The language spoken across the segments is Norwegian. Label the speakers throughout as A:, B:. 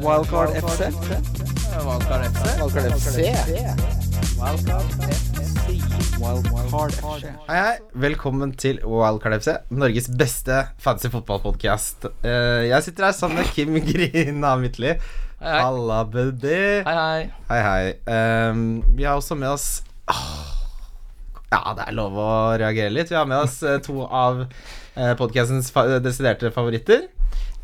A: Wildcard FC.
B: Wildcard FC.
A: Wildcard FC. Wildcard FC.
C: Hei, hei. Velkommen til Wildcard FC, Norges beste fancy fotballpodkast. Eh, jeg sitter her sammen med Kim Grina Midtly.
B: Hei, hei.
C: Halla, buddy.
B: Hei, hei.
C: Hei, hei. Ehm, vi har også med oss Åh. Ja, det er lov å reagere litt. Vi har med oss eh, to av uh, podkastens fa desiderte favoritter.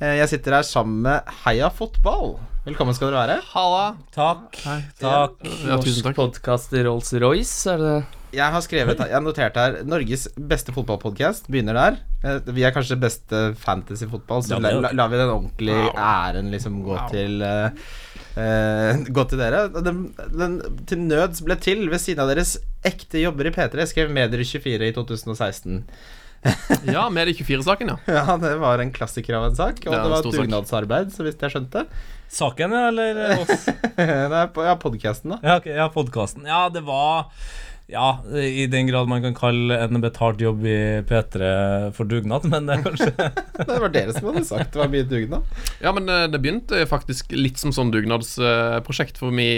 C: Eh, jeg sitter her sammen med Heia Fotball. Velkommen skal dere være.
B: Halla.
D: Takk. Takk.
E: Ja, tusen takk.
B: Podkast i Rolls-Royce, er det det?
C: Jeg har skrevet, jeg har notert her Norges beste fotballpodkast. Begynner der. Eh, Vi er kanskje beste fantasy-fotball, så
D: Ja,
C: la-
D: det-
C: la- lar vi den ordentlige æren liksom gå til eh, eh, Gå til dere. Og Den, den til nøds ble til ved siden av deres ekte jobber i P3, skrev Medier24 i 2016.
E: Ja, med de 24-saken, ja.
C: Ja, det var en klassiker av en sak, og
E: Det
C: det,
E: er en
C: var
E: stor
C: et
E: sak.
C: dugnadsarbeid, så vidt jeg skjønte.
D: Saken, eller eh, oss?
C: Det er på, ja, podkasten, da.
D: Ja, ok, ja podkasten. Ja, det var Ja, i den grad man kan kalle en betalt jobb i P3 for dugnad, men det er kanskje
C: Det var dere som hadde sagt det var mye dugnad.
E: Ja, men eh, det begynte faktisk litt som sånn dugnadsprosjekt, eh, for vi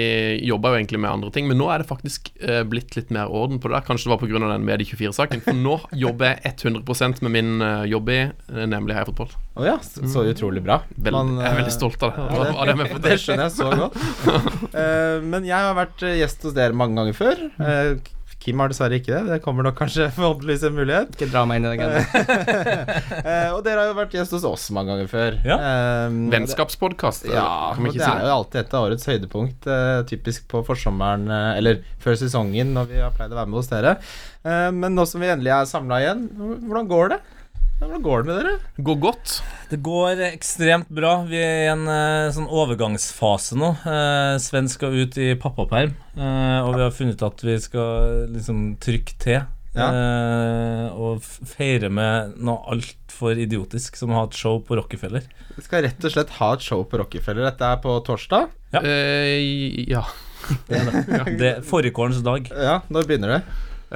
E: jobba jo egentlig med andre ting. Men nå er det faktisk eh, blitt litt mer orden på det der. Kanskje det var pga. den med de 24-saken. For nå jobber jeg 100 med min eh, jobb i, eh, nemlig Heia Fotball.
C: Å ja, så, så utrolig bra.
E: Mm. Veldig- jeg er
C: eh,
E: veldig stolt av det.
C: Ja,
E: Av det vi har fått
C: det
E: til.
C: skjønner jeg så godt. Eh, men jeg har vært eh, gjest hos dere mange ganger før.
A: Mm.
C: Eh, Kim har dessverre ikke det. Det kommer nok kanskje forhåpentligvis en mulighet.
A: Ikke dra meg inn i den greia.
C: Eh, og dere har jo vært gjest hos oss mange ganger før.
D: Ja.
C: Eh, og det-
E: Vennskapspodkast. eh,
C: Ja,
E: kan vi
C: og
E: ikke
C: det
E: si
C: er jo alltid et av årets høydepunkt, eh, typisk på forsommeren, eh, eller før sesongen, når vi har pleid å være med hos dere. Eh, men nå som vi endelig er samla igjen, hvordan går det? Ja, Hvordan går det med dere?
E: Gå godt.
D: Det går ekstremt bra. Vi er i en eh, sånn overgangsfase nå. Eh, Sven skal ut i pappaperm, eh, og vi har funnet ut at vi skal liksom trykke til.
C: Ja.
D: eh, og f- feire med noe altfor idiotisk, som å ha et show på Rockefeller.
C: Vi skal rett og slett ha et show på Rockefeller. Dette er på torsdag.
D: Ja.
E: Eh, ja.
D: Det er fårikålens dag.
C: Ja, når begynner det?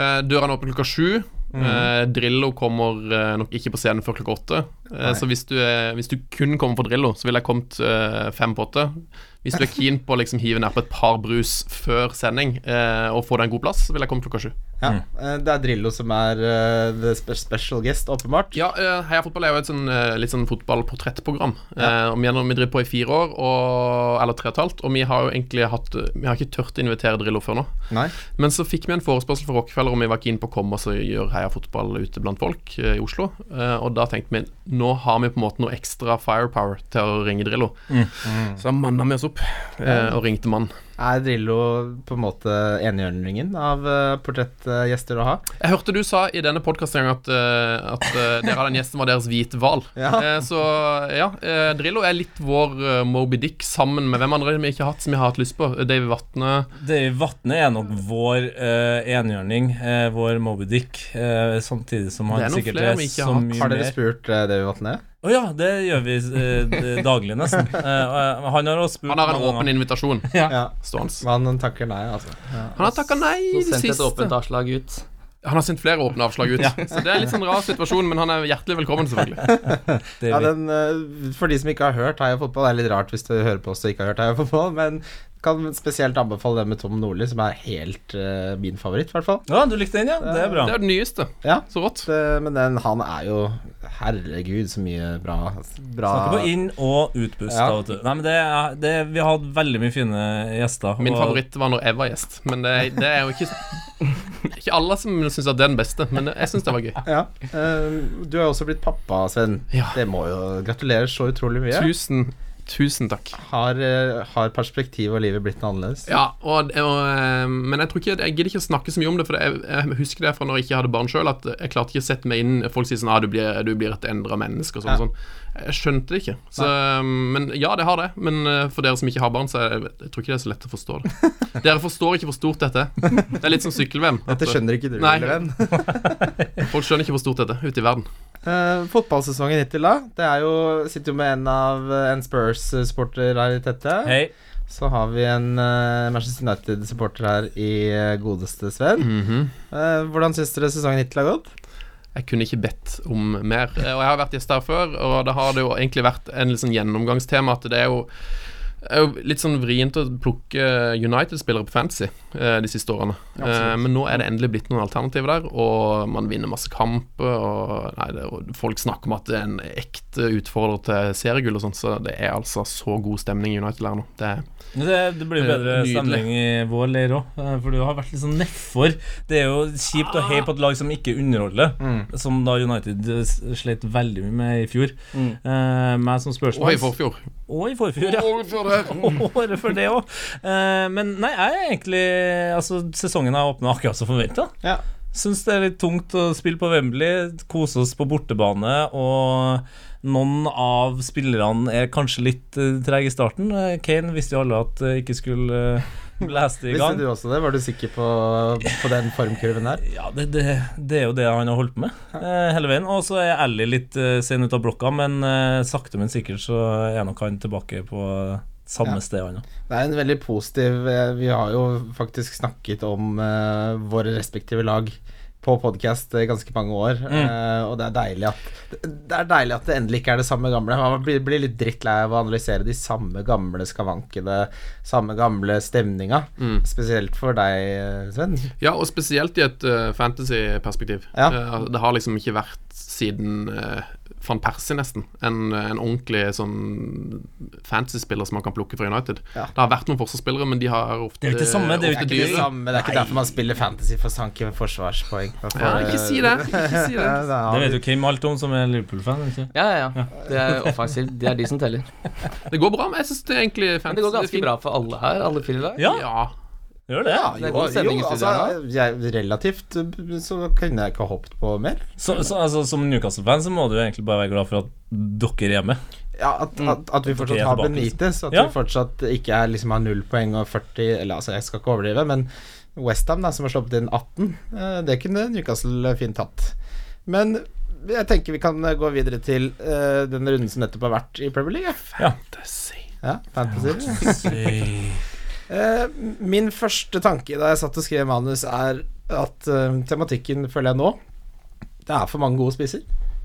E: Eh, Dørene er åpne klokka sju. Eh, Drillo kommer eh, nok ikke på scenen før klokka åtte. Eh, så hvis du, er, hvis du kun kommer for Drillo, så ville jeg kommet eh, fem på åtte. Hvis du er keen på å liksom hive nedpå et par brus før sending eh, og få deg en god plass, så ville jeg kommet klokka sju.
C: Ja,
D: Mm.
C: eh, Det er Drillo som er eh, the spe special guest, åpenbart.
E: Ja, eh, Heia Fotball er jo et sånn, eh, litt sånn fotballportrettprogram. Eh, og vi, gjennom- vi driver på i fire år, og, eller tre og et halvt, og vi har jo egentlig hatt Vi har ikke turt å invitere Drillo før nå.
C: Nei.
E: Men så fikk vi en forespørsel fra Rockefeller om vi var keen på å komme oss og gjøre heia fotball ute blant folk eh, i Oslo. Eh, og da tenkte vi nå har vi på en måte noe ekstra firepower til å ringe Drillo.
C: Mm.
E: Så da manna vi oss opp eh, og ringte mann.
C: Er Drillo på en måte enhjørningen av eh, portrettgjester å ha?
E: Jeg hørte du sa i denne podkasten at, eh, at eh, dere hadde en gjest som var deres hvit hval.
C: Ja.
E: Eh, så ja, eh, Drillo er litt vår eh, Moby Dick sammen med hvem andre vi ikke har hatt som vi har hatt lyst på. Davy Vatne.
D: Davy Vatne er nok vår uh, enhjørning, eh, vår Moby Dick, eh, samtidig som
E: Det
D: han
E: er noen
D: sikkert
E: flere
D: er
E: vi ikke
D: så
E: har hatt.
D: mye
C: Har dere
D: mer.
C: spurt eh, det vi var ned?
D: Å ja, det gjør vi eh, d- daglig, nesten. Eh, og, eh, han har også spurt
E: Han har en
D: mange
E: åpen
D: ganger.
E: invitasjon
C: Ja.
E: stående.
C: Men han takker nei, altså.
E: Han har takka nei i
A: Så
E: det
A: sendte et
E: siste.
A: åpent avslag ut.
E: Han har sendt flere åpne avslag ut, så det er en litt sånn rar situasjon, men han er hjertelig velkommen, selvfølgelig.
C: Ja,
D: Davy.
C: den, eh, for de som ikke har hørt Heia Fotball, det er litt rart hvis du hører på oss og ikke har hørt Heia Fotball, men kan spesielt anbefale den med Tom Nordli, som er helt eh, min favoritt, i hvert fall.
D: Ja, du likte den, ja? Det er bra.
E: Det er det nyeste.
C: Ja.
E: Så rått.
C: Det- Men den, han er jo Herregud, så mye bra, bra
D: Snakker på inn- og utpust.
C: Ja.
D: da, vet du. Nei, men det, er- det, vi har hatt veldig mye fine gjester.
E: Min
D: og-
E: favoritt var når jeg var gjest, men det, det er jo ikke Ikke alle som syns at det er den beste, men jeg syns det var gøy.
C: Ja. eh, du har jo også blitt pappa, Sven.
E: Ja.
C: Det må jo Gratulerer så utrolig mye.
E: Tusen, tusen takk.
C: Har, eh, har perspektivet og livet blitt noe annerledes?
E: Ja, og, og, eh, men jeg tror ikke Jeg gidder ikke å snakke så mye om det, for jeg, jeg husker det fra når jeg ikke hadde barn sjøl, at jeg klarte ikke å sette meg inn Folk sier sånn ah, du, blir, du blir et endra menneske og sånn.
C: Ja.
E: og sånn. Jeg skjønte det ikke. Så, eh, men ja, det har det. Men eh, for dere som ikke har barn, så er, jeg tror ikke det er så lett å forstå det. Dere forstår ikke hvor stort dette er. Det er litt som sykkel-VM. at,
C: Dette skjønner ikke du,
E: Nei.
C: lille venn.
E: Folk skjønner ikke hvor stort dette er ute i verden.
C: Eh, fotballsesongen hittil, da. Det er jo Sitter jo med en av eh, en Spurs-supporter her i tette.
D: Hei.
C: Så har vi en eh, Manchester United-supporter her i eh, godeste Sven.
E: Mhm.
C: Eh, hvordan syns dere sesongen hittil har gått?
E: Jeg kunne ikke bedt om mer. Eh, Og jeg har vært gjest her før, og det har det jo egentlig vært en litt sånn gjennomgangstema at det er jo er jo litt sånn vrient å plukke United-spillere på fantasy eh, de siste årene. Eh, men nå er det endelig blitt noen alternativer der, og man vinner masse kamper. Og, nei, det, og folk snakker om at det er en ekte utfordrer til seriegull og sånt, så det er altså så god stemning i United her nå. Det er
D: Men Det, det blir bedre
E: Nydelig.
D: stemning i vår leir òg, for du har vært litt sånn nedfor. Det er jo kjipt å heie på et lag som ikke underholder, som da United eh, slet veldig mye med i fjor.
A: Mm.
D: Eh, meg som
E: Og i
D: spørsmål
E: forfjor.
D: Og i forfjor, ja. Året for det òg. Men nei, jeg er egentlig Altså, sesongen har åpna akkurat som forventa.
C: Ja.
D: Syns det er litt tungt å spille på Wembley, kose oss på bortebane, og noen av spillerne er kanskje litt uh, trege i starten. Eh, Kane visste jo alle at eh, ikke skulle uh, blæste i
C: Visste
D: gang.
C: du også det? Var du sikker på, på den formkurven der?
D: Ja, det, det, det er jo det han har holdt på med eh, hele veien. Og så er Ally litt eh, sen ut av blokka, men eh, sakte, men sikkert så er nok han tilbake på samme
C: Ja.
D: sted, han òg.
C: Det er en veldig positiv eh, Vi har jo faktisk snakket om eh, våre respektive lag på podkast ganske mange år, eh, og det er deilig at det- Det er deilig at det endelig ikke er det samme gamle. Man blir, blir litt drittlei av å analysere de samme gamle skavankene, samme gamle stemninga. Spesielt for deg, eh, Sven.
E: Ja, og spesielt i et eh, fantasy-perspektiv.
C: Ja.
E: Eh, det har liksom ikke vært siden eh, van Persie, nesten, en, eh, en ordentlig sånn fantasy-spiller som man kan plukke fra United.
C: Ja.
E: Det har vært noen forsvarsspillere, men de har ofte
D: Det er jo ikke det samme, det er jo
E: ofte
C: Det er ikke, det samme, det er ikke derfor man spiller fantasy for å sanke forsvarspoeng. eh,
E: Ja, ikke si det. Ikke si det.
D: Det vet jo Kim alt om, som er Liverpool-fan. ikke?
B: Ja, ja, ja. Det er offensivt. Det er de som teller.
E: Det går bra, men jeg syns det er egentlig
B: Men
E: fantasy
B: det går
E: er fint.
B: ganske bra for alle her, alle fire lag.
D: Ja,
E: Ja.
D: gjør det.
B: Det er god stemning i studio her nå.
C: altså, jeg, relativt eh, så kunne jeg ikke hoppet på mer.
D: Så, så, altså, som Newcastle-fan så må du jo egentlig bare være glad for at dere er hjemme.
C: Ja, at, at, at vi fortsatt
D: Mm. er
C: har
D: tilbake, liksom.
C: Benitez, at
D: Ja.
C: vi fortsatt ikke er, liksom, har null poeng og 40 Eller altså, jeg skal ikke overdrive, men Westham, som har sluppet inn 18, eh, det kunne Newcastle fint tatt. Men jeg tenker vi kan gå videre til eh, den runden som nettopp har vært i Premier League. ja.
E: Fantasy.
C: Ja, fantasy.
D: Nei,
C: Eh, min første tanke da jeg satt og skrev manus, er at eh, tematikken føler jeg nå Det er for mange gode spisser.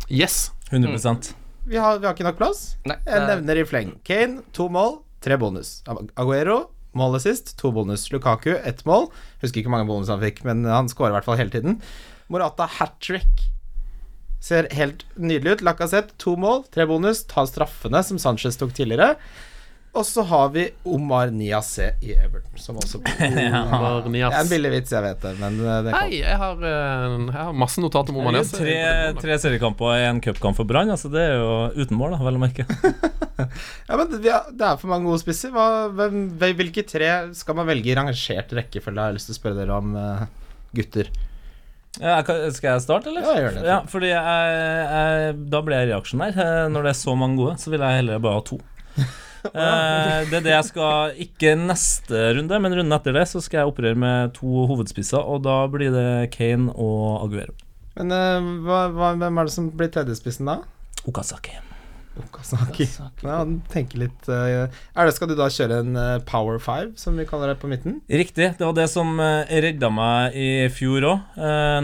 E: Yes.
D: 100
C: Vi har, vi har ikke nok plass.
B: Nei,
C: Jeg
B: det er-
C: nevner i fleng. Kane, to mål, tre bonus. Aguero, målet sist, to bonus. Lukaku, ett mål. Husker ikke hvor mange bonus han fikk, men han scorer i hvert fall hele tiden. Morata, hat trick. Ser helt nydelig ut. Lacassette, to mål, tre bonus. Tar straffene, som Sanchez tok tidligere. Og så har vi Omar Niasse i Everton, som også
E: Omar Nias.
C: Det er en billig vits, jeg vet det, men eh, det
E: Hei,
C: kom.
E: jeg har, eh, jeg har masse notater om Omar Nias.
D: Tre, tre seriekamper og én cupkamp for Brann. Altså, det er jo uten mål, da, vel å merke.
C: Ja, men vi har, Det er for mange gode spisser. Hva, hvem, hvil- hvilke tre skal man velge i rangert rekkefølge? Jeg har lyst til å spørre dere om eh, gutter.
D: Ja, jeg kan- skal jeg starte, eller?
C: Ja, gjør det.
D: Ja, fordi jeg, jeg, da blir jeg reaksjonær. Eh, Når det er så mange gode, så vil jeg heller bare ha to. Eh, det er det jeg skal Ikke neste runde, men runden etter det, så skal jeg operere med to hovedspisser, og da blir det Kane og Aguero.
C: Men eh, hva, hva, hvem er det som blir tredjespissen da?
D: Okazaki.
C: Okazaki.
B: Altså,
C: Ja, han tenker litt eh, er det, Skal du da kjøre en eh, power five, som vi kaller det på midten?
D: Riktig. Det var det som eh, redda meg i fjor òg.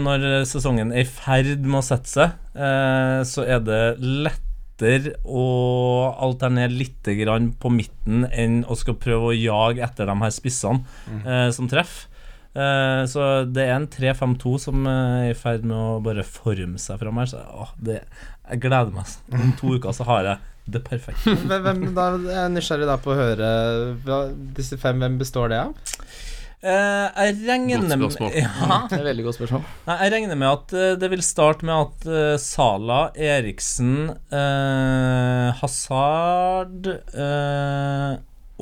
D: Når sesongen er i ferd med å sette seg, eh, så er det lettere å alternere litt grann på midten enn å skal prøve å jage etter de her spissene
E: Mhm.
D: eh, som treffer. Eh, Så det er en 3-5-2 som eh, er i ferd med å bare forme seg fram her. Så åh, det, jeg gleder meg. altså. Om to uker så har jeg det perfekte.
C: Hvem, hvem da, jeg er nysgjerrig da på å høre hva, disse fem. Hvem består det av?
D: Eh, Jeg regner
E: Godt spørsmål.
D: Ja,
B: Det er et veldig godt spørsmål.
D: Nei, jeg regner med at eh, det vil starte med at eh, Sala, Eriksen, eh, Hazard eh,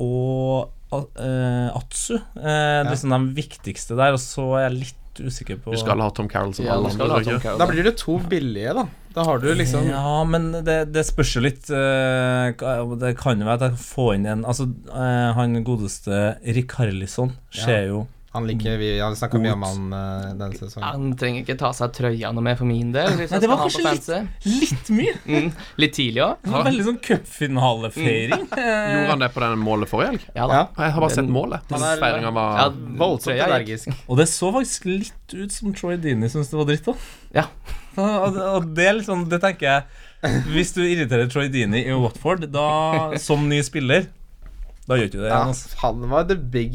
D: og eh, Atsu. Eh,
C: Ja.
D: Liksom de viktigste der, og så er jeg litt usikker på
E: Du skal ha Tom Carroll som
B: Ja,
E: alle
B: du skal
E: andre. tror
B: ha
E: jeg
B: Tom
E: ikke?
B: Carroll.
C: Da blir det to billige, da. Da har du liksom
D: Ja, men det, det spørs jo litt eh, ka- Det kan jo være at jeg får inn en Altså, eh, han godeste Rikarlison ser jo
C: Han liker vi Han snakka
D: God.
C: mye om han eh, denne sesongen.
B: Han trenger ikke ta seg av trøya noe mer for min del. Hvis
D: Nei,
B: jeg
D: det var
B: skal ha på
D: kanskje litt-
B: fancy.
D: litt mye!
B: Mm, litt tidlig òg.
D: Det var Veldig sånn cupfinalefeiring.
E: Gjorde han det på den målet forrige helg?
B: Ja da.
C: Ja.
E: Jeg har bare
B: Den-
E: sett målet.
C: Han er-
E: Feiringa var
B: Ja,
C: Voldsomt
B: trøya gikk.
C: energisk.
D: Og det så faktisk litt ut som Troy Dini syntes det var dritt, da.
B: Ja.
D: Og det- Og det er litt sånn, det tenker jeg Hvis du irriterer Troy Dini i Watford, da, som ny spiller Da gjør ikke du det
C: Ja,
D: igjen, altså.
C: han var the big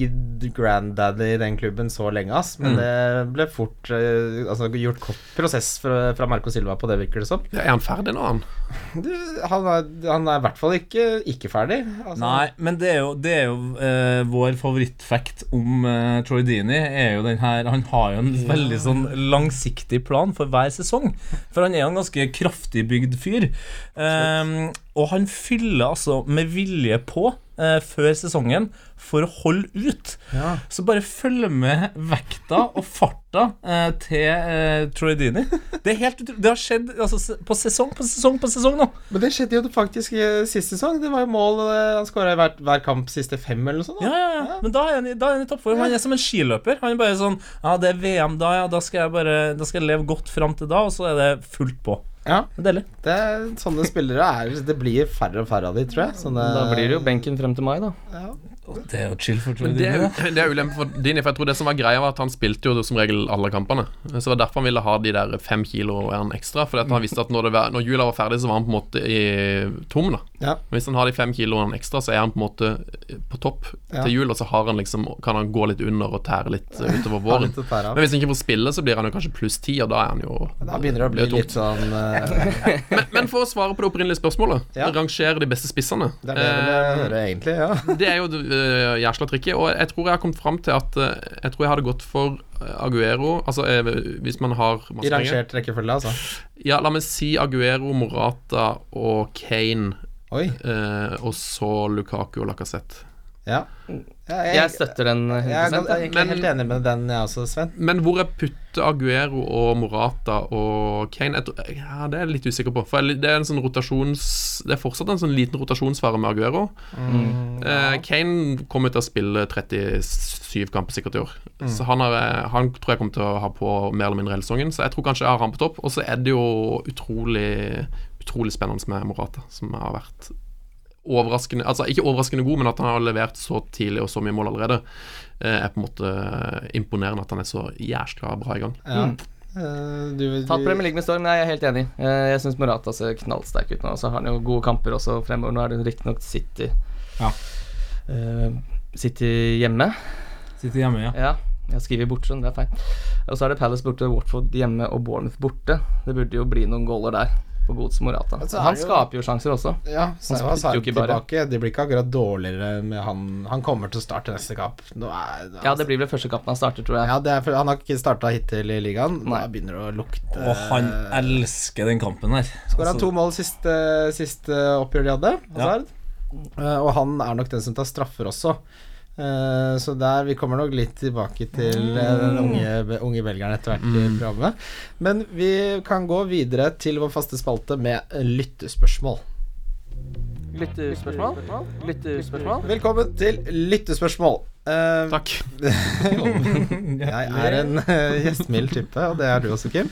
C: granddaddy i den klubben så lenge, ass. Men det ble fort eh, altså, gjort kort prosess fra, fra Marco Silva på det, virker det som.
E: Ja, er han ferdig nå, han?
C: Du, han, er, han er i hvert fall ikke, ikke ferdig. Altså,
D: Nei, men det er jo, det er jo eh, vår favorittfact om eh, Troy Dini. Er jo den her, han har jo en veldig sånn langsiktig plan for hver sesong. For han er jo en ganske kraftig bygd fyr. Ehm, og han fyller altså med vilje på eh, før sesongen for å holde ut.
C: Ja.
D: Så bare følg med vekta og farta eh, til eh, Troy Dini. Det, er helt, utro- det har skjedd altså, se- på sesong på sesong på sesong nå.
C: Men det skjedde jo faktisk i sist sesong. Det var jo mål eh, Han skåra i hver, hver kamp siste fem, eller noe sånt. da.
D: Ja, ja, ja. Men da er han i, da er han i toppform. Han er som en skiløper. Han er bare sånn Ja, det er VM da, ja. Da skal jeg bare Da skal jeg leve godt fram til da, og så er det fullt på.
C: Ja.
D: Det er Deilig.
C: Det, er- sånne spillere er Det blir færre og færre av de, tror jeg. Sånne,
B: Da blir det jo benken frem til mai, da.
D: Det er jo chill for Troy
E: Men det er,
D: Dini.
E: jo- det er ulempe for Dini, for jeg tror det som var greia, var at han spilte jo som regel alle kampene. Så det var derfor han ville ha de der fem kiloene ekstra. Fordi at han visste at når, det var, når jula var ferdig, så var han på en måte i tom, da.
C: Ja.
E: Men Hvis han har de fem kiloene ekstra, så er han på en måte eh, på topp
C: Ja.
E: til jul, og så har han liksom, kan han gå litt under og tære litt eh, utover
C: har
E: våren.
C: litt å tære av.
E: Men hvis han ikke får spille, så blir han jo kanskje pluss ti, og da er han jo
C: Da begynner det å bli
E: tungt.
C: litt sånn eh,
E: Men, men for å svare på det opprinnelige spørsmålet,
C: Ja.
E: rangere de beste spissene.
C: Det er det jeg
E: Eh,
C: vil høre, egentlig. Ja.
E: det er jo øh, jæsla tricky, og jeg tror jeg har kommet fram til at øh, jeg tror jeg hadde gått for øh, Aguero Altså øh, hvis man har masse
C: I rangert rekkefølge, altså.
E: Ja, la meg si Aguero, Morata og Kane,
C: Oi.
E: øh, og så Lukaku og Lacassette.
C: Ja. Ja,
B: Jeg støtter den eh,
C: Jeg er,
B: 100
C: gans- jeg er egentlig
E: Men-
C: helt enig med den, jeg også, Sven.
E: Men hvor jeg putter Aguero og Morata og Kane jeg tror, Ja, Det er jeg litt usikker på. For jeg- det er en sånn rotasjons Det er fortsatt en sånn liten rotasjonsfare med Aguero. Eh, Kane kommer til å spille 37 kamper sikkert i år. Så han, er, han tror jeg kommer til å ha på mer eller mindre hele sesongen. Så jeg tror kanskje jeg har han på topp. Og så er det jo utrolig Utrolig spennende med Morata, som har vært overraskende Altså ikke overraskende god, men at han har levert så tidlig og så mye mål allerede, eh, er på en måte imponerende at han er så jæskla bra i gang.
C: Ja. Eh, Du, du,
B: Tatt Premier League med storm, nei, jeg er helt enig. Eh, Jeg syns Morata ser knallsterk ut nå. Så har han jo gode kamper også fremover. Nå er det riktignok City.
D: Ja.
B: Eh, City hjemme.
D: Sitter hjemme, ja.
B: Ja, jeg skriver bort, sånn, det er feil. Og så er det Palace borte, Watford hjemme og Bournemouth borte. Det burde jo bli noen goaler der, på Gods Morata.
C: Altså, er
B: Han
C: jo-
B: skaper jo sjanser også.
C: ja, så
B: Han
C: var
B: spilte jo
C: Sarri
B: ikke bare.
C: tilbake. Det blir ikke akkurat dårligere med han Han kommer til å starte neste kamp. Nå er, nå-
B: Ja, det blir vel første kampen han starter, tror jeg.
C: ja, det er, for han har ikke starta hittil i ligaen. Da
B: Nei.
C: begynner det å lukte
D: Og han elsker den kampen her. Altså,
C: Skåra to mål siste, siste oppgjør de hadde, Hazard. Eh, og han er nok den som tar straffer også. Eh, så der Vi kommer nok litt tilbake til eh, den unge, unge belgeren etter hvert i programmet. Men vi kan gå videre til vår faste spalte med lyttespørsmål.
B: Lyttespørsmål? Lyttespørsmål?
C: Velkommen til lyttespørsmål. Eh,
E: Takk.
C: jeg er en eh, gjestmild type, og det er du også, Kim.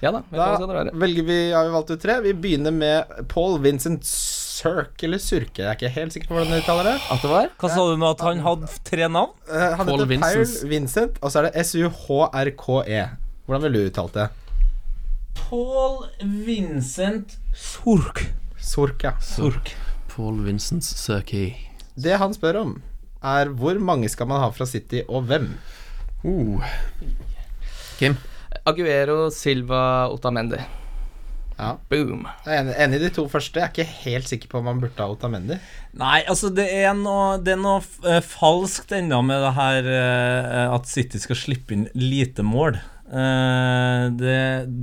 B: Ja da.
C: Da
B: velkommen skal dere være.
C: velger vi, har vi valgt ut tre. Vi begynner med Paul Vincent Cirk, eller Surke, jeg er ikke helt sikker på hvordan du uttaler det.
B: At det var?
D: Hva sa du nå, at han hadde tre navn?
C: Eh, han
E: Paul
C: heter
E: Vincent.
C: Paul Vincent, og så er det S-U-H-R-K-E. E. Hvordan ville du uttalt det?
D: Paul Vincent Sork.
C: Sork, ja.
D: Sork.
E: Paul Vincent Serkey.
C: Det han spør om, er hvor mange skal man ha fra City, og hvem?
E: Uh.
B: Aguero, Silva, Otamendi.
C: Ja.
B: Boom.
C: Jeg er enig, enig i de to første. Jeg er ikke helt sikker på om man burde ha Otamendi.
D: Nei, altså det er noe, det er noe eh, falskt ennå med det her eh, at City skal slippe inn lite mål. Eh, det,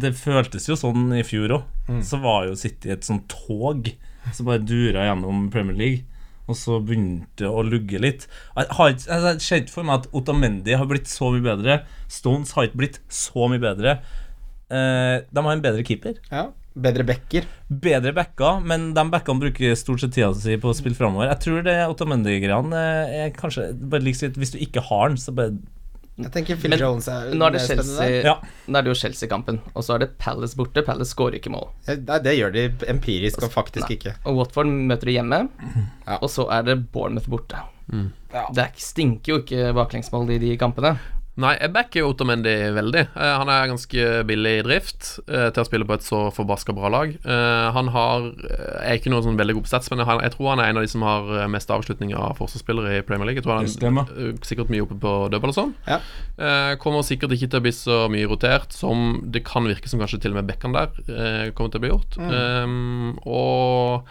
D: det føltes jo sånn i fjor òg. Så var jo City et sånt tog som bare dura gjennom Premier League. Og så begynte det å lugge litt. Jeg har ikke- altså, Det skjer ikke for meg at Otamendi har blitt så mye bedre. Stones har ikke blitt så mye bedre. Eh, de har en bedre keeper
C: Ja. Bedre backer.
D: bedre backer, men de backene bruker stort sett tida si på å spille framover. Jeg tror det Otamendi-greiene eh, er kanskje bare like sikkert, Hvis du ikke har den, så bare
C: Jeg tenker Phil
B: Men
C: Jones er
B: Nå er det
C: mer spennende
B: Chelsea
C: der.
D: Ja.
B: Nå er det jo Chelsea-kampen, og så er det Palace borte. Palace skårer ikke mål.
C: Eh, Nei, det gjør de empirisk og faktisk ikke.
B: Og Watford møter de hjemme,
C: Ja. Mm.
B: og så er det Bournemouth borte. Det er- stinker jo ikke baklengsmål i de kampene.
E: Nei, jeg backer jo Otamendi veldig. Eh, han er ganske billig i drift eh, til å spille på et så forbaska bra lag. Eh, han har er ikke noe sånn veldig god på stats, men han, jeg tror han er en av de som har eh, mest avslutninger av forsvarsspillere i Premier League. Jeg tror han
D: Det stemmer.
E: er eh, sikkert mye oppe på double og sånn.
C: Ja.
E: Eh, kommer sikkert ikke til å bli så mye rotert som det kan virke som kanskje til og med Beckham der eh, kommer til å bli gjort. Eh, og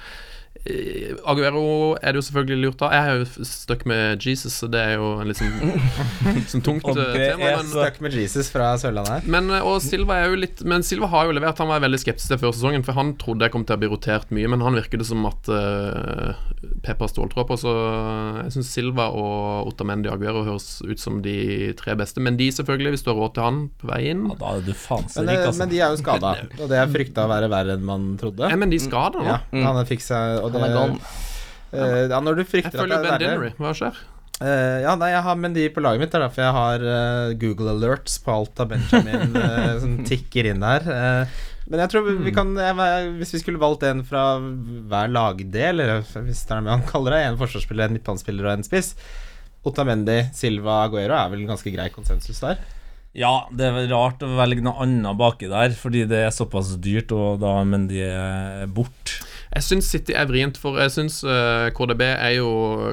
E: Eh, Aguero er det jo selvfølgelig lurt av. Jeg er jo stuck med Jesus, så det er jo en litt sånn sånn tungt
D: Og
E: eh,
D: det
E: tema.
D: er
E: Men,
D: så-
C: Snakk med Jesus fra Sørlandet her.
E: men, eh, og Silva er jo litt Men Silva har jo levert. Han var veldig skeptisk til før sesongen, for han trodde jeg kom til å bli rotert mye, men han virket det som at uh, Pep har ståltråd på, så eh, jeg syns Silva og Otamendi og Aguero høres ut som de tre beste. Men de, selvfølgelig, hvis du har råd til han på vei inn.
D: Ja, da er du faen så
C: Men,
D: rik,
C: eh,
D: altså.
C: men de er jo skada, og det er frykta å være verre enn man trodde.
E: Eh, men de skader nå.
C: Ja, han fikk seg og det,
B: Han er gone.
C: eh, ja, når du
E: Jeg
C: frykter at
E: følger
C: det
E: jo
C: er
E: Ben
C: verre
E: Dinnery. Hva skjer?
C: Eh, ja, nei, jeg har Mendy på laget mitt. Det er derfor jeg har eh, Google Alerts på alt av Benjamin eh, som tikker inn her. Eh, men jeg tror vi, vi kan jeg, var- Hvis vi skulle valgt en fra hver lagdel, eller hvis det er det han kaller det, en forsvarsspiller, en midtbanespiller og en spiss Otamendi, Silva, Aguero er vel en ganske grei konsensus der.
D: Ja, det er vel rart å velge noe annet baki der, fordi det er såpass dyrt, og da men de er bort.
E: Jeg syns City er vrient, for jeg syns eh, KDB er jo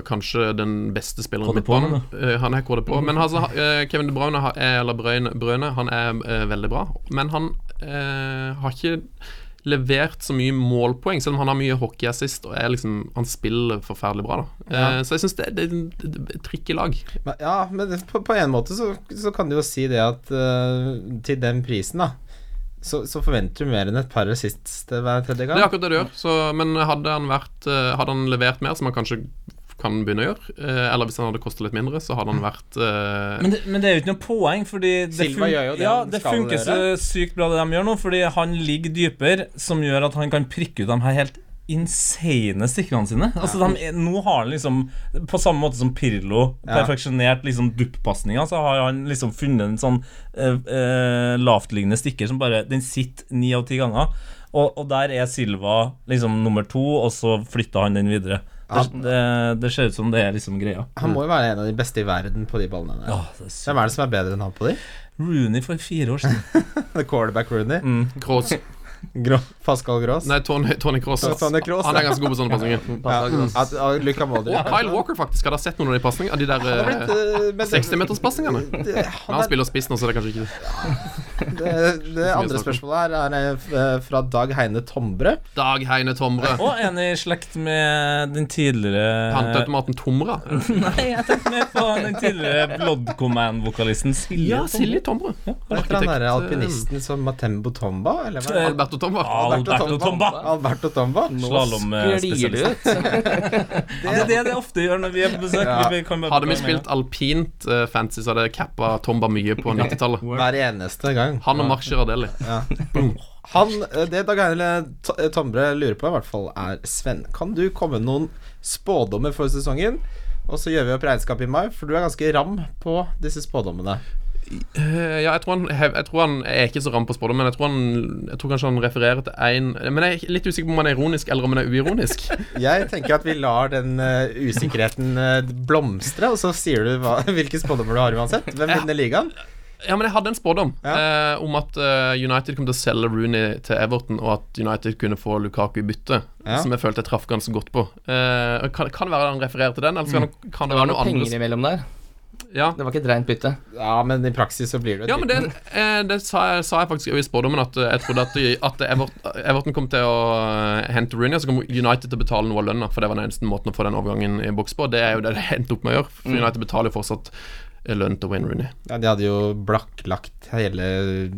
E: kanskje den beste spilleren
D: KDP,
E: på midtbanen. Eh, han er KDP, men altså, ha- eh, Kevin De Bruyne, har- eh, eller Brøyne, Brøyne han er eh, veldig bra, men han eh, har ikke levert så mye målpoeng, selv om han har mye hockeyassist og er liksom, han spiller forferdelig bra. da Eh, Så jeg syns det, det, det, det er trikk i lag.
C: Men, ja, men det- på, på en måte så, så kan du jo si det at eh, til den prisen, da, så, så forventer du mer enn et par assists til hver tredje gang.
E: Det er akkurat det det gjør. Så, men hadde han, vært, eh, hadde han levert mer, som han kanskje kan begynne å gjøre, eh, eller hvis han hadde kosta litt mindre, så hadde han vært eh,
D: Men det, men det er jo ikke noe poeng, fordi det,
C: Silva
D: fun-
C: gjør jo det
D: ja,
C: han
D: det
C: skal
D: funker så
C: gjøre.
D: sykt bra, det de gjør nå, fordi han ligger dypere, som gjør at han kan prikke ut de her helt insane stikkerne sine. Altså, de, er- nå har han liksom, på samme måte som Pirlo
C: Ja.
D: perfeksjonert liksom dupp-pasninga, så har han liksom funnet en sånn eh, eh, lavtliggende stikker som bare Den sitter ni av ti ganger. Og, og der er Silva liksom nummer to, og så flytter han den videre. Det, det, det ser ut som det er liksom greia.
C: Han må jo være en av de beste i verden på de ballene der.
D: Ja, det er sykt.
C: Hvem er det som er bedre enn han på de?
D: Rooney for fire år siden.
C: The quarterback Rooney.
E: Kroos.
C: Gro Pascal Gross.
E: Mm. Nei, Tony, Tony Cross.
C: Ja, Tony Kroos,
E: Han er
C: ja.
E: ganske god på sånne pasninger.
C: Ja, at, at Luka Modric
E: Og Kyle Walker, faktisk. Hadde jeg sett noen av de pasningene? Av de
C: Han har
E: der
C: blitt, eh, men det-
E: 60-meterspasningene?
C: det- han
E: Han
C: er-
E: spiller spiss nå, så det er kanskje ikke
C: Det, det andre spørsmålet her er eh, fra Dag Heine Tombre.
E: Dag Heine Tomre.
D: Og en i slekt med den tidligere
E: Panteautomaten Tomra.
D: Nei, jeg tenkte mer på den tidligere Blood Command-vokalisten Silje.
E: Ja, Silje Tomre.
C: Hva heter han derre
E: Arkitekt,
C: alpinisten som Matembo Tomba? Eller hva?
E: eh, Alberto Tomra.
D: Alberto Tomba.
C: Alberto Tomba.
D: eh, Slalåmspesialist.
B: Sklir det ut?
D: Det er det det ofte gjør når vi er på besøk.
C: Ja.
D: Vi kan bare
E: Hadde vi spilt alpint eh, fancy, så hadde jeg cappa Tomba mye på 90-tallet.
C: Hver eneste gang.
E: Han og Mark Girardelli.
C: Han, eh, det Dag Heine To- eh, Tombre lurer på, i hvert fall, er Sven. Kan du komme med noen spådommer for sesongen? Og så gjør vi opp regnskap i mai, for du er ganske ram på disse spådommene.
E: Eh, Ja, jeg tror han, hev- jeg tror han Jeg er ikke så ram på spådom, men jeg tror, han, jeg tror kanskje han refererer til én Men jeg er litt usikker på om han er ironisk, eller om han er uironisk.
C: Jeg tenker at vi lar den eh, usikkerheten eh, blomstre, og så sier du hva, hvilke spådommer du har uansett. Hvem vinner ligaen?
E: Ja, men jeg hadde en spådom eh, om at eh, United kom til å selge Rooney til Everton, og at United kunne få Lukaku i bytte,
C: Ja.
E: som jeg følte jeg traff ganske godt på. Eh, kan, kan være han refererer til den, eller så kan, kan det
B: Det var
E: være
B: noe
E: noe
B: penger
E: annet.
B: imellom der.
E: Ja.
B: Det var ikke et rent bytte.
C: Ja, men i praksis så blir det
E: Ja, men det, eh, det sa, jeg, sa jeg faktisk i spådommen, at eh, jeg trodde at, at Everton, Everton kom til å eh, hente Rooney, og så kom United til å betale noe av lønna, for det var den eneste måten å få den overgangen i boks på. Det er jo det det endte opp med å gjøre, for United betaler jo fortsatt eh, lønn til Wayne Rooney.
C: ja, De hadde jo blakklagt hele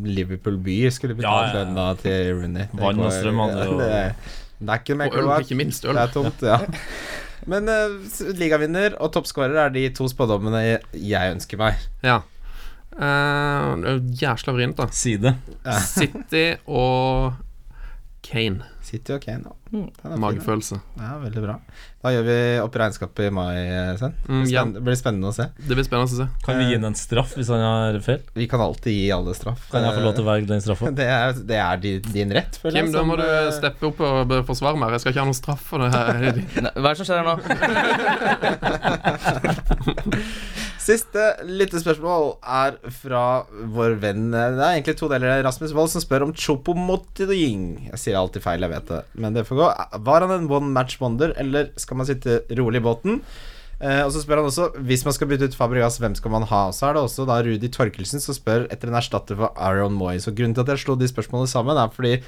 C: Liverpool by, skulle betalt
D: Ja, ja, ja.
C: lønna til Rooney. Det
D: Vann og
C: går-
D: strøm hadde jo-
C: det, det er ikke mer
E: Og øl,
C: kloakk.
E: ikke minst øl.
C: Det er tomt, ja. Men eh, s- ligavinner og toppskårer er de to spådommene jeg- jeg ønsker meg.
E: Ja. Eh, det er jo jævla vrient, da.
D: Si det.
E: City og Kane.
C: City og Kane. ja.
D: Mm.
C: Den er fin, ja.
E: Magefølelse.
C: Ja, veldig bra. Da gjør vi opp regnskapet i mai, eh, Sven.
E: Mm, ja.
C: Spenn- Det blir spennende å se.
E: Det blir spennende å se.
D: Kan vi gi ham en straff hvis han har feil?
C: Vi kan alltid gi alle straff.
D: Kan jeg få lov til å velge den straffa?
C: Det er, det er di- din rett, føler
E: Kim, da
C: som,
E: må du
C: eh,
E: steppe opp og be- forsvare meg. Jeg skal ikke ha noen straff for det her.
B: Nei, Hva er det som skjer her nå?
C: Siste lyttespørsmål er fra vår venn eh, Det er egentlig to deler. Rasmus Wold som spør om Chopo Motidoing. Jeg sier alltid feil, jeg vet det, men det får gå. Var han en one match wonder, eller skal man sitte rolig i båten? Eh, og så spør han også Hvis man skal bytte ut Fabregas, hvem skal man ha? Og så er det også da Rudi Torkelsen som spør etter en erstatter for Aaron Moyes. Og grunnen til at jeg slo de spørsmålene sammen, er fordi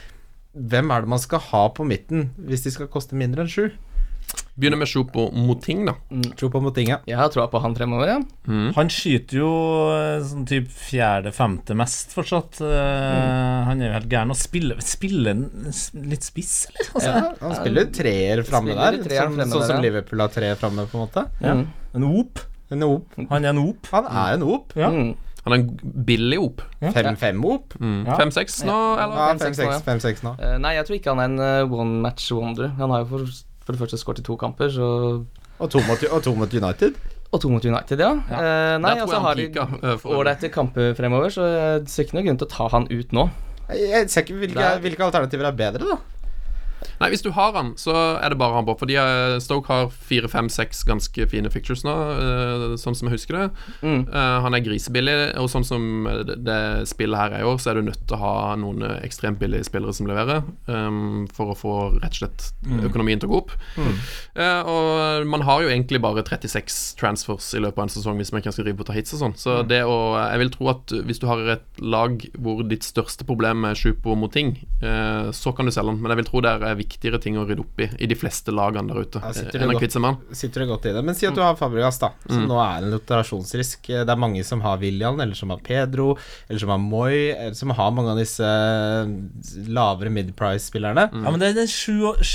C: hvem er det man skal ha på midten hvis de skal koste mindre enn sju?
E: Begynner med Sjopo Moting, da.
C: Tro på Motinga.
B: Jeg har troa på han fremover, ja.
D: Han skyter jo eh, sånn typ fjerde-femte mest fortsatt. Eh, Han er jo helt gæren. Og spiller, spiller han s- litt spiss, eller? Altså,
B: Ja.
C: Han spiller jo treer framme
B: Spiller
C: der,
B: treeren
C: som-
B: fremme
C: sånn
B: der,
C: som
B: ja.
C: Liverpool har tre framme, på en måte.
B: Mm.
D: En op.
C: En op.
D: Han er en op.
C: Han er en op.
D: Ja.
B: Mm.
E: Han er en billig op. Mm.
C: Fem-fem-op.
D: Ja.
E: Fem-seks nå, eller?
C: Ja,
B: fem, seks nå, ja.
C: fem-seks fem, seks nå.
B: Eh, nei, jeg tror ikke han er en eh, one match wonder. Han har jo for, for det første skåret i to kamper, så
C: Og to mot, og to mot United.
B: Og to mot United, ja. Eh, nei,
E: Der tror
B: og så
E: jeg
B: har
E: han
B: de
E: peaka. eh, for-
B: ålreite kamper fremover, så jeg ser ikke noen grunn til å ta han ut nå.
C: Jeg, jeg ser ikke hvilke,
B: Der.
C: hvilke alternativer er bedre, da.
E: Nei, hvis du har han, så er det bare han på. Fordi eh, Stoke har fire, fem, seks ganske fine fictures nå, eh, sånn som jeg husker det.
B: Mm.
E: Eh, Han er grisebillig, og sånn som det det spillet her er i år, så er du nødt til å ha noen eh, ekstremt billige spillere som leverer, ehm, for å få rett og slett økonomien til å gå opp. Eh, og man har jo egentlig bare 36 transfers i løpet av en sesong hvis man ikke skal rive på ta hits og sånn, så det å Jeg vil tro at hvis du har et lag hvor ditt største problem er Sjupo mot ting, eh, så kan du selge den, men jeg vil tro det er viktigere ting å rydde opp i i de fleste lagene der ute
C: Ja, sitter
E: eh,
C: det
E: enn å
C: godt.
E: kvitte seg med han.
C: Sitter det godt i det. Men si
B: Mm.
C: at du har Fabregas, da, som nå er en rotasjonsrisk. Det er mange som har William, eller som har Pedro, eller som har Moi, eller som har mange av disse eh, lavere midprice-spillerne.
D: Ja, men det er den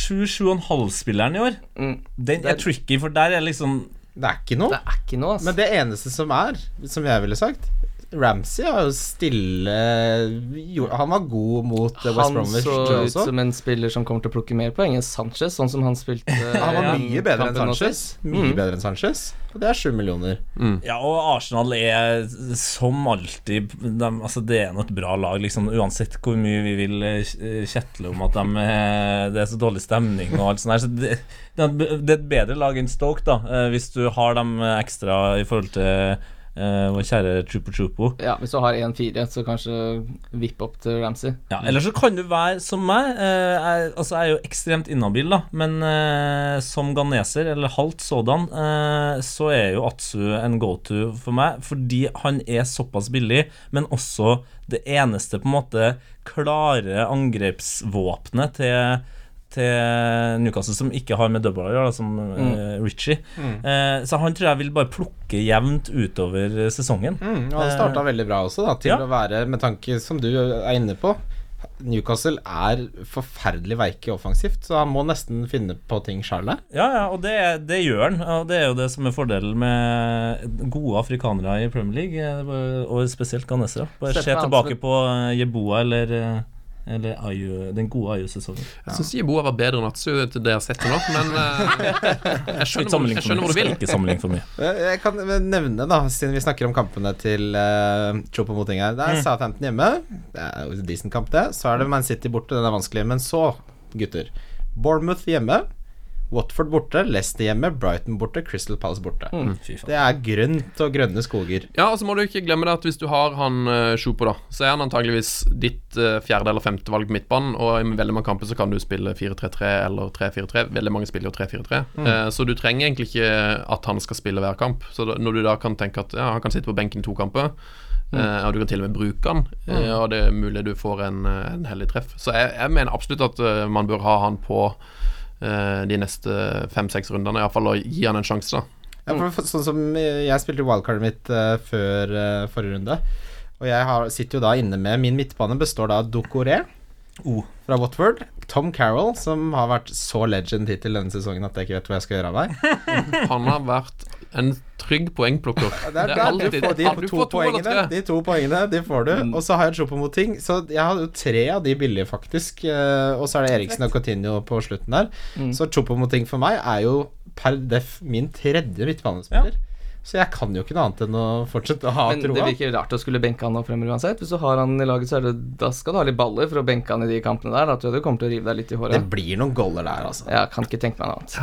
D: 7,5-spilleren i år.
B: Mm.
D: Den er tricky, for der er liksom
C: Det er ikke noe.
B: Det er ikke noe, altså.
C: Men det eneste som er, som jeg ville sagt Ramsey har jo stille jo, Han var god mot eh, West
B: han
C: Bromwich
B: så
C: tror jeg
B: ut
C: også.
B: som en spiller som kommer til å plukke mer poeng enn Sanchez, sånn som han spilte
C: Han var
B: eh,
C: mye bedre enn
B: kampen nå
C: Sanchez.
B: sist.
C: Mye
B: Mm.
C: bedre enn Sanchez. Og det er sju millioner.
D: Ja, og Arsenal er som alltid de, altså Det er nå et bra lag, liksom, uansett hvor mye vi vil eh, kjetle om at de, eh, det er så dårlig stemning og alt sånt. Her, så det, det er et- det er et bedre lag enn Stoke, da, eh, hvis du har dem eh, ekstra i forhold til eh, vår kjære Chupo Chupo.
B: Ja, hvis du har 1-4, så kanskje vipp opp til Ramsey.
D: Ja, Eller så kan du være som meg. Eh, jeg, altså jeg er jo ekstremt inhabil, da. Men eh, som ganeser, eller halvt sådan, eh, så er jo Atsu en go-to for meg. Fordi han er såpass billig, men også det eneste på en måte klare angrepsvåpenet til til Newcastle som ikke har med Dubba å gjøre, da, som eh, Richie. Eh, så han tror jeg vil bare plukke jevnt utover eh, sesongen.
C: Mm, og han starta veldig bra også, da, til
D: ja.
C: å være, med tanke som du er inne på Newcastle er forferdelig veike offensivt, så han må nesten finne på ting sjøl.
D: Ja, ja, og det, det gjør han. Og det er jo det som er fordelen med gode afrikanere i Premier League, eh, bare- og spesielt ghanesere. Bare se
B: Steffen
D: tilbake
B: Hansen.
D: på eh, Yeboa eller, eh, eller Ayu, den gode Ayu-sesongen.
E: Jeg syns Jeboa var bedre enn Atsu til det jeg har sett til nå, men eh,
D: Ikke
E: jeg, skjønner hvor,
D: sammenlign
E: jeg
D: for
E: skjønner
D: mye.
E: hvor du vil.
D: Skal Ikke sammenlign for mye.
C: Jeg kan nevne, da, siden vi snakker om kampene til uh, Chopo Moting her
D: Mm.
C: Det er Southampton hjemme. Det er jo en decent kamp, det. Så er det Man City borte, den er vanskelig. Men så, gutter Bournemouth hjemme. Watford borte, Leicester hjemme, Brighton borte, Crystal Palace borte.
D: Mm. Fy faen.
C: Det er grønt og grønne skoger.
E: Ja, og så må du ikke glemme det at hvis du har han eh, Sjopo, da, så er han antageligvis ditt eh, fjerde eller femte valg på midtbanen, og i veldig mange kamper så kan du spille 4-3-3 eller 3-4-3. Veldig mange spiller jo 3-4-3, Eh, så du trenger egentlig ikke at han skal spille hver kamp. Så da, når du da kan tenke at ja, han kan sitte på benken i to kamper, eh, og du kan til og med bruke han, eh, og det er mulig du får en, eh, en heldig treff. Så jeg, jeg mener absolutt at eh, man bør ha han på eh, de neste fem-seks rundene, iallfall, og gi han en sjanse, da.
C: Ja, for, for, sånn som eh, jeg spilte wildcardet mitt eh, før eh, forrige runde. Og jeg har, sitter jo da inne med Min midtbane består da av Dokoré
D: Oh.
C: fra Watford. Tom Carroll, som har vært så legend hittil denne sesongen at jeg ikke vet hva jeg skal gjøre av meg.
E: Han har vært en trygg poengplukker.
C: Det er,
E: Det er
C: der, du
E: alltid-
C: får de
E: ja,
C: to,
E: du Mm. får to eller
C: poengene.
E: tre.
C: De to poengene, de får du. Og så har jeg Chopo mot ting. Så jeg hadde jo tre av de billige, faktisk. eh, Og så er det Eriksen og Coutinho på slutten der.
E: Mm.
C: Så Chopo mot ting for meg er jo per def min tredje midtbanespiller. Så jeg kan jo ikke noe annet enn å fortsette å ha
B: Men det
C: troa.
B: virker rart å skulle benke han nå fremover uansett. Hvis du har han i laget, så er det, da skal du ha litt baller for å benke han i de kampene der. Da tror jeg du kommer til å rive deg litt i
C: Det
B: håret.
C: blir noen goller der, altså.
B: Jeg kan ikke tenke meg noe annet.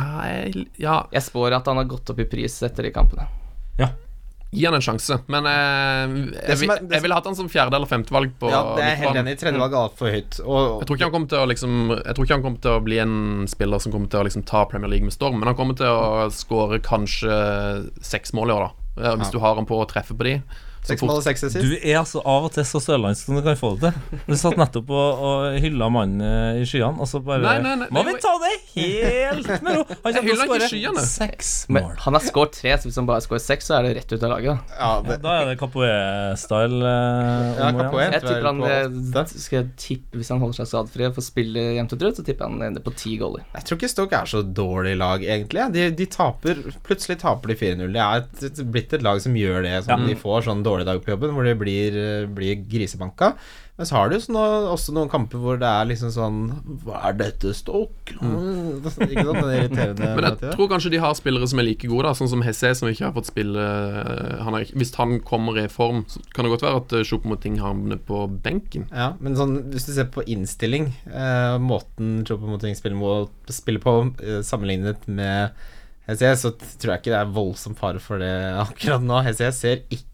E: Nei, Ja,
B: Jeg spår at han har gått opp i pris etter de kampene.
E: Gi han en sjanse. Men eh,
C: Det
E: jeg,
C: som
E: vil-
C: er- det som-
E: jeg ville hatt han som fjerde- eller femtevalg på
C: Ja, det er jeg helt
E: midtbanen.
C: enig i. Tredjevalg er altfor høyt. Og,
E: Jeg tror ikke han kommer til å liksom Jeg tror ikke han kommer til å bli en spiller som kommer til å liksom ta Premier League med storm, men han kommer til å skåre kanskje seks mål i år, da. Eh, Hvis
C: Ja.
E: du har han på å treffe på de. Så
C: Seks
E: fort,
C: mål og seks assist.
D: Du er altså av og til så sørlandsk som du kan få det til. Du satt nettopp og, og hylla mannen eh, i skyene, og så bare
E: Nei, nei, nei,
D: Må
E: nei,
D: vi ta det helt med ro? Han
E: Jeg hyller
D: kommer
E: ikke
D: til å
E: skyene.
D: skåre seks
B: Men
D: mål.
B: han har skåret tre, så hvis han bare skårer seks, så er det rett ut av laget. da.
C: Ja, det,
D: Da er det Capoe-style. eh,
C: Ja,
D: om å gjøre.
C: Capoe. tror
B: Jeg
C: jeg
B: tipper han
C: er på
B: eh, skal jeg tippe, Hvis han holder seg skadefri og får spille jevnt og trutt, så tipper jeg han ender på ti goaler.
C: jeg tror ikke Stoke er så dårlig lag, egentlig. De, de taper, plutselig taper de 4-0. Det er et- et, blitt et lag som gjør det. Som
D: Ja.
C: De får sånn dårlig dag på jobben hvor de blir, blir grisebanka. Men så har du sånn, også noen kamper hvor det er liksom sånn Hva er dette, Stoke? Ikke sant? Den irriterende
E: Mm. men jeg
C: narrativet.
E: tror kanskje de har spillere som er like gode, da sånn som Hesse, som ikke har fått spille eh, han har, ikke- Hvis han kommer i form, så kan det godt være at eh, Chopomoting havner på benken.
C: Ja, men sånn, hvis du ser på innstilling, eh, måten Chopomoting spiller, må- spiller på eh, sammenlignet med HCS, så t- tror jeg ikke det er voldsom fare for det akkurat nå. HCS ser ikke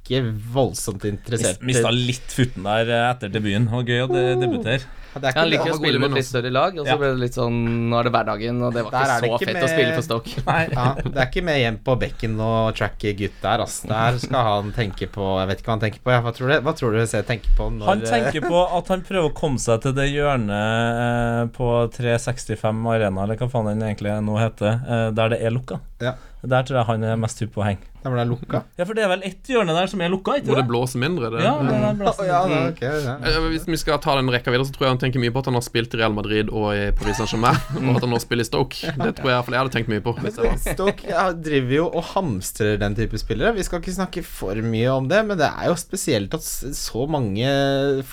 C: voldsomt interessert
D: Mist- Mista litt futten der eh, etter debuten. Det var gøy å de- debutere.
C: Ja, Det er
B: Ja, han
C: ikke
B: liker
E: han
B: å
E: var god i
B: spille mot litt
E: byen
B: større lag, og så
D: Ja.
B: ble det litt sånn Nå er det hverdagen, og det var
C: Der
B: ikke
C: er det
B: så
C: ikke
B: fett å
C: med-
B: spille for Stoke.
C: ja, det er ikke med hjem på bekken og tracke gutt der, ass. Der skal han tenke på Jeg vet ikke hva han tenker på. Ja. Hva tror du, hva tror du HC tenker på når
D: Han tenker på at han prøver å komme seg til det hjørnet eh, på 365 Arena, eller hva faen den egentlig nå heter, eh, der det er lukka.
C: Ja.
D: Der tror jeg han er mest hypp på å henge.
C: Da ble eh, det lukka.
D: Ja, for det er vel ett hjørne der som er lukka,
E: Hvor
D: ikke
E: det
D: det?
E: blåser mindre. Det.
D: Ja, det er
C: Å,
D: den plassen.
C: ja, det er ok, ja.
E: Eh, Hvis vi skal ta den rekka videre, så tror jeg han tenker mye på at han har spilt i Real Madrid og i Paris Saint-Germain, og at han nå spiller i Stoke. Det tror jeg i hvert fall jeg hadde tenkt mye på. Hvis jeg var.
C: Stoke ja, driver jo og hamstrer den type spillere. Vi skal ikke snakke for mye om det, men det er jo spesielt at s- så mange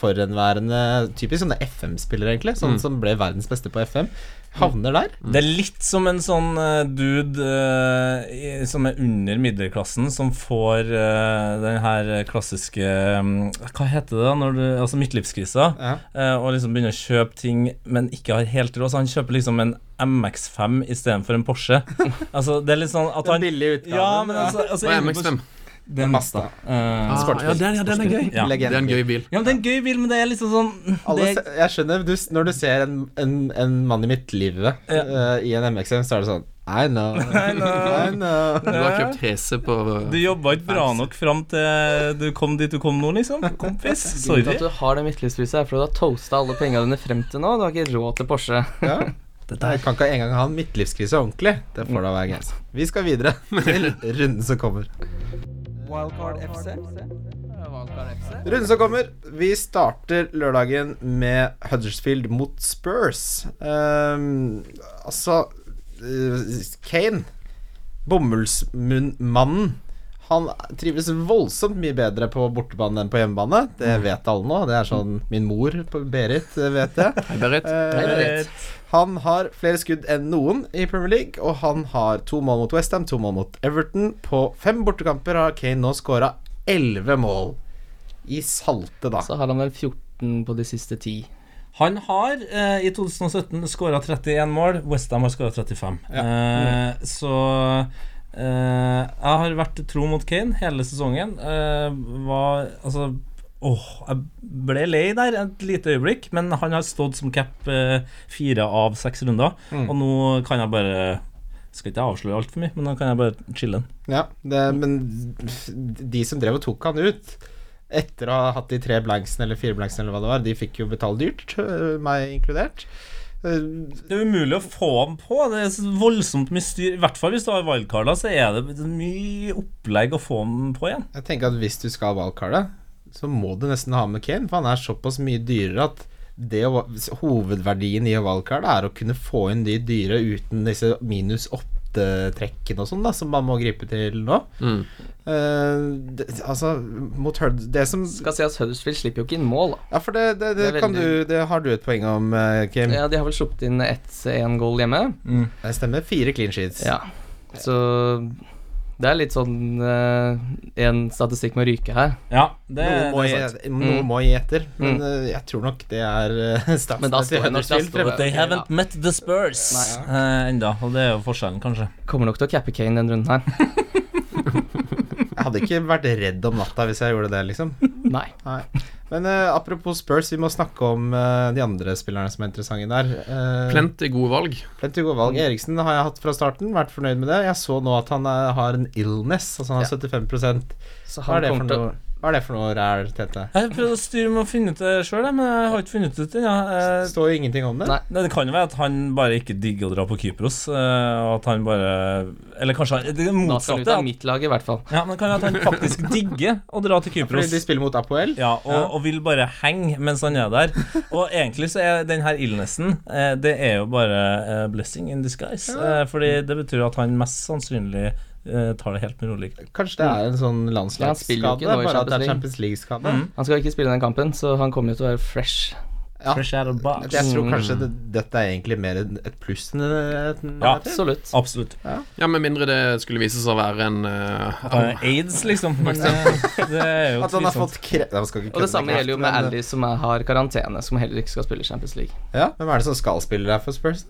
C: forhenværende Typisk sånne FM-spillere, egentlig.
E: Mm.
C: Sånne som ble verdens beste på FM. Havner der.
D: Det er litt som en sånn eh, dude eh, i- som er under middelklassen, som får eh, den her klassiske mm, Hva heter det da? Når du, altså midtlivskrisa.
C: Ja.
D: eh, og liksom begynner å kjøpe ting, men ikke har helt råd. Så han kjøper liksom en MX5 istedenfor en Porsche. altså, det er litt sånn at
C: Den
D: han
C: billige utgaven.
D: Ja, men altså, altså
E: Og
D: inne på-
E: MX5.
D: Det er Mazda. Eh,
E: Ah, ja, den, ja, den er gøy.
D: Ja.
E: Det er en gøy bil.
D: ja, men det er en gøy bil, men det er liksom sånn
C: Alle,
D: det er,
C: se- jeg skjønner, du, s- når du ser en, en, en mann i mitt liv eh, i en MXM, så er det sånn I know. I know.
E: Du har kjøpt Hese på eh,
D: Du jobba ikke bra nok fram til du kom dit du kom nå, liksom. Kompis. Sorry.
B: Grunnen til at du har det midtlivspriset, er fordi du har toasta alle pengene dine frem til nå. Du har ikke råd til Porsche.
C: Ja. Jeg kan ikke engang ha en midtlivskrise ordentlig. Det får da være grensa. Vi skal videre til runden som kommer.
A: Wildcard FC.
C: Runden som kommer. Vi starter lørdagen med Huddersfield mot Spurs. Ehm, altså eh, Kane, bomullsmunnmannen, han trives voldsomt mye bedre på bortebane enn på hjemmebane. Det vet alle nå. Det er sånn min mor, på Berit, det vet jeg.
E: Hei, Berit.
C: Eh, han har flere skudd enn noen i Premier League, og han har to mål mot Westham, to mål mot Everton. På fem bortekamper har Kane nå skåra elleve mål. I salte, da.
B: Så har han vel 14 på de siste ti.
D: Han har eh, i 2017 skåra 31 mål. Westham har skåra 35. Eh, så eh, jeg har vært tro mot Kane hele sesongen. Eh, var Altså Åh, jeg ble lei der et lite øyeblikk, men han har stått som cap eh, fire av seks runder. Og nå kan jeg bare Skal ikke jeg avsløre altfor mye, men nå kan jeg bare chille den.
C: Ja, det, men de som drev og tok han ut etter å ha hatt de tre blanksene eller fire blanksene eller hva det var, de fikk jo betalt dyrt, øh, meg inkludert. Øh,
D: Det er umulig å få ham på. Det er så voldsomt mye styr. I hvert fall hvis du har wildcard, da, så er det mye opplegg å få ham på igjen.
C: Jeg tenker at hvis du skal ha wildcardet, så må du nesten ha med Kane, for han er såpass mye dyrere at det å, hovedverdien i å wildcarde er å kunne få inn de dyre uten disse minus åtte-trekkene og sånn, da, som man må gripe til nå.
E: Mm.
C: Eh, det, altså, mot Hurd Det som
B: Skal si at Huddersfield slipper jo ikke inn mål, da.
C: Ja, for det, det, det,
B: Det er
C: kan
B: veldig-
C: du Det har du et poeng om, eh, Kim.
B: Ja, de har vel sluppet inn ett en goal hjemme.
C: Det stemmer. Fire clean sheets.
B: Ja. Så det er litt sånn eh, en statistikk med å ryke her.
D: Ja, det,
C: Noe må,
D: det er
C: gi,
D: sant.
C: noe
B: Mm.
C: må gi etter, men eh, jeg tror nok det er uh,
B: Men da står- da står det-
D: But they
B: Ok,
D: haven't met the Spurs eh, enda, og det er jo forskjellen, kanskje.
B: Kommer nok til å cappe Kane den runden her.
C: jeg hadde ikke vært redd om natta hvis jeg gjorde det, liksom.
B: Nei.
C: Nei. Men eh, apropos Spurs, vi må snakke om eh, de andre spillerne som er interessante der. Eh,
E: Plenty gode valg.
C: Plenty gode valg. Eriksen har jeg hatt fra starten, vært fornøyd med det. Jeg så nå at han eh, har en illness, altså han har 75
B: Så
C: Hva
B: han
C: er det for
B: kommer til
C: noe, hva er det for noe ræl, Tete?
D: Jeg har prøvd å styre med å finne ut det sjøl, men jeg har ikke funnet ut det ennå.
C: Det
D: Eh,
C: står jo ingenting om det.
B: Nei.
D: Nei, Det kan jo være at han bare ikke digger å dra på Kypros, eh, og at han bare Eller kanskje han, det er
B: Da skal han ut
D: motsatte.
B: av
D: At,
B: mitt lag, i hvert fall.
D: ja, men det kan være at han faktisk digger å dra til
C: Fordi
D: Kypros.
C: de spiller mot Apoel.
D: Ja, og, og vil bare henge mens han er der. Og egentlig så er den her illnessen eh, Det er jo bare eh, blessing in disguise. Eh, fordi det betyr at han mest sannsynlig eh, tar det helt med rolig.
C: Kanskje det er en sånn
B: Ja, han spiller
C: landslagsskade,
B: jo ikke nå i
C: bare at det er Champions
B: Champions Mm.
C: League-skade.
B: Han skal ikke spille den kampen, så han kommer jo til å være fresh.
C: Ja.
D: Fresh out of box.
C: Jeg tror
B: Mm.
C: kanskje det, dette er egentlig mer en- et pluss enn et
D: Ja.
C: negativ.
B: Absolutt.
D: Absolutt.
E: Ja, Med mindre det skulle vise seg å være en eh,
D: At han er aids, liksom. Men eh, det er jo
C: At han har
D: tvilsomt.
C: fått kre... Nei, man skal ikke
B: Og det
C: kødde
B: samme
C: med kreft,
B: gjelder jo med
C: men- eh,
B: Ally, som er, har karantene, som heller ikke skal spille Champions League.
C: Ja, Hvem er det som skal spille der for Spurs?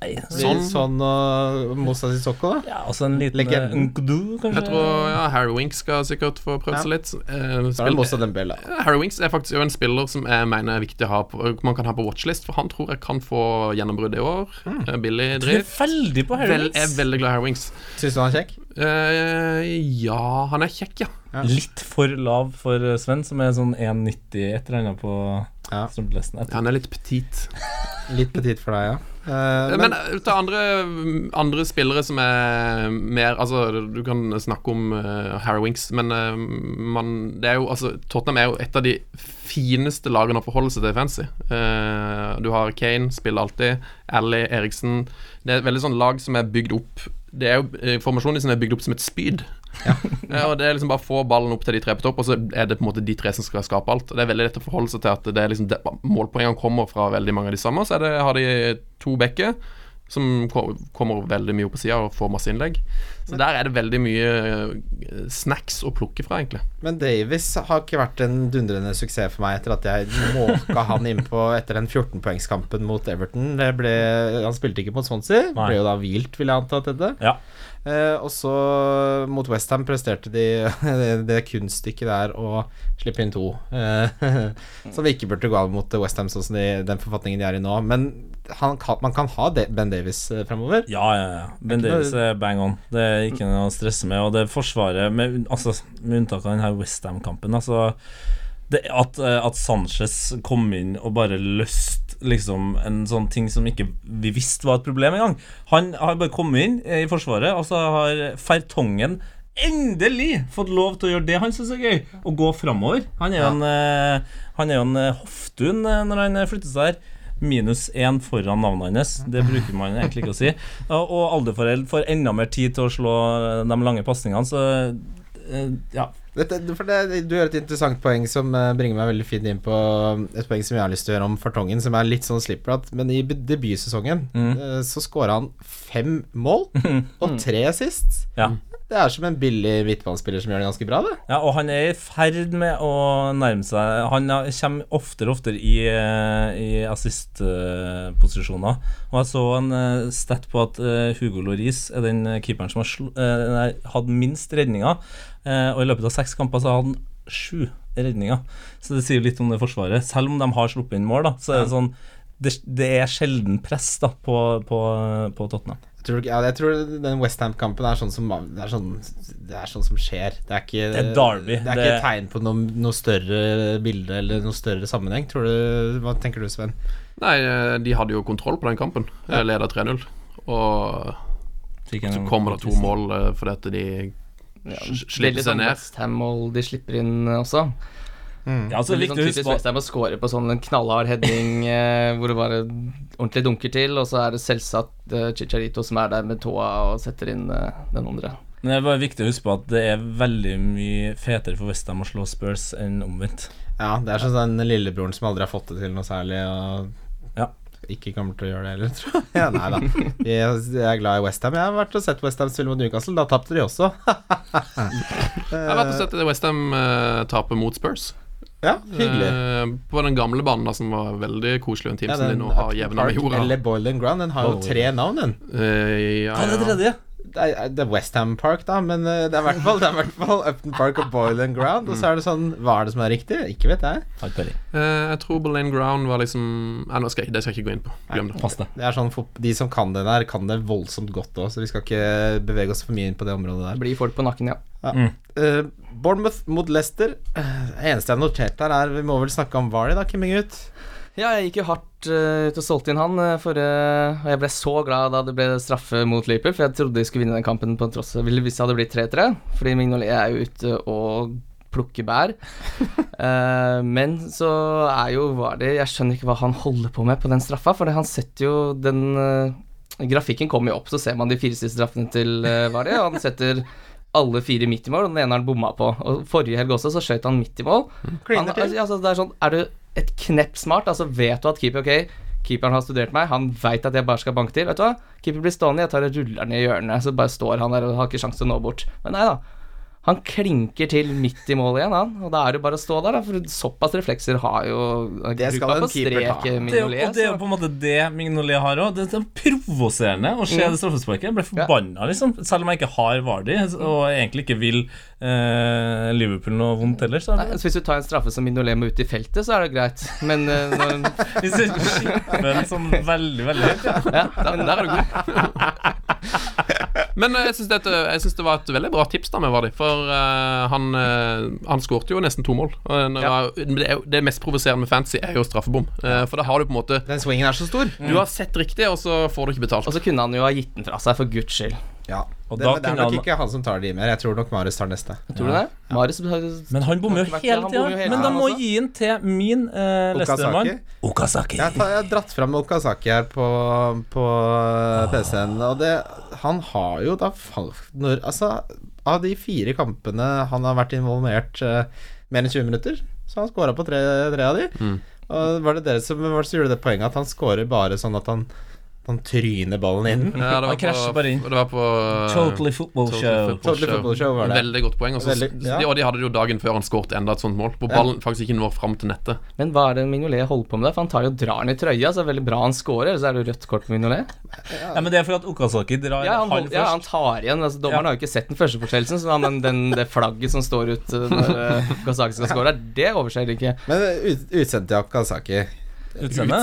D: Nei, altså,
E: Sånn.
C: Sånn, sånn og Moussa Sissoko, da?
D: Ja, altså en liten
C: Legenden.
D: Nkdu, kanskje?
E: Jeg tror ja, Harry Winks skal sikkert få prøvd
C: Ja.
E: seg litt. Eh,
C: Så er det
E: spill,
C: Moussa Dembele.
E: Harry Winks er faktisk jo en spiller som jeg mener er viktig å ha på, man kan ha på watchlist, for han tror jeg kan få gjennombrudd i år. Eh, Billig
D: Du er
E: driv.
D: veldig på Harry
E: Vel, jeg er
D: Winks.
E: veldig glad i Harry Winks.
C: Syns du han er kjekk?
E: Eh, ja, han er kjekk, ja.
D: Litt for lav for eh, Sven, som er sånn 1,90 et eller annet på
C: Ja.
D: strømpelesten. Jeg tror-
E: Han er litt petit.
C: Litt petit for deg, ja. Eh,
E: Men,
C: men,
E: men ta andre, andre spillere som er mer Altså, du kan snakke om eh, Harry Winks, men eh, man, det er jo, altså, Tottenham er jo et av de fineste lagene å forholde seg til fancy. Eh, du har Kane, spiller alltid. Ally, Eriksen. Det er et veldig sånn lag som er bygd opp Det er jo eh, formasjoner som er bygd opp som et spyd. Eh, og det er liksom bare å få ballen opp til de tre på topp, og så er det på en måte de tre som skal skape alt. Og Det er veldig lett å forholde seg til at det er liksom det, målpoengene kommer fra veldig mange av de samme. Så er det, har de to backer som ko- kommer veldig mye opp på sida og får masse innlegg. Så der er det veldig mye eh, snacks å plukke fra, egentlig.
C: men Davies har ikke vært en dundrende suksess for meg etter at jeg måka han innpå etter den 14-poengskampen mot Everton. Det ble, han spilte ikke mot Swansea.
D: Nei.
C: Ble jo da hvilt, vil jeg anta, dette.
D: Ja.
C: Eh, og så mot Westham presterte de det, det kunststykket der å slippe inn to. Eh, som vi ikke burde gå av mot Westham sånn som de, den forfatningen de er i nå. Men han kan, man kan ha det, Ben Davies eh, fremover.
D: Ja, ja, ja. Ben
C: Det er ikke
D: Davies er bang on. Det er ikke noe å stresse med. Og det forsvaret, med, unn- altså, med unntak av denne Westham-kampen altså, det, at, eh, at Sanchez kom inn og bare løste liksom, en sånn ting som ikke vi visste var et problem engang. Han har bare kommet inn eh, i Forsvaret, og så har Fertongen endelig fått lov til å gjøre det han syns er gøy, å gå framover. Han er jo en, eh, han er jo en eh, hoftun eh, når han eh, flytter seg her. Minus én foran navnet hans. Det bruker man egentlig ikke å si. Og og alderforeld får enda mer tid til å slå eh, de lange pasningene, så eh, ja.
C: Dette, for det, du gjør et interessant poeng som eh, bringer meg veldig fint inn på um, et poeng som jeg har lyst til å gjøre om Fartongen, som er litt sånn slipperat. Men i be- debutsesongen
D: Mm.
C: eh, så skåra han fem mål og tre sist.
D: ja.
C: Det er som en billig midtbanespiller som gjør det ganske bra, det.
D: Ja, og han er i ferd med å nærme seg Han er- kommer oftere og oftere i, eh, i assist-posisjoner. Og jeg så en eh, stat på at eh, Hugo Loris er den eh, keeperen som har sl eh, nei, hatt minst redninger. Eh, Og i løpet av seks kamper så har han sju redninger. Så det sier litt om det forsvaret. Selv om de har sluppet inn mål, da, så er det sånn det, det er sjelden press da, på, på, på Tottenham.
C: Jeg tror, ikke- ja, jeg tror den Westham-kampen er, sånn som- det er, sånn, det er sånn som skjer. Det er ikke,
D: Det er derby.
C: Det er
D: Det-
C: ikke et tegn på noe, noe større bilde eller noe større sammenheng. Tror du, hva tenker du, Sven?
E: Nei, eh, de hadde jo kontroll på den kampen. eh, Ja. Leda 3-0. Og
D: Fikk en-
E: så kommer det to mål eh, fordi at de
B: Ja,
E: Sl-
B: det er
E: slipper
B: litt
E: seg
B: sånn
E: ned.
B: Westham-mål de slipper inn eh, også.
D: Ja,
B: Så
D: altså,
B: litt sånn
D: viktig å huske
B: typisk
D: på-
B: Westham å score på sånn en knallhard heading eh, hvor det bare ordentlig dunker til, og så er det selvsagt eh, Chicharito som er der med tåa og setter inn eh, den andre.
D: Men det er bare viktig å huske på at det er veldig mye fetere for Westham å slå Spurs enn omvendt.
C: Ja, det er sånn den lillebroren som aldri har fått det til noe særlig, og
D: Ja.
C: ikke kommer til å gjøre det heller, tror jeg. Ja, nei da. Jeg, jeg er glad i Westham. Jeg har vært og sett Westham spille mot Newcastle. Da tapte de også.
B: eh,
E: Jeg har rett og slett Westham uh, taper mot Spurs.
C: Ja, hyggelig.
E: Eh, på den gamle banen da, som var veldig koselig, og en team
C: Ja,
E: som de
C: den
E: nå har
C: Upton
E: jevna med
C: Park
E: jorda.
C: Eller Boiling Ground. Den har jo
D: Bowling.
C: tre navn, den.
E: Eh,
D: Hva
E: ja,
D: er det
E: ja.
D: tredje?
C: det er, det er Westham Park, da, men eh, det er i hvert fall, det er i hvert fall Upton Park og Boyland Ground. Og så er det sånn Hva er det som er riktig? Ikke vet jeg.
D: Har ikke peiling.
E: Eh, jeg tror Boleyn Ground var liksom Nei, nå skal jeg, ikke- det skal jeg ikke gå inn på. Glem det.
D: Pass det.
C: Det er sånn, fot- De som kan den her, kan det voldsomt godt òg, så vi skal ikke bevege oss for mye inn på det området der.
B: Det blir folk på nakken, ja.
C: Eh, Bournemouth mot Leicester. Eh, Det eneste jeg har notert der, er Vi må vel snakke om Vardy, da, Kimmingut?
B: Ja, jeg gikk jo hardt eh, ut og solgte inn han eh, forrige Og jeg ble så glad da det ble straffe mot Liverpool, for jeg trodde de skulle vinne den kampen på en tross ville- hvis det hadde blitt 3-3. Fordi Mignolet er jo ute og plukker bær. Eh, men så er jo Vardy Jeg skjønner ikke hva han holder på med på den straffa, for han setter jo den eh, Grafikken kommer jo opp, så ser man de fire siste straffene til eh, Vardy. og Han setter alle fire midt i mål, og den ene har han bomma på. Og Forrige helg også, så skjøt han midt i mål. Han,
C: Kliner til.
B: altså, altså, det er sånn, er du et knepp smart, altså vet du at keeper Ok, keeperen har studert meg, han veit at jeg bare skal banke til, vet du hva. Keeper blir stående, jeg tar og ruller ned i hjørnet, så bare står han der og har ikke sjanse til å nå bort. Men nei da. Han klinker til midt i mål igjen, han. Og da er det bare å stå der, da. For såpass reflekser har jo
C: Det skal
B: gruppa
C: en
B: på
C: keeper ta.
B: strek, eh,
D: Det er, jo,
B: Mignolet,
D: og det er jo
B: så-
D: på en måte det Mignolet har òg. Det, det er provoserende å se
B: Mm.
D: det straffesparket. Jeg ble forbanna, liksom. Selv om jeg ikke har Vardy, og egentlig ikke vil eh, Liverpool noe vondt heller. Så er
B: Nei,
D: det,
B: så hvis du tar en straffe som Mignolet må ut i feltet, så er det greit. Men, eh, når,
D: hvis jeg skipper den sånn veldig, veldig høyt, ja.
B: ja, da- men der er du god.
E: Men eh, jeg syns dette- jeg syns det var et veldig bra tips da med Vardi, for eh, han, uh, han skårte jo nesten to mål. Og når jeg- det, er jo- det mest provoserende med fantasy er jo straffebom, Eh, for da har du på en måte
C: Den swingen er så stor.
E: Du har sett riktig, og så får du ikke betalt.
B: Og så kunne han jo ha gitt den fra seg, for guds skyld.
C: Ja.
D: Og
C: det, det
D: da
C: er
D: kunne
C: nok
D: han-
C: ikke han som tar de mer. Jeg tror nok Marius tar neste.
B: Tror du det? Marius har
D: Men han bommer jo
B: Han
D: hele tida.
B: bommer jo hele
D: Men
B: tiden,
D: da må
B: altså.
D: jeg gi den til min uh,
C: Okazaki.
D: lestermann. Okazaki.
C: Jeg, tar, jeg har dratt fram Okazaki her på, på PC-en, og det Han har jo da fal- når, Altså, av de fire kampene han har vært involvert eh, mer enn 20 minutter, så har han scora på tre, tre av de.
D: Mm.
C: Og var det dere som, var det som gjorde det poenget at han scorer bare sånn at han, han tryner ballen inn?
E: Ja, det
D: Han krasjer bare inn.
E: Det var på eh,
D: Totally Football Show.
C: Totally Football Show var det.
E: Veldig godt poeng. Og så-
C: Veldig- ja.
E: de, og de hadde det jo dagen før han skåret enda et sånt mål, hvor ballen faktisk ikke når fram til nettet.
B: Men hva er det Mignolet holder på med der? For han tar jo og drar den i trøya, så det er veldig bra han scorer. Ellers er det jo rødt kort på Mignolet.
D: Ja, men det er for at Okazaki drar
B: Ja, han,
D: han
B: hold,
D: først.
B: ja, han tar igjen. Altså, dommeren
D: Ja.
B: har jo ikke sett den første forseelsen, så han, den, det flagget som står ut uh, når uh, Kazaki skal score der, det overser de ikke.
C: Men ut, utseendet til Okazaki
D: Utseende.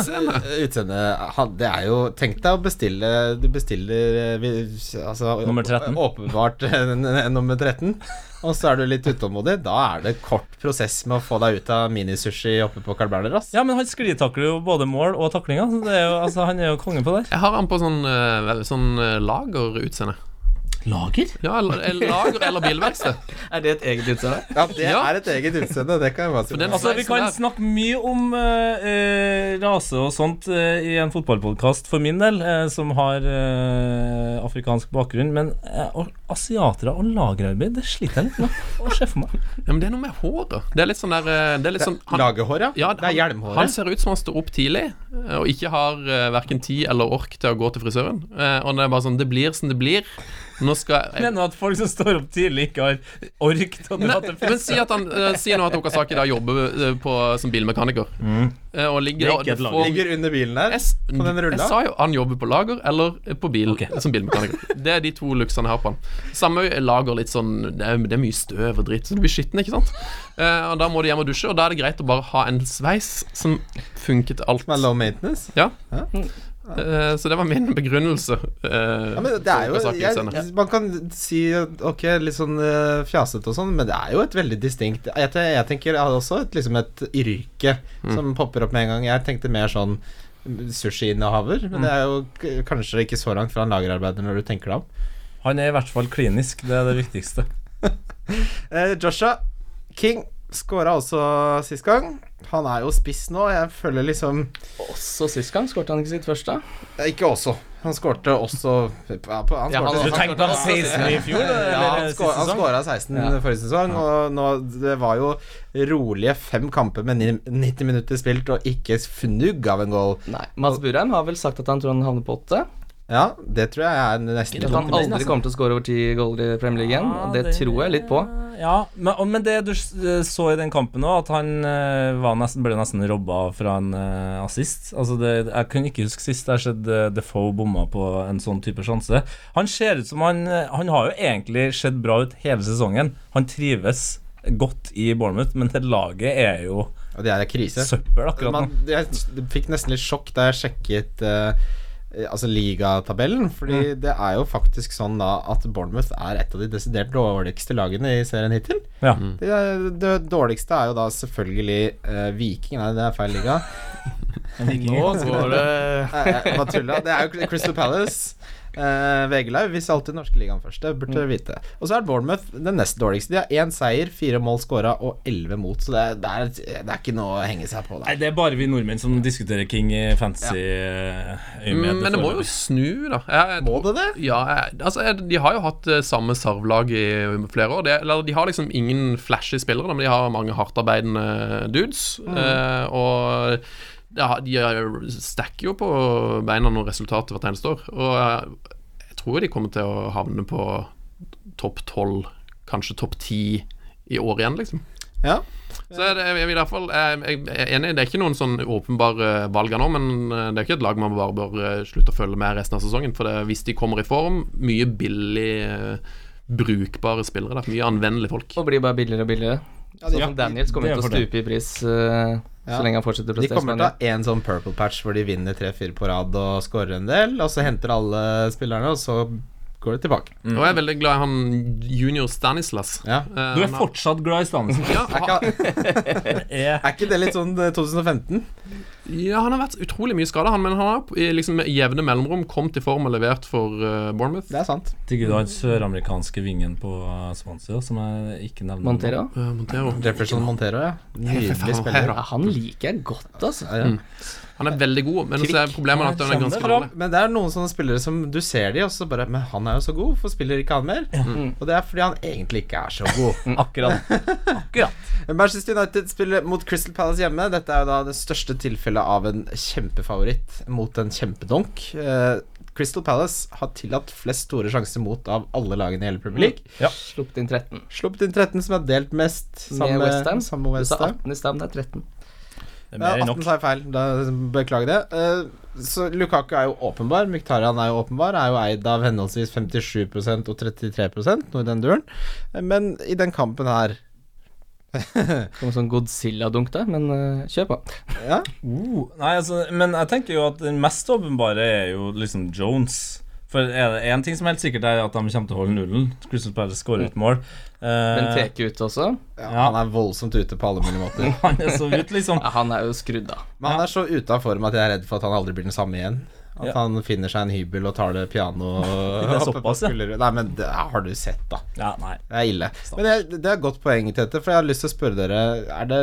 C: Utseendet han- Det er jo Tenk deg å bestille Du bestiller eh, vi- altså,
D: Nummer 13.
C: Åpenbart eh, en- en nummer 13. Og så er du litt utålmodig. Da er det kort prosess med å få deg ut av minisushi oppe på Carl Berner. ass.
D: Ja, men han sklitakler jo både mål og taklinga. så det er jo- Altså, han er jo konge på det.
E: Jeg har han på sånn, eh, sånn eh, lagerutseende.
D: Lager?
E: Ja, eller- eller lager eller bilverksted.
B: Er det et eget utseende?
C: Ja, det
E: Ja.
C: er et eget utseende. Det kan jeg bare si.
E: For den-
D: Altså, Vi kan snakke mye om eh, eh, rase og sånt eh, i en fotballpodkast for min del, eh, som har eh, afrikansk bakgrunn, men eh, og asiatere og lagerarbeid, det sliter jeg litt med å se for meg.
E: Ja, men det er noe med håret. Det er litt sånn der eh, Det er litt sånn han,
C: Lagerhår, ja.
E: ja,
C: Det er
E: han, han
C: hjelmhåret.
E: ser ut som han står opp tidlig eh, og ikke har uh, verken tid eller ork til å gå til frisøren. Eh, og det er bare sånn Det blir som det blir. Nå skal jeg
D: Mener du at folk som står opp tidlig, ikke har ork til å
E: Nei,
D: dra til
E: men
D: fest?
E: si, at han, eh, si nå at Okasaki da jobber eh, på, som bilmekaniker. Eh, og ligger,
D: Det er ikke et
E: og-
D: lager.
C: Ligger under bilen der.
E: Jeg, s-
C: På den rulla?
E: jeg sa jo han jobber på lager eller på bil
D: Ok.
E: som bilmekaniker. Det er de to luksene jeg har på han. Samme lager, litt sånn Det er, det er mye støv og dritt, så du blir skitten, ikke sant? Eh, og Da må du hjem og dusje, og da er det greit å bare ha en sveis som funker til alt.
C: Som er low maintenance.
E: Ja.
C: Ja.
E: Eh, så det var min begrunnelse. eh,
C: Ja, men det er
E: for
C: jo
E: Okazaki
C: jeg,
E: utseende.
C: Man kan si ok, litt sånn eh, fjasete og sånn, men det er jo et veldig distinkt Jeg, te- jeg tenker jeg hadde også et, liksom et yrke som popper opp med en gang. Jeg tenkte mer sånn sushiinnehaver, men det er jo k- kanskje ikke så langt fra en lagerarbeider når du tenker deg om.
D: Han er i hvert fall klinisk, det er det viktigste.
C: Eh, Joshua King skåra også sist gang. Han er jo spiss nå. Jeg føler liksom
B: Også sist gang skåret han ikke sitt første.
C: Eh, Ikke også. Han skårte også ja, på- Han
B: Ja, han-
C: skårte
D: Du tenkte på 16 i fjor, eller
C: Ja, han
D: Eh, siste
C: skå- han
D: sesong?
C: skåra 16
B: Ja.
C: forrige sesong, og nå, det var jo rolige fem kamper med ni- 90 minutter spilt og ikke fnugg av en goal.
B: Nei. Mats Burheim har vel sagt at han tror han havner på åtte.
C: Ja, det tror jeg er nesten
B: At han aldri kommer til å score over ti goaler i Premier League igjen. og Det tror jeg litt på.
D: Ja, men, og- men det du s- eh, så i den kampen òg, at han eh, var nesten, ble nesten robba fra en eh, assist. Altså det, jeg kan ikke huske sist jeg har sett eh, Defoe bomma på en sånn type sjanse. Han ser ut som han eh, Han har jo egentlig sett bra ut hele sesongen. Han trives godt i Bournemouth, men det laget er jo
C: Og det er krise.
D: søppel akkurat
C: Man,
D: nå.
C: jeg fikk nesten litt sjokk da jeg sjekket eh, Altså ligatabellen, Fordi
B: Mm.
C: det er jo faktisk sånn da at Bournemouth er et av de desidert dårligste lagene i serien hittil.
D: Ja.
E: Mm.
C: Det, det dårligste er jo da selvfølgelig eh, Viking, nei, det er feil liga.
E: Nå går det
C: Nei, jeg bare tulla. Eh, Det er jo Crystal Palace. Eh, VG Live viser alltid norske ligaen først. Det burde dere vite. Og så er Bournemouth den nest dårligste. De har én seier, fire mål scora og elleve mot, så det er, det, er, det er ikke noe å henge seg på
D: Nei,
C: der.
D: det er bare vi nordmenn som diskuterer King i eh, fantasy-øyemed.
E: Mm, Men det må jo snu, da. Jeg,
C: Må det det?
E: Ja, jeg, altså jeg, De har jo hatt eh, samme sarvlag i flere år. De, eller, de har liksom ingen flashy spillere, da, men de har mange hardtarbeidende dudes. Eh, og det har- de er- stacker jo på beina noen resultater hvert eneste år. Og jeg, jeg tror de kommer til å havne på topp tolv, kanskje topp ti i år igjen, liksom.
C: Ja.
E: Så jeg, jeg, vil i hvert fall, jeg, jeg er enig, det er ikke noen sånn åpenbare valg her nå, men eh, det er ikke et lag man bare bør eh, slutte å følge med resten av sesongen. For det, hvis de kommer i form, mye billig eh, brukbare spillere. Da. Mye anvendelige folk.
B: Og blir bare billigere og billigere. Sånn som Daniels kommer
D: det
B: til
D: er
B: å
D: fordel.
B: stupe i pris eh,
C: Ja.
B: så lenge han fortsetter å
C: De
B: prestere.
C: kommer til å ha en sånn purple patch hvor de vinner tre-fire på rad og scorer en del, og så henter alle spillerne, og så går det tilbake.
E: Og jeg er veldig glad i han junior Stanislas.
C: Mm. Ja.
E: Eh,
D: Du er
E: han har-
D: fortsatt glad i Stansen.
E: ja,
C: Er
E: ha,
C: ikke,
D: Er
C: er ikke det litt sånn eh, 2015?
E: ja, han har vært utrolig mye skada, han, men han har i liksom, med jevne mellomrom kommet i form og levert for eh, Bournemouth.
C: Det er sant.
D: Til gud, han søramerikanske vingen på eh, Swansea, som jeg ikke nevner. nå.
B: Montero?
E: Eh, Montero.
C: Jefferson Montero, ja. Mm. Nydelig spiller.
B: Ja, han liker jeg godt, altså.
C: Ja, ja.
E: Han er veldig god, men så er problemet at han er ganske
D: Kjenner
E: dårlig.
C: Men det er noen sånne spillere som du ser de, og så bare Men han er jo så god, hvorfor spiller ikke han mer?
B: Mm.
C: Og det er fordi han egentlig ikke er så god.
D: Akkurat. Akkurat.
C: Manchester United spiller mot Crystal Palace hjemme. Dette er jo da det største tilfellet av en kjempefavoritt mot en kjempedunk. Eh, Crystal Palace har tillatt flest store sjanser mot av alle lagene i hele
B: Mm.
C: Premier League.
B: Sluppet inn 13.
C: Sluppet inn 13, som er delt mest.
B: Med West Ham.
C: Sammen med
B: Du
C: West
B: sa
C: Ham.
B: 18 i stad, men det er 13.
D: Det er
C: Ja,
D: mer enn
C: 18
D: nok.
C: sa jeg feil. Da Beklager det. Eh, så Lukaku er jo åpenbar. Mktarian er jo åpenbar. Er jo eid av henholdsvis 57 og 33 noe i den duren. Eh, Men i den kampen her
B: Kom en sånn Godzilla-dunk der, men eh, kjør på.
C: Ja,
D: Uh, nei, altså, men jeg tenker jo at den mest åpenbare er jo liksom Jones. For er det én ting som er helt sikkert, er at de kommer til å holde nullen. Crystal Palace skårer ut mål. Eh,
B: Mm. Men Teke ute også.
C: ja,
D: Ja.
C: han er voldsomt ute på alle mulige måter.
D: han er så ut, liksom.
B: Ja, han er jo skrudd av.
C: Men han er så ute av form at jeg er redd for at han aldri blir den samme igjen. At
D: Ja.
C: han finner seg en hybel og tar det piano
D: Det er
C: oppe på
D: såpass, ja.
C: skulderen. Nei, men det har du sett, da.
D: Ja, nei.
C: Det er ille. Men det, det er et godt poeng, Tete, for jeg har lyst til å spørre dere Er det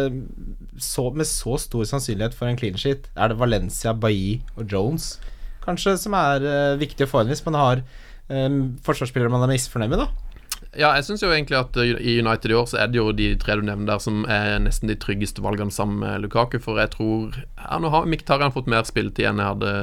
C: så, med så stor sannsynlighet for en clean sheet, er det Valencia, Bailly og Jones kanskje som er eh, viktig å få inn hvis man har um, forsvarsspillere man er misfornøyd med, da?
E: Ja, jeg syns jo egentlig at uh, i United i år så er det jo de tre du nevner der som er nesten de tryggeste valgene sammen med Lukaku, for jeg tror ja, Nå har Mkhitaryan fått mer spilletid enn jeg hadde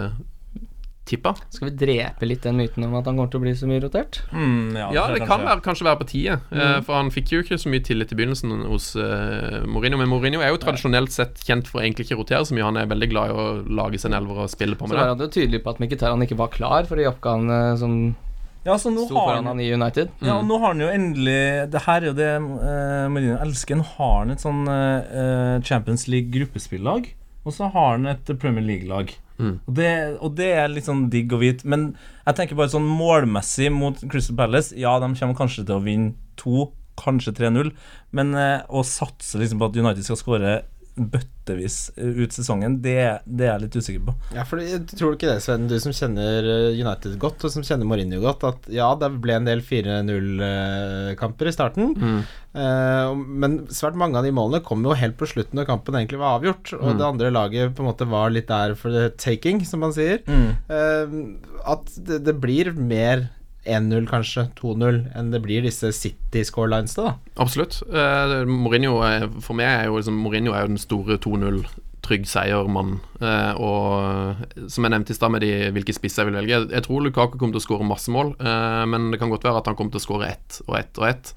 E: tippa.
B: Skal vi drepe litt den myten om at han kommer til å bli så mye rotert?
D: Mm, ja,
E: Ja,
D: tror jeg
E: det kan
D: kanskje.
E: være, kanskje være på tide, eh, for han fikk jo ikke så mye tillit i begynnelsen hos eh, Mourinho, men Mourinho er jo tradisjonelt sett kjent for å egentlig ikke rotere så mye, han er veldig glad i å lage sin elver og spille på
B: Så
E: med
B: var
E: det.
B: han jo tydelig på at Mkhitaryan ikke var klar for de oppgavene som
D: Ja, så nå
B: sto
D: har
B: foran
D: han
B: han i United.
D: Ja, og nå har han jo endelig Det her er jo det uh, Marino elsker. Han har han et sånn eh, Champions League-gruppespillag, og så har han et Premier League-lag.
E: Mm.
D: Og, det, og det er litt sånn digg å vite. Men jeg tenker bare sånn målmessig mot Crystal Palace Ja, de kommer kanskje til å vinne 2, kanskje 3-0, men eh, å satse liksom på at United skal skåre bøttevis eh, ut sesongen, det, det er jeg litt usikker på.
C: Ja, for jeg tror ikke det, Sven, du som kjenner eh, United godt, og som kjenner Mourinho godt, at ja, det ble en del 4-0-kamper i starten, eh, og- men svært mange av de målene kom jo helt på slutten når kampen egentlig var avgjort, og det andre laget på en måte var litt der for the taking, som man sier. Eh, at det, det blir mer 1-0, kanskje 2-0, enn det blir disse City-scorelinesa, da.
E: eh, Absolutt. Eh, Mourinho er, for meg er jo liksom Mourinho er jo den store 2-0 trygg seiermann. Eh, og eh, som jeg nevnte i stad med de, hvilke spisser jeg vil velge Jeg tror Lukaku kommer til å skåre masse mål, eh, men det kan godt være at han kommer til å skåre ett og ett og ett.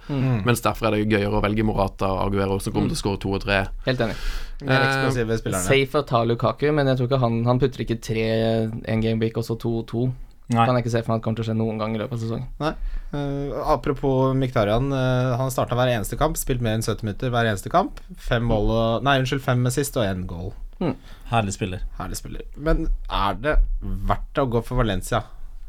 E: Mens derfor er det gøyere å velge Morata og Aguero, som kommer til å skåre to og tre.
B: Helt enig.
C: Mer eksplosive spillerne.
B: Safe å ta Lukaku, men jeg tror ikke han Han putter ikke tre en game week, og så to og to.
D: Nei.
B: Kan jeg ikke se for meg at kommer til å skje noen gang i løpet av sesongen.
C: Nei. Eh, apropos Miktarian. eh, han starta hver eneste kamp, spilt mer enn 70 minutter hver eneste kamp. Fem mål og Nei, unnskyld, fem assist og én goal.
D: Herlig spiller.
C: Herlig spiller. Men er det verdt å gå for Valencia?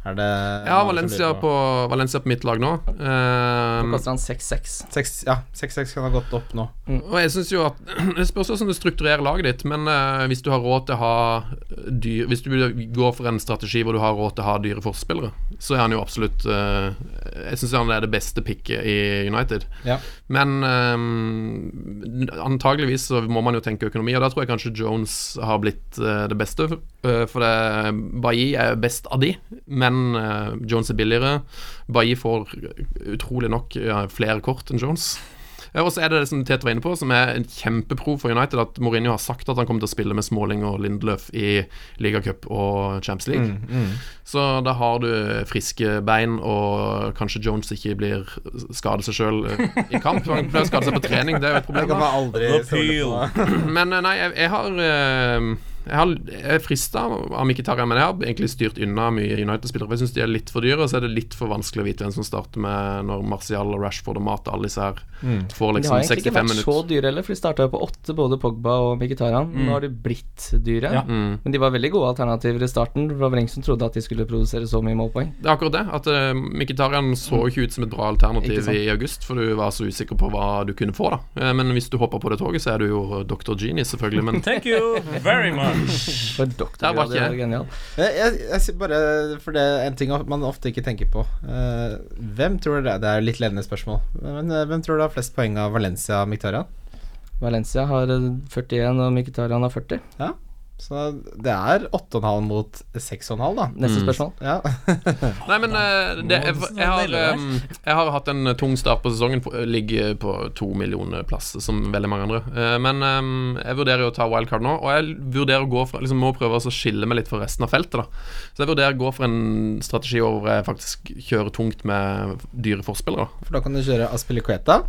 C: Er det
E: Ja, Valencia på, Valencia på mitt lag nå.
D: Um,
B: Nå
E: Eh,
B: koster han 6-6.
C: Seks- Ja, 6-6 kan ha gått opp nå.
E: og jeg synes jo at Det spørs hvordan du strukturerer laget ditt, men eh, hvis du har råd til å ha eh, dyr Hvis du går for en strategi hvor du har råd til å ha dyre forspillere, så er han jo absolutt eh, Jeg syns han er det beste picket i United.
C: Ja.
E: Men eh, antageligvis så må man jo tenke økonomi, og da tror jeg kanskje Jones har blitt eh, det beste. eh, for det, Bailly er best av de, men eh, Jones er billigere. Bailly får utrolig nok ja, flere kort enn Jones. Ja, Og så er det det som Tete var inne på, som er en kjempepro for United, at Mourinho har sagt at han kommer til å spille med Smalling og Lindløf i ligacup og Champions League. Så da har du friske bein, og kanskje Jones ikke blir skader seg sjøl i kamp. Han pleier å skade seg på trening, det er jo et
C: Det
E: problem.
C: kan
E: da.
C: man aldri stole på.
E: Men eh, nei, jeg, jeg har eh, Jeg, har, jeg er frista av Mkhitaryan, men jeg har egentlig styrt unna mye United-spillere. for Jeg syns de er litt for dyre, og så er det litt for vanskelig å vite hvem som starter med når Martial og Rashford og Mata alle disse her får
B: De har
E: liksom
B: egentlig ikke
E: 65
B: vært så
E: minutter.
B: dyre heller, for de starta jo på åtte, både Pogba og Mkhitaryan. Nå har de blitt dyre.
D: Ja.
E: Mm.
B: Men de var veldig gode alternativer i starten. Det var vel ingen som trodde at de skulle produsere så mye målpoeng.
E: Det er akkurat det. At uh, Mkhitaryan så jo ikke ut som et bra
B: Ikke
E: alternativ
B: sant.
E: i august, for du var så usikker på hva du kunne få, da. Eh, men hvis du hopper på det toget, så er du jo Dr. Genie, selvfølgelig. Men
D: Thank you very much.
B: For doktor,
E: Der var
B: det
E: ikke
B: var
E: jeg.
B: genial.
C: Jeg, jeg, jeg sier bare For det er en ting man ofte ikke tenker på. Eh, hvem tror dere Det er jo litt ledende spørsmål. Men eh, hvem tror dere har flest poeng av Valencia og Mkhitaryan?
B: Valencia har eh, 41, og Mkhitaryan har 40.
C: Så det er 8,5 mot 6,5, da.
B: Neste spørsmål.
C: Ja.
E: Nei, men eh, det, jeg,
D: Nå er det
E: jeg, har,
D: deilig,
E: eh, jeg har hatt en tung start på sesongen. på- Ligger på to millioner plasser, som veldig mange andre. Eh, Men eh, jeg vurderer jo å ta wildcard nå, og jeg vurderer å gå for, liksom, må prøve å skille meg litt fra resten av feltet. da Så jeg vurderer å gå for en strategi hvor jeg faktisk kjører tungt med dyre forspillere.
C: For da kan du kjøre Aspilicueta,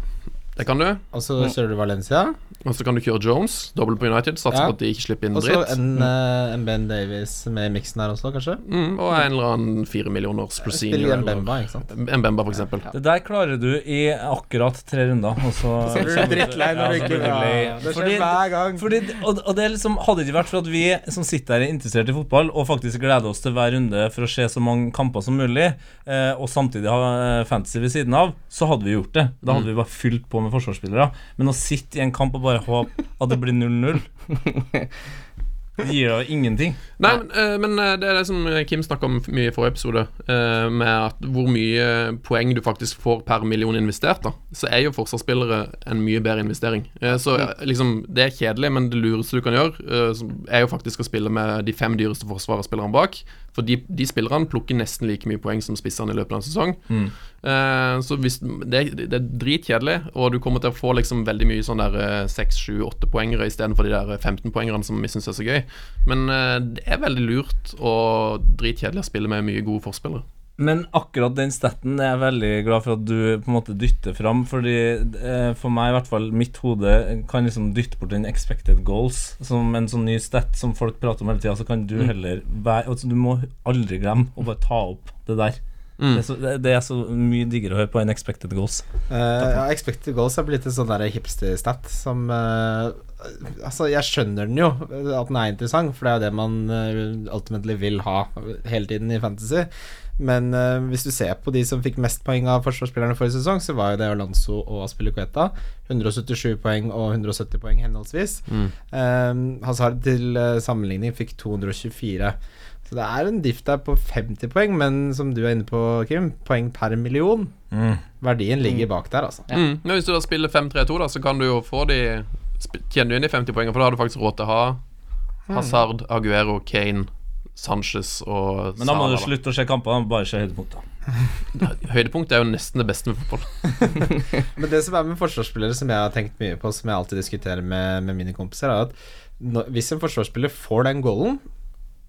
E: Det kan du.
C: og så kjører du Valencia.
E: Og så kan du kjøre Jones, dobbelt på United.
C: Ja.
E: Satser på at de ikke slipper inn
C: Og så
E: dritt.
C: en, eh, en Ben Davies med i miksen her også, kanskje.
E: Mm, og en eller annen fire millioners Rossini.
C: Spiller en Bemba, ikke sant.
E: En Bemba, for eksempel.
D: Det der klarer du i akkurat tre runder, og så
C: Så blir du drittlei når du
D: Ja, så
C: ikke
D: blir du lei.
C: Det skjer
D: Fordi-
C: hver gang.
D: Fordi, og, og det er liksom, Hadde det ikke vært for at vi som sitter her er interessert i fotball og faktisk gleder oss til hver runde for å se så mange kamper som mulig, eh, og samtidig ha eh, fantasy ved siden av, så hadde vi gjort det. Da hadde vi bare fylt på med forsvarsspillere. Men å sitte i en kamp og bare håpe at det blir 0-0 Det gir da ingenting.
E: Nei, men, eh, men eh, det er det som eh, Kim snakka om mye i forrige episode, eh, med at hvor mye poeng du faktisk får per million investert, da. Så er jo forsvarsspillere en mye bedre investering. Eh, Så eh, liksom, det er kjedelig, men det lureste du kan gjøre, eh, som er jo faktisk å spille med de fem dyreste forsvarsspillerne bak. For de, de spillerne plukker nesten like mye poeng som spissene i løpet av en sesong.
C: Mm.
E: Eh, Så hvis, det, det er dritkjedelig, og du kommer til å få liksom veldig mye sånn der eh, 6, 7, 8 poengere istedenfor de der eh, 15 poengerne som vi syns er så gøy. Men eh, det er veldig lurt og dritkjedelig å spille med mye gode forspillere.
D: Men akkurat den staten er jeg veldig glad for at du på en måte dytter fram, fordi eh, for meg, i hvert fall, mitt hode kan liksom dytte bort den expected goals som en sånn ny stat som folk prater om hele tida, så kan du heller være altså, Du må aldri glemme å bare ta opp det der. Det, er så, det, det er så mye diggere å høre på enn expected goals.
C: Eh, ja, expected goals er blitt en sånn der hipster-stat som eh, Altså, jeg skjønner den jo, eh, at den er interessant, for det er jo det man eh, ultimately vil ha hele tiden i fantasy. Men eh, hvis du ser på de som fikk mest poeng av forsvarsspillerne forrige sesong, så var jo det Alonso og Aspilicueta. 177 poeng og 170 poeng henholdsvis. Eh, Hazard til eh, sammenligning fikk 224. Så det er en diff der på 50 poeng, men som du er inne på, Kim, poeng per million. Verdien ligger bak der, altså.
E: Mm. Men hvis du da spiller 5-3-2, da, så kan du jo få de
D: Hmm.
E: sp- Tjener du inn de 50 poengene, for da har du faktisk råd til å ha Hazard, Aguero, Kane, Sanchez og
D: Men da må du
E: Salah,
D: slutte å se kamper, bare se høydepunkter.
E: Høydepunkt er jo nesten det beste med fotball.
C: Men det som er med forsvarsspillere som jeg har tenkt mye på, som jeg alltid diskuterer med, med mine kompiser, er at når, hvis en forsvarsspiller får den goalen,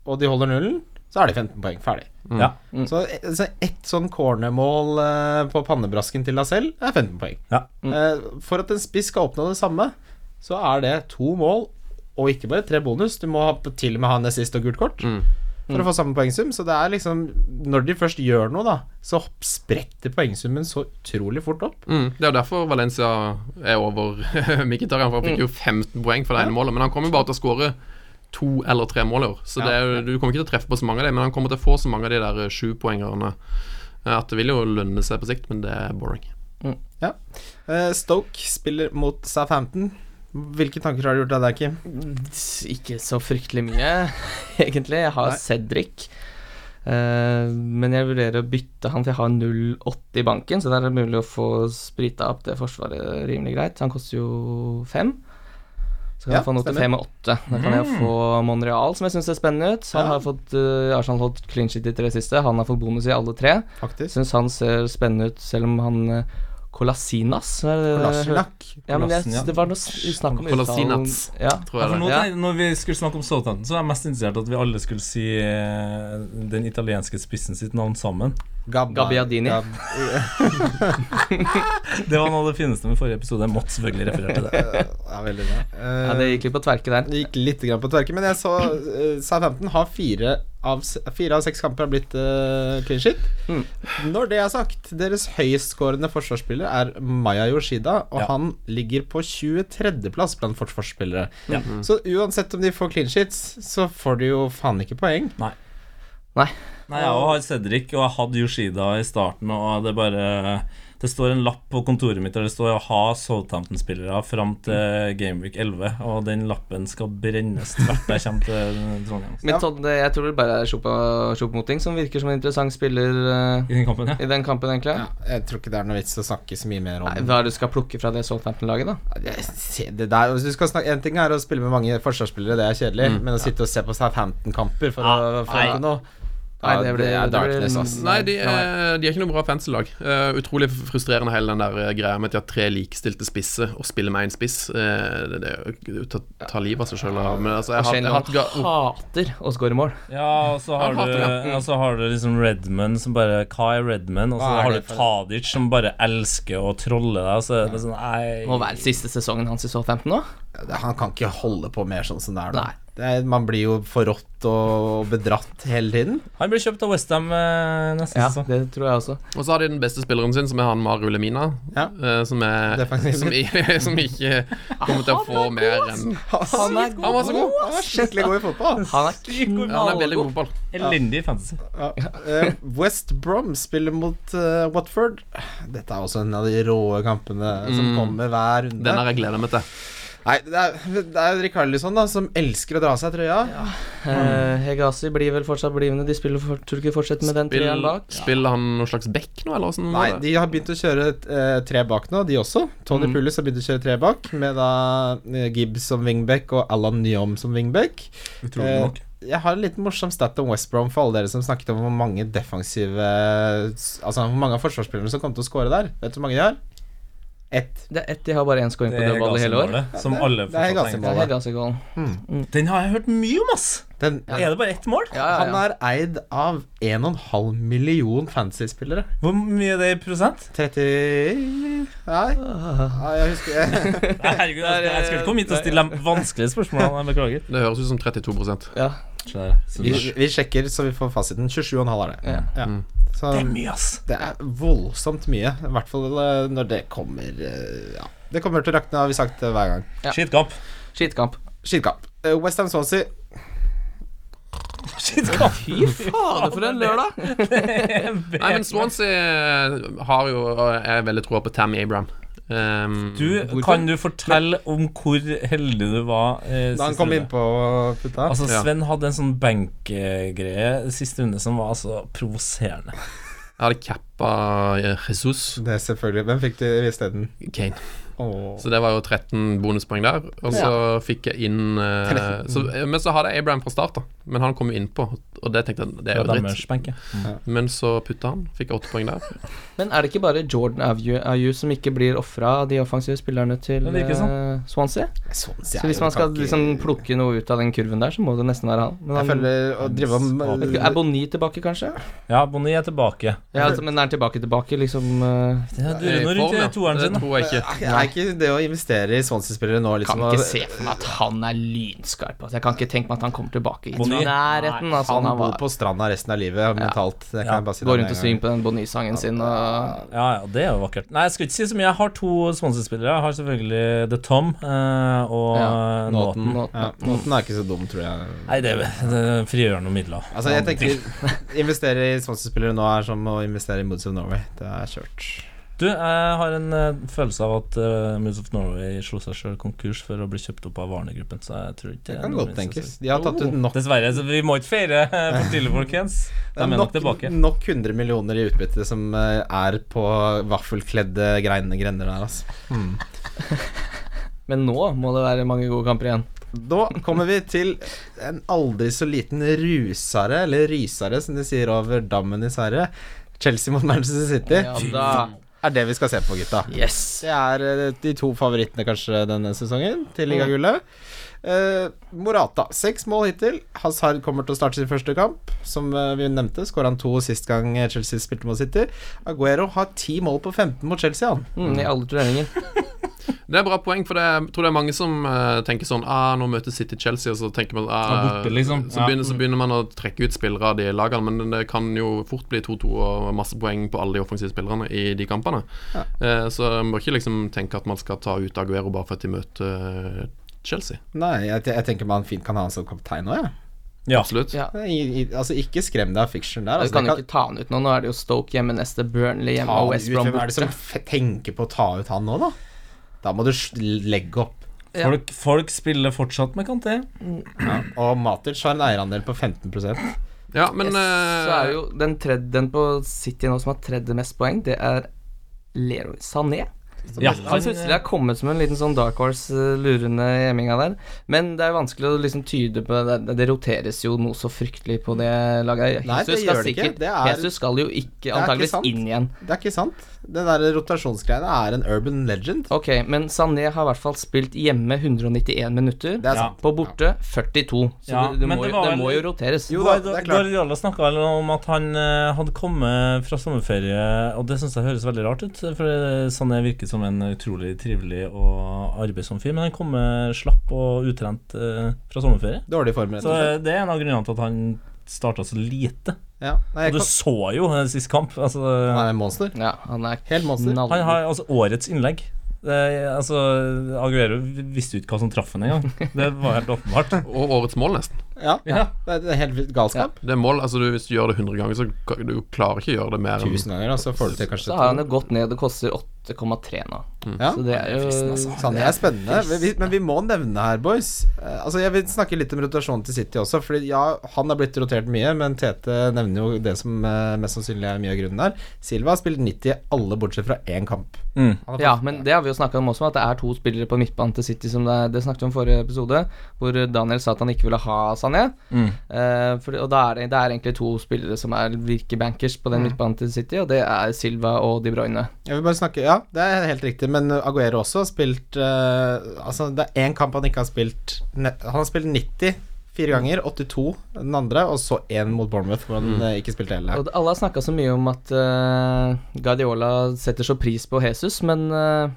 C: og de holder nullen, så er de 15 poeng ferdig.
D: Ja.
B: Mm.
C: Så, så ett sånn cornermål eh, på pannebrasken til deg selv er 15 poeng.
D: Ja.
C: Eh, for at en spiss skal oppnå det samme, så er det to mål, og ikke bare tre bonus. Du må ha, til og med ha en assist og gult
B: Mm.
C: kort for å få samme poengsum. Så det er liksom Når de først gjør noe, da, så hopp- spretter poengsummen så utrolig fort opp.
E: Mm, det er jo derfor Valencia er over Mkhitaryan, for han fikk jo 15 poeng for det ene målet. Men han kommer jo bare til å skåre to eller tre mål i år. Så det er jo, du kommer ikke til å treffe på så mange av dem, men han kommer til å få så mange av de der eh, sjupoengerne eh, at det vil jo lønne seg på sikt, men det er boring.
C: Ja. Eh, Stoke spiller mot Southampton. Hvilke tanker har du gjort deg der, Kim?
B: Ikke så fryktelig mye, egentlig. Jeg har
C: Nei.
B: Cedric. Eh, men jeg vurderer å bytte han, for jeg har 0,80 i banken, så der er det mulig å få sprita opp det forsvaret rimelig greit. Han koster jo 5. Så kan
C: Ja,
B: jeg få noe til
C: stemmer.
B: 5 og 8. Da kan jeg få Monreal, som jeg syns ser spennende ut. Han
C: Ja.
B: har fått eh, Arsenal har fått clean shit de tre siste. Han har fått bonus i alle tre.
C: Faktisk.
B: Syns han ser spennende ut, selv om han eh, Kolasinas er det-
C: Kolasjnak.
B: Ja, men jeg,
D: Kolasin, ja.
B: det var noe s- snakk om uttalen.
E: Kolasinats.
B: Ja.
E: Tror
D: Ja,
E: jeg
D: for
E: det.
D: nå,
B: Ja.
D: tenk- Når vi skulle snakke om Southampton, så var jeg mest interessert i at vi alle skulle si eh, den italienske spissen sitt navn sammen.
C: Gabba-
B: Gabbiadini.
C: Gab-
D: Det var noe av det fineste med forrige episode. Jeg måtte selvfølgelig referere til det.
C: ja, veldig bra. Eh,
B: Ja, det gikk litt på tverke der.
C: Det gikk litt grann på tverke, men jeg så eh, Southampton har fire av, s- fire av seks kamper har blitt eh, clean shit.
B: Mm.
C: Når det er sagt, deres høyestskårende forsvarsspiller er Maya Yoshida, og
D: Ja.
C: han ligger på 23.-plass blant forsvarsspillere.
B: Hmm.
C: Så uansett om de får clean shits, så får de jo faen ikke poeng.
D: Nei, Jeg har Cedric, og jeg hadde Yoshida i starten, og det er bare Det står en lapp på kontoret mitt der det står 'ha Southampton-spillere fram til Gameweek 11', og den lappen skal brennes tvert jeg kommer til Trondheim.
B: Men
C: Ja.
B: Todd, jeg tror det bare er Sjopa- Sjopmoting som virker som en interessant spiller eh,
D: I den kampen, ja.
B: i den kampen, egentlig.
C: Jeg tror ikke det er noe vits å snakke så mye mer om
B: Nei, hva er det du skal plukke fra det Southampton-laget, da?
C: Jeg ser det der Hvis du skal snakke, En ting er å spille med mange forsvarsspillere, det er kjedelig, men å sitte og se på Southampton-kamper for å få
D: nei.
C: til noe
B: Ah, Nei,
C: ja,
B: det blir-
C: er
B: det blir-
C: darkness, ass.
E: Nei, de er, de er ikke noe bra fancy-lag. Eh, utrolig frustrerende hele den der eh, greia med at de har tre likestilte spisser og spiller med én spiss. Eh, det, det er jo ta, ta livet av seg sjøl. Men altså, jeg har jeg
B: Shane
E: har hatt ga-
B: Long hater å score mål.
D: Ja, og så har,
E: Jeg hater det.
D: du, og så har du liksom Redman som bare Hva er Redman? Og så
C: Hva er
D: har
C: det
D: du
C: for-
D: Tadic som bare elsker å trolle deg. Så er det sånn,
B: Må
D: nei
B: være siste sesongen hans i Southampton nå.
C: Det- Han kan ikke holde på mer sånn som det er nå.
B: Nei.
C: Det er, man blir jo forrådt og bedratt hele tiden.
D: Han blir kjøpt av Westham eh, neste
B: Ja,
D: sesong.
B: det tror jeg også.
E: Og så har de den beste spilleren sin, som er han Mario Lemina.
C: Ja.
E: eh, som, er,
C: Defensiv.
E: som, i- som ikke kommer til å få mer enn
C: Han
B: er
E: Han var så god!
C: Han var skikkelig god i fotball.
B: Han er
E: Ja, han er veldig god på
B: knallgod.
E: fotball.
D: Elendig fantasy.
C: Ja. Eh, West Brom spiller mot eh, Watford. Dette er også en av de råe kampene som kommer hver runde.
E: Mm. Den har jeg gleda meg til.
C: Nei, det er, det er Rikarlison da, som elsker å dra av seg trøya.
B: Eh, Hegazi blir vel fortsatt blivende. De spiller for, tror du ikke fortsetter med den treeren
E: Spill,
B: bak?
E: spiller han noen slags back nå, eller åssen?
C: Nei, de har begynt å kjøre eh, tre bak nå, de også. Tony
E: Mm.
C: Pulis har begynt å kjøre tre bak, med da eh, Gibbs som wingback og Alan Nyom som wingback.
D: Utrolig
C: Eh,
D: nok.
C: Jeg har en liten morsom stat om West Brom for alle dere som snakket om hvor mange defensive Altså hvor mange av forsvarsspillerne som kom til å score der. Vet du hvor mange de har? Ett.
B: Det er ett de har bare én scoring på dødball i hele år.
D: Gazi-målet, som alle
C: det er
D: fortsatt
C: Gazi-målet.
D: tenker.
B: Det er Hegazi-gålen.
D: Den har jeg hørt mye om, ass!
C: Den,
D: Er det bare ett mål?
B: Ja, ja,
C: Han
B: ja.
C: er eid av 1,5 million fantasy-spillere.
D: Hvor mye er det i prosent?
C: 30 Nei, Nei, jeg husker
D: Herregud, altså, jeg, jeg skulle ikke komme hit og stille dem vanskelige spørsmål. Jeg beklager.
E: Det høres ut som 32
B: ja.
D: Så
C: vi,
D: Det
C: vi sjekker så vi får fasiten. 27,5 er det.
B: Ja. Mm.
C: Så
D: er mye, ass.
C: det er voldsomt mye. I hvert fall eh, når det kommer eh, Ja. Det kommer til å rakne, har vi sagt eh, hver gang.
B: Ja.
D: Skittkamp.
B: Skittkamp.
C: Skittkamp. Eh, West Ham Swansea
D: Skittkamp. Fy
B: Fader, for en lørdag!
E: Nei, men Swansea har jo og Jeg er veldig troa på Tammy Abraham. Ehm,
D: Du,
B: Hvorfor?
D: kan du fortelle om hvor heldig du var eh,
C: Da han
D: siste
C: kom
D: runde?
C: inn på putta.
D: Altså,
E: Ja.
D: Sven hadde en sånn benkgreie siste runde som var altså provoserende.
E: jeg hadde cappa Jesus
C: Det er selvfølgelig Hvem fikk du isteden?
E: Kane.
C: Åh.
E: Så det var jo 13 bonuspoeng der. Og så fikk jeg inn eh, så, Men så eh, hadde jeg Abraham fra start, da. men han kom jo innpå, og det tenkte jeg det er
D: Fra
E: jo
D: deres
E: dritt.
D: benk, ja.
E: Men så putta han, fikk åtte poeng der.
B: Men er det ikke bare Jordan Ayu, Ayu som ikke blir ofra, de offensive spillerne til
D: Ja, det virker
B: eh, Swansea?
C: Sånn,
B: Så hvis man skal liksom plukke noe ut av den kurven der, så må det nesten være han. Men
C: Jeg
B: han
C: føler å drive om
D: Jeg
B: vet ikke, Er Boni tilbake, kanskje?
D: Ja, Bonny er tilbake.
B: Ja, altså, Men er han tilbake, tilbake, liksom eh,
D: Det durer nå rundt i toeren sin,
E: Det
D: da.
E: tror jeg ikke.
C: Er ikke det å investere i Swansea-spillere nå liksom
B: Kan ikke se for meg at han er lynskarp. Altså. Jeg kan ikke tenke meg at han kommer tilbake i
D: Boni?
B: nærheten av sånn
C: Han
B: han
C: bor
B: var.
C: på stranda resten av livet mentalt. Det kan
D: Ja.
C: jeg bare si
B: Går
C: deg
B: rundt og
C: med en
B: synger på den Boni-sangen sin og
D: Ja, ja, det er jo vakkert. Nei, jeg skal ikke si så mye. Jeg har to Swansea-spillere. Jeg har selvfølgelig The Tom eh, og
B: Ja,
D: Nåten.
C: Nåten.
B: Nå-
C: gang. Ja, Nåten er ikke så dum, tror jeg.
D: Nei, det, det frigjør noen midler.
C: Altså, jeg tenker Investere i Swansea-spillere nå er som å investere i Moods of Norway. Det er kjørt.
D: Du, jeg har en eh, følelse av at uh, Moods of Norway slo seg sjøl konkurs for å bli kjøpt opp av Varnegruppen, så jeg tror ikke
C: Det kan
D: er noe
C: godt
D: minst å si.
C: tenkes. De har tatt ut nok,
D: Dessverre, så vi må ikke feire eh, for stille, folkens. De er nok
C: nok, Mm.
D: tilbake.
C: nok 100 millioner i utbytte som eh, er på vaffelkledde greine grender der, altså.
D: Hmm.
B: Men nå må det være mange gode kamper igjen.
C: Da kommer vi til en aldri så liten rusare, eller rysare som de sier over dammen i Sverige. Chelsea mot Manchester City
B: Ja da.
C: er det vi skal se på, gutta.
B: Yes.
C: Det er eh, de to favorittene kanskje denne sesongen til ligagullet. Eh, Morata, seks mål hittil. Hazard kommer til å starte sin første kamp. Som eh, vi nevnte, skåra han to sist gang Chelsea spilte mot City. Aguero har ti mål på 15 mot Chelsea, han.
B: Mm, I alle turneringer.
E: Det er bra poeng, for det, er- jeg tror det er mange som eh, tenker sånn ah, Nå møter City Chelsea, og så tenker man ah,
D: Ja, borte, liksom.
E: så,
D: Ja.
E: begynner, så begynner man å trekke ut spillere av de lagene, men det kan jo fort bli 2-2 og masse poeng på alle de offensive spillerne i de kampene. Eh, så man må ikke liksom tenke at man skal ta ut Aguero bare for at de møter eh, Chelsea.
C: Nei, jeg, jeg tenker man fint kan ha han som kaptein òg, jeg.
D: Ja.
E: Absolutt.
B: Ja.
C: Ja. I, i, altså, ikke skrem deg av fiction der.
B: Du
C: Altså,
B: kan
C: det
B: jo ikke ta han ut nå. Nå er det jo Stoke hjemme neste, Burnley hjemme
C: ta
B: og
C: han
B: West
C: ut.
B: Brom
C: Hvem er det
B: borte.
C: som f- tenker på å ta ut han nå, da? Da må du sl- legge opp.
D: Folk, folk spiller fortsatt med Kanté.
C: Og Matic har en eierandel på 15
E: Ja, men
B: Yes, Så er jo den, tredje, den på City nå som har tredje mest poeng, det er Leroy Sané.
D: Ja,
B: Han plutselig har kommet som en liten sånn dark horse eh, lurende gjeminga der. Men det er jo vanskelig å liksom tyde på det. Det- Det roteres jo noe så fryktelig på det laget.
C: Nei, det
B: skal
C: gjør det ikke.
B: sikkert-
C: Det er-
B: Jesus skal jo ikke
C: er ikke
B: antageligvis
C: sant.
B: inn igjen.
C: Det er ikke sant. Den der rotasjonsgreiene er en urban legend.
B: Ok, men Sané har i hvert fall spilt hjemme 191 minutter.
C: Det er
D: Ja.
C: sant.
B: På borte 42. Så
D: Ja,
B: det, det,
D: men
B: må,
D: det
B: jo-
D: var
B: det
D: vel-
B: må jo roteres.
C: Jo da, det er klart.
D: Guardiola snakka om at han eh, hadde kommet fra sommerferie, og det syns jeg høres veldig rart ut. For Sané virker som en utrolig trivelig og arbeidsom fyr, men han kommer slapp og utrent eh, fra sommerferie.
C: Dårlig form, rett
D: Så eh,
C: og
B: eh,
C: slett.
D: det er en av grunnene til at han starta så lite.
C: Ja. Nei, jeg
D: Og du
C: kan...
D: så jo eh, sist kamp. Altså,
C: Han er en monster.
B: Ja, han er
C: Helt monster.
B: knall-
D: han har altså årets innlegg. Det, altså, Aguero visste jo ikke hva som traff ham engang. Det var helt åpenbart.
E: Og eh, årets mål, nesten.
C: Ja.
D: Ja.
C: Det er- det er helt vilt galskap.
E: Det er mål, altså du, Hvis du gjør det 100 ganger, så kan- du klarer ikke å gjøre det mer enn
C: Tusen ganger, og så får du til kanskje
B: Så har han jo gått ned. Det koster 8,3 nå.
C: Ja.
B: Så det er altså. jo
C: Sané er spennende, men vi, men vi må nevne her, boys. Eh, Altså Jeg vil snakke litt om rotasjonen til City også. Fordi ja, Han har blitt rotert mye, men Tete nevner jo det som eh, mest sannsynlig er mye av grunnen her. Silva har spilt 90 i alle bortsett fra én kamp.
D: Mm.
C: Han har
B: Ja, men det har vi jo snakka om også, at det er to spillere på midtbanen til City som det, er, det snakket vi om i forrige episode, hvor Daniel sa at han ikke ville ha Sané.
D: Mm.
B: Eh, fordi- og da er det, det er egentlig to spillere som er virkebankers på
C: Mm.
B: den midtbanen til City, og det er Silva og De Bruyne.
C: Jeg vil bare snakke Ja, det er helt riktig, men Aguero også har spilt eh, Altså, det er én kamp han ikke har spilt ne Han har spilt 90
B: Mm.
C: fire ganger, 82 den andre, og så én mot Bournemouth, hvor han eh, ikke spilte hele.
B: Mm. Og det- alle har snakka så mye om at eh, Guardiola setter så pris på Jesus, men eh,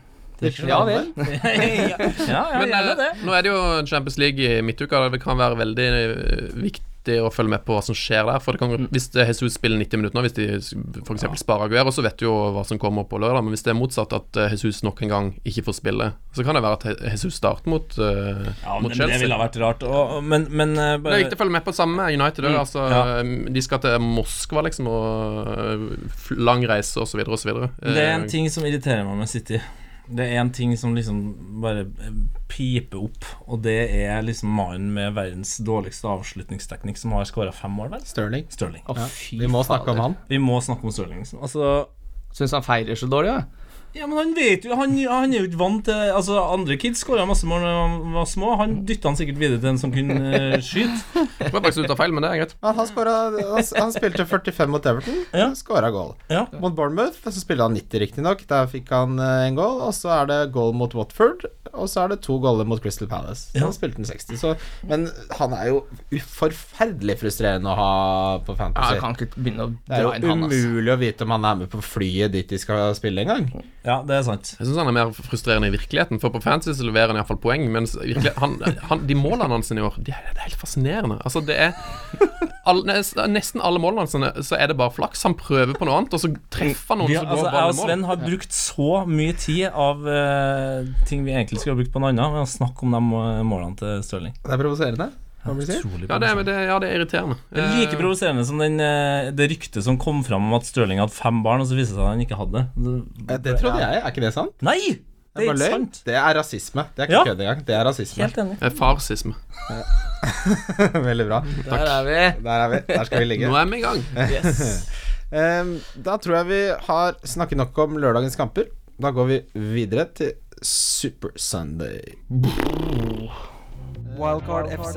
B: Ja vel.
D: ja, ja, ja,
E: Men
D: gjerne det.
E: eh, nå er det jo Champions League i midtuka. og Det kan være veldig eh, viktig å følge med på hva som skjer der. For det
D: Mm.
E: kan, Hvis det- Jesus spiller 90 minutter nå, hvis de f.eks. sparer Aguero, så vet du jo hva som kommer på lørdag. Men hvis det er motsatt, at eh, Jesus nok en gang ikke får spille, så kan det være at He- Jesus starter mot, eh,
D: Ja, men
E: mot
D: det
E: Chelsea.
D: ville ha vært rart. Og, og- men men eh, Mm,
E: Det
D: bare,
E: er viktig å følge med på samme med United. også, Altså, De skal til Moskva, liksom, og eh, f- lang reise osv. osv.
D: det er
E: Eh,
D: en ting som irriterer meg med City. Det er en ting som liksom bare piper opp, og det er liksom mannen med verdens dårligste avslutningsteknikk som har skåra fem mål, vel?
C: Stirling.
D: Stirling.
B: Å,
C: Ja,
B: fy
C: Vi må snakke om han.
D: Vi må snakke om Stirling. Liksom. Altså,
B: Syns han feirer så dårlig, ja.
D: Ja, men han vet jo Han, han er jo ikke vant til Altså, andre kids skåra masse mål da de var små. Han dytta han sikkert videre til en som kunne eh, skyte.
E: Jeg tror faktisk du tar feil, men det er greit.
C: Han, han, skåret, han, han spilte 45 mot Everton,
D: Ja.
C: ja. skåra goal.
D: Ja.
C: Mot Bournemouth så spilte han 90, riktignok. Der fikk han eh, en goal. Og så er det goal mot Watford, og så er det to goaler mot Crystal Palace. Så
D: Ja.
C: han spilte han 60, så Men han er jo u- forferdelig frustrerende å ha på
B: Ja,
C: Fantasy.
B: jeg kan ikke begynne å
C: det er
B: dra inn
C: jo
B: han, altså. ass.
C: umulig å vite om han er med på flyet dit de skal spille en gang.
D: ja, det er sant.
E: Jeg syns han er mer frustrerende i virkeligheten, for på Fantasy så leverer han iallfall poeng, mens virkelig, han, han, de målene hans i år, det er, det er helt fascinerende. Altså, det er all, nes- Nesten alle målene hans så er det bare flaks. Han prøver på noe annet, og så treffer han noen,
D: Vi,
E: så
D: altså, jeg
E: går
D: og
E: ballen i
D: Sven
E: mål.
D: har brukt så mye tid av eh, ting vi egentlig skulle ha brukt på noe annet, men å snakke om de eh, målene til Stirling.
C: Det er provoserende. Hva vil du si?
D: Utrolig
E: Ja, det, er- men det, ja, det er irriterende.
D: Det er like
E: Eh,
D: provoserende som den, eh, det ryktet som kom fram om at Stirling hadde fem barn, og så viste det seg at han ikke hadde det.
C: Eh, Det trodde jeg. Er ikke det sant?
D: Nei! Det
C: bare
D: er ikke
C: løgn.
D: sant.
C: Det er rasisme. Det er ikke
D: Ja.
C: kødd engang. Det er rasisme.
D: Helt enig.
E: eh, farsisme.
C: Veldig bra.
B: Der er vi.
C: Der er vi. Der skal vi ligge.
E: Nå er vi i gang.
B: Yes.
C: Ehm, Da tror jeg vi har snakket nok om lørdagens kamper. Da går vi videre til Super Sunday.
A: Wildcard FC.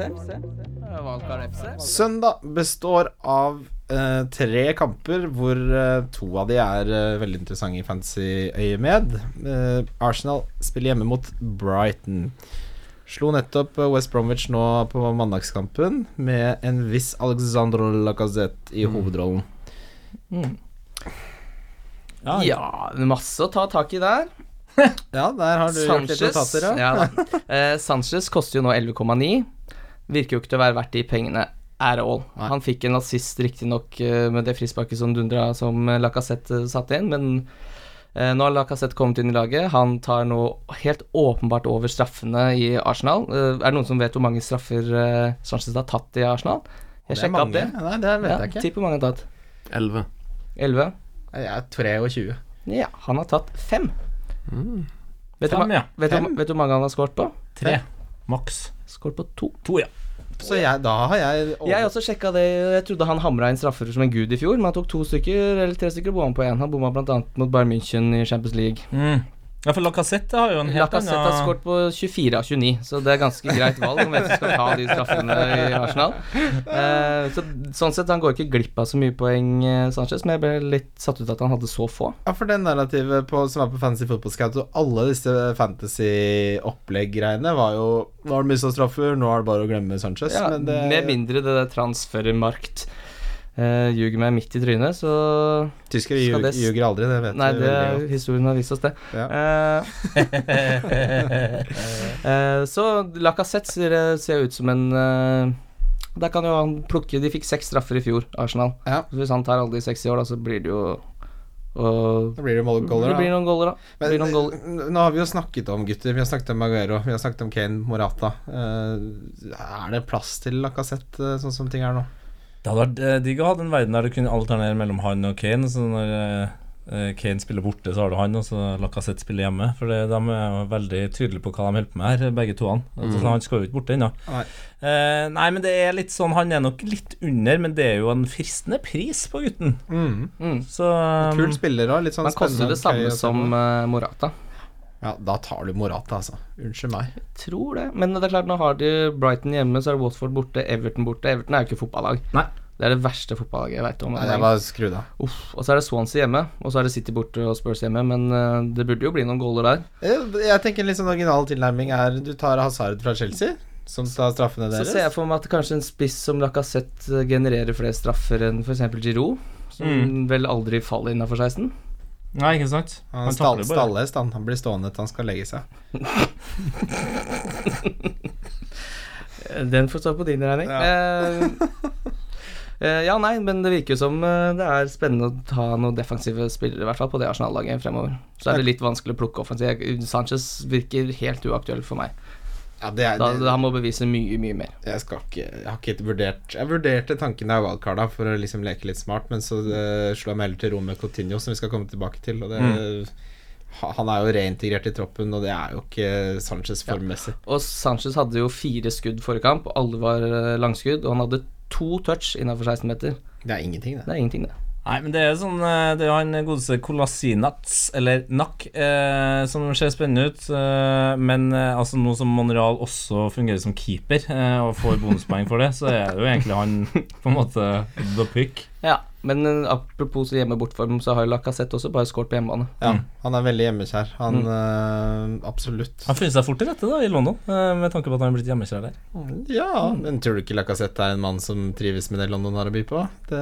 C: Søndag består av eh, tre kamper, hvor eh, to av de er eh, veldig interessante i fantasy-øyemed. Eh, Arsenal spiller hjemme mot Brighton. Slo nettopp eh, West Bromwich nå på mandagskampen med en viss Alexandro Lacazette
B: Mm.
C: i hovedrollen.
D: Ja,
B: Ja, masse å ta tak i der.
C: Ja, der har du gjort litt
B: Sanchez,
C: notater, ja.
B: ja, da. Eh, Sanchez koster jo nå 11,9. Virker jo ikke til å være verdt de pengene at all.
C: Nei.
B: Han fikk en assist riktignok eh, med det frisparket som dundra som eh, Lacazette eh, satte inn, men eh, nå har Lacazette kommet inn i laget. Han tar nå helt åpenbart over straffene i Arsenal. Eh, Er det noen som vet hvor mange straffer eh, Sanchez har tatt i Arsenal? Jeg
C: Det er
B: sjekka
C: mange.
B: opp det.
C: Nei, det vet
B: Ja,
C: jeg ikke.
B: Tipp hvor mange han har tatt.
E: 11.
B: 11?
C: Jeg er 23.
B: Ja, han har tatt 5. Vet du
D: Fem,
B: hva-
D: ja.
B: vet du
C: Fem?
B: hva- vet du hvor mange han har skåret på?
D: Tre. Maks.
B: Skåret på to.
D: To, ja.
C: Så jeg, da har jeg over-
B: Jeg også sjekka det. Jeg trodde han hamra inn straffer som en gud i fjor, men han tok to stykker, eller tre stykker, og bomma på én. Han bomma bl.a. mot Bayern München i Champions League.
D: Mm. Ja, for Lacassette har jo en helt
B: Lacassette har
D: annen
B: skåret på 24 av 29, så det er ganske greit valg om hvem som skal ta de straffene i Arsenal. Eh, så, sånn sett, han går ikke glipp av så mye poeng, eh, Sanchez, men jeg ble litt satt ut at han hadde så få.
C: Ja, for det narrativet på, som er på Fantasy Football Scout og alle disse fantasy-opplegg-greiene, var jo Nå har du mista straffer, nå er det bare å glemme Sanchez.
B: Ja,
C: men det,
B: Med mindre det der transfermarkt eh, ljuger meg midt i trynet, så
C: tyskere ljug-
B: skal det s-
C: ljuger aldri, det vet
B: Nei,
C: vi
B: det,
C: veldig godt.
B: historien har vist oss det.
C: Ja.
B: Eh, Eh, Så Lacassette ser, ser ut som en eh, Der kan jo han plukke De fikk seks straffer i fjor, Arsenal.
C: Ja.
B: Så hvis han tar alle de seks i år, da, så blir det jo og,
C: Da blir det målgoller,
B: Det blir
C: da.
B: noen goller, da. Det
C: Men
B: blir noen goller.
C: n- nå har vi jo snakket om gutter. Vi har snakket om Maguero, vi har snakket om Kane, Morata. Eh, er det plass til Lacassette, eh, sånn som ting er nå?
D: Det hadde vært eh, digg å ha en verden der du kunne alternere mellom han og Kane. Så når eh, eh, Kane spiller borte, så har du han, og så Lacassette spiller hjemme. For det, de er jo veldig tydelige på hva de holder på med her, begge to. Han altså, så han skal jo ikke borte ennå.
C: Nei.
D: Eh, nei, men det er litt sånn Han er nok litt under, men det er jo en fristende pris på gutten.
C: Mm.
D: Så um,
C: Kul spiller òg, litt sånn
B: Men koster det
C: gøy
B: samme
C: å se
B: som
C: på.
B: eh, Morata.
C: Ja, da tar du Morata, altså. Unnskyld meg.
B: Tror det. Men det er klart, nå har de Brighton hjemme, så er det Watford borte, Everton borte. Everton er jo ikke fotballag.
D: Nei.
B: Det er det verste fotballaget jeg veit om.
C: Nei, jeg bare skrur av.
B: Uff, og så er det Swansea hjemme, og så er det City borte og Spurs hjemme, men eh, det burde jo bli noen goller der.
C: Eh, Jeg tenker en litt sånn original tilnærming er Du tar Hazard fra Chelsea, som tar straffene
B: Så
C: deres.
B: ser jeg for meg at kanskje en spiss som Lacassette genererer flere straffer enn f.eks. Giroud, som
D: Mm.
B: vel aldri faller innafor 16.
D: Nei, ikke sant?
C: han
D: takler
C: stall,
D: bare.
C: stallhest, han. Han blir stående til han skal legge seg.
B: Den får stå på din regning. Eh, eh, ja, nei, men det virker jo som eh, det er spennende å ta noen defensive spillere, i hvert fall på det Arsenal-laget fremover. Så er det litt vanskelig å plukke offensivt. Sanchez virker helt uaktuell for meg.
C: Ja, det er,
B: Da,
C: det,
B: han må bevise mye, mye mer.
C: jeg skal ikke Jeg har ikke vurdert Jeg vurderte tanken av wildcarda for å liksom leke litt smart, men så eh, slo jeg meg heller til ro med Coutinho, som vi skal komme tilbake til. Og det,
D: Mm.
C: ha- Han er jo reintegrert i troppen, og det er jo ikke Sanchez formmessig.
B: Og Sanchez hadde jo fire skudd forrige kamp, og alle var eh, langskudd, og han hadde to touch innafor 16 meter.
C: Det er ingenting, det.
B: Det er ingenting, det.
D: Nei, men det er sånn eh, Det er jo han godeste Kolasinac, eller Nak, eh, som ser spennende ut. Eh, men eh, altså nå som Monreal også fungerer som keeper eh, og får bonuspoeng for det, så er det jo egentlig han på en måte the pick.
B: Ja, men eh, apropos hjemme-bortform, så har jo Lacassette også bare skåret på hjemmebane.
C: Ja, han er veldig hjemmekjær. Han
D: Mm.
C: eh, Absolutt.
D: Han finner seg fort til rette da i London, eh, med tanke på at han er blitt hjemmekjær der.
C: Ja, men tror du ikke Lacassette er en mann som trives med det London har å by på? Det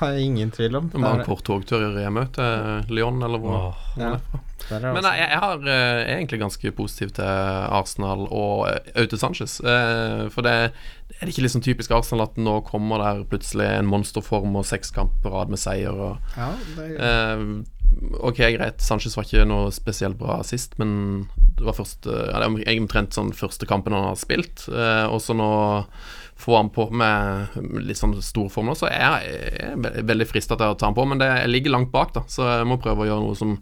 C: har jeg ingen tvil om.
E: Bare en
C: Der-
E: kort togtur hjemme til eh, Lyon, eller hvor
C: ja, der er
E: Men
C: han
E: nei, jeg, jeg har, eh, er egentlig ganske positiv til Arsenal og eh, Aute Sanchez. Eh, for det er det ikke liksom typisk Arsenal at nå kommer der plutselig en monsterform og seks kamp på rad med seier. Og,
C: også. ja, det er,
E: eh, ok, greit, Sanchez var ikke noe spesielt bra sist, men det var første, ja, det er omtrent sånn første kampen han har spilt. Eh, og så nå får han på med litt sånn stor form nå, så jeg er ve- veldig frista til å ta han på, men det, jeg ligger langt bak, da, så jeg må prøve å gjøre noe som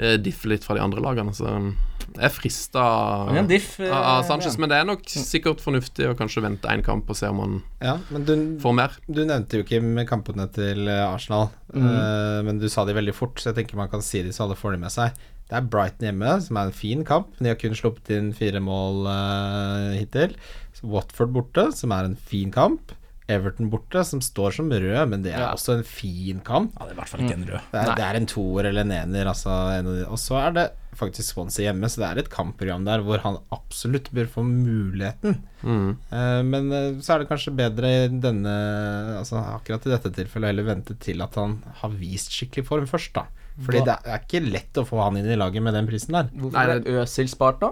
E: eh, differ litt fra de andre lagene. Så eh, jeg er frista
D: Han er en
E: av
D: diff. eh,
E: av Sanchez, men det er nok sikkert fornuftig å kanskje vente én kamp og se om han
C: ja, men du,
E: får mer.
C: du nevnte jo Kim kampene til eh, Arsenal,
E: Mm.
C: eh, men du sa de veldig fort, så jeg tenker man kan si de så alle får de med seg. Det er Brighton hjemme, som er en fin kamp. De har kun sluppet inn fire mål eh, hittil. Så Watford borte, som er en fin kamp. Everton borte, som står som rød, men det er også en fin kamp.
D: Ja, det er i hvert fall ikke en rød.
C: Det er, det er en toer eller en ener, altså. En av de. Og så er det faktisk Swansea hjemme, så det er et kampprogram der hvor han absolutt bør få muligheten. Eh, men eh, så er det kanskje bedre i denne Altså akkurat i dette tilfellet heller vente til at han har vist skikkelig form først, da. Fordi det er ikke lett å få han inn i laget med den prisen der.
B: Hvorfor
E: Nei,
B: er Øsil spart nå?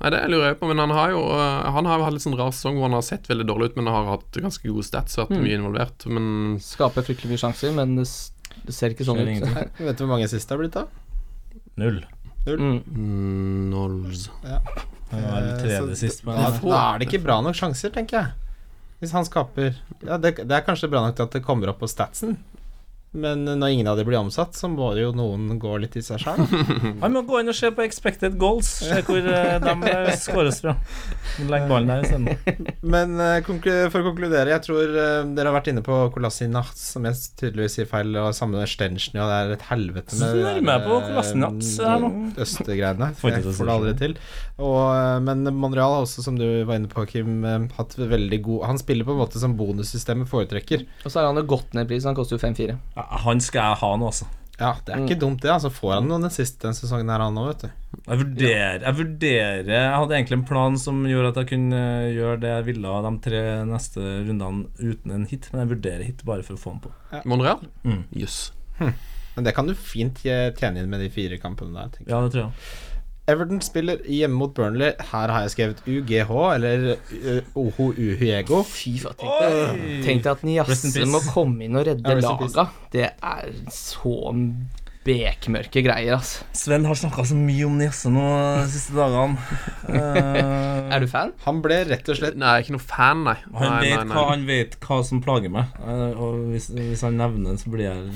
E: Nei, det lurer jeg på, men han har jo øh, Han har jo hatt litt sånn rar sesong hvor han har sett veldig dårlig ut, men har hatt ganske gode stats og vært mye involvert. Men
B: Skaper fryktelig mye sjanser, men det, s det ser ikke sånn
D: Skjer
B: ut.
D: ingenting.
C: Vet du hvor mange siste har blitt, da?
D: Null.
E: mm, Knowles
D: Det var vel
C: Eh,
D: tredje
C: så
D: sist. men-
C: Da, da er det ikke bra nok sjanser, tenker jeg. Hvis han skaper ja, det, det er kanskje bra nok til at det kommer opp på statsen, men når ingen av de blir omsatt, så må det jo noen gå litt i seg sjøl.
D: Han må gå inn og se på expected goals, se hvor eh, de skåres fra. Legg ballen der isteden.
C: Men eh, konklu- for å konkludere, jeg tror eh, dere har vært inne på Kolasinac, som jeg tydeligvis sier feil, og samme med Stenchen, og det er et helvete
D: Så
C: med det
D: nærmer jeg
C: der,
D: på
C: eh,
D: Kolasinac her nå.
C: Østegreiene.
D: Får ikke
C: Jeg
D: til å
C: får det aldri til. Og, eh, men Monreal har også, som du var inne på, Kim, eh, hatt veldig god Han spiller på en måte som bonussystemet foretrekker.
B: Og så har han jo gått ned i pris, han koster jo 5-4.
D: Ja, Han skal jeg ha nå, altså.
C: Ja, det er ikke dumt det. Altså Får han noen assist den sesongen her, han òg, vet du.
D: Jeg vurderer, jeg vurderer Jeg hadde egentlig en plan som gjorde at jeg kunne eh, gjøre det jeg ville av de tre neste rundene uten en hit, men jeg vurderer hit bare for å få den på.
E: Monreal? Jøss.
D: Mm.
C: Men det kan du fint eh, tjene inn med de fire kampene der. tenker jeg.
D: Ja, det tror jeg.
C: Everton spiller hjemme mot Burnley. Her har jeg skrevet UGH, eller eh, Oho Uhuego.
B: Fy faen, tenk deg, tenk deg at
D: Rest in
B: Niasse
D: peace.
B: må komme inn og redde
C: Ja, rest in
B: laga. Det er så bekmørke greier, altså.
D: Sven har snakka så mye om Niasse nå de siste dagene.
C: Mm.
D: Eh,
B: Er du fan?
C: Han ble rett og slett
E: Nei, jeg er ikke noe fan, nei. nei,
D: han,
E: nei,
D: vet
E: nei.
D: hva, han vet hva som plager meg, eh, og hvis, hvis han nevner det, så blir jeg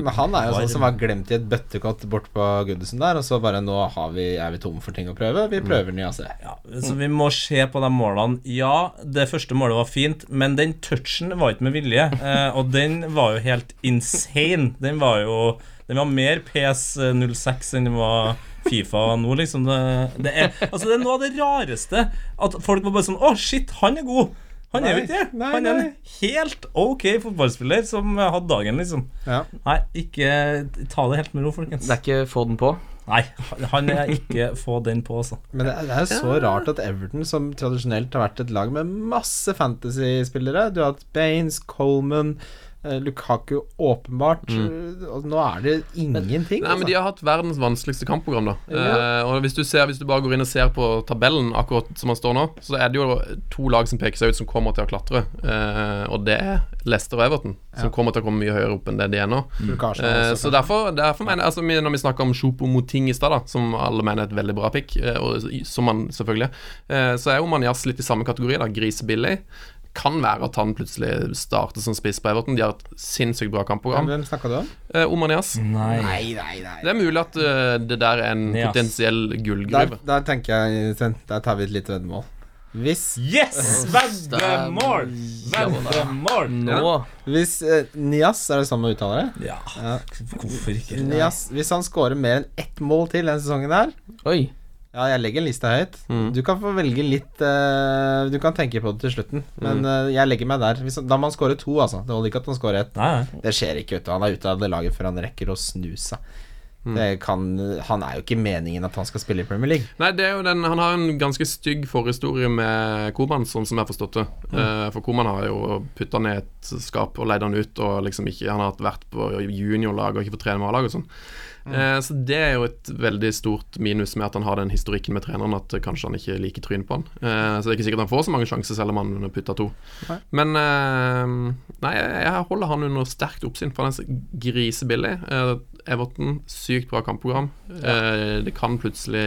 C: Men han er jo sånn som var glemt i et bøttekott bort på Goodison der, og så bare Nå har vi, er vi tomme for ting å prøve. Vi prøver ny AC.
D: Ja, så vi må se på de målene. Ja, det første målet var fint, men den touchen var ikke med vilje. eh, Og den var jo helt insane. Den var jo Den var mer PS06 enn den var Fifa nå, liksom. Det, det, er, altså, det er noe av det rareste. At folk var bare sånn Å, shit, han er god! Han er jo
C: Nei,
D: ikke det.
C: nei,
D: Han er en
C: nei.
D: helt ok fotballspiller som hadde dagen, liksom.
C: Ja.
D: Nei, ikke ta det helt med ro, folkens.
B: Det er ikke få den på.
D: Nei, han er ikke få den på, altså.
C: Men det er, det er jo så rart at Everton, som tradisjonelt har vært et lag med masse fantasy-spillere Du har hatt Baines, Coleman, eh, Lukaku åpenbart eh, Og nå er det ingenting. altså.
E: Nei, Mm. men De har hatt verdens vanskeligste kampprogram. da eh, Og Hvis du ser, hvis du bare går inn og ser på tabellen, akkurat som den står nå, så er det jo to lag som peker seg ut, som kommer til å klatre. Eh, og det er Leicester og Everton, som kommer til å komme mye høyere opp enn det de er nå.
D: Mm.
C: Lukaku også,
E: Eh, så
C: kanskje.
E: derfor, derfor mener jeg altså, vi- Når vi snakker om Sjopo mot Ting i stad, da, som alle mener er et veldig bra pick, eh, og i- som han selvfølgelig, eh, så er jo Manias litt i samme kategori. da, Grisebillig. Kan være at han plutselig starter som spiss på Everton. De har et sinnssykt bra kampprogram.
C: Hvem snakka du om?
E: Eh, Omanias.
D: Nei.
C: nei, nei.
E: Det er mulig at eh, det der er en
D: Yes.
E: potensiell
C: Der,
E: gullgruve.
C: der tenker jeg, Sven, der tar vi et lite veddemål. Hvis
D: Yes! Vegge mål! Vegge mål!
B: Nå
C: Hvis eh, Nias, er det sånn man uttaler det?
D: Ja, hvorfor ikke?
C: Nias, hvis han scorer mer enn ett mål til denne sesongen her
B: Oi.
C: Ja, jeg legger lista høyt.
E: Mm.
C: Du kan få velge litt eh, Du kan tenke på det til slutten, men eh, jeg legger meg der. Hvis, da må han score to, altså. Det holder ikke at han scorer ett.
D: Nei, nei.
C: Det skjer ikke, vet du. Han er ute av det laget før han rekker å snu seg. Det kan, han er jo ikke meningen at han skal spille i Premier League.
E: Nei, det er jo den, Han har en ganske stygg forhistorie med Koman, sånn som jeg har forstått det. Eh, for Koman har jo putta ned et skap og leid han ut, og liksom ikke Han har vært på juniorlag og ikke på trenerlag og sånn. Eh, så det er jo et veldig stort minus med at han har den historikken med treneren at eh, kanskje han ikke liker trynet på han. Eh, så det er ikke sikkert han får så mange sjanser selv om han putter to. Men eh, nei, jeg jeg holder han under sterkt oppsyn, for han er så grisebillig. Eh, Everton, sykt bra kampprogram. Eh, det kan plutselig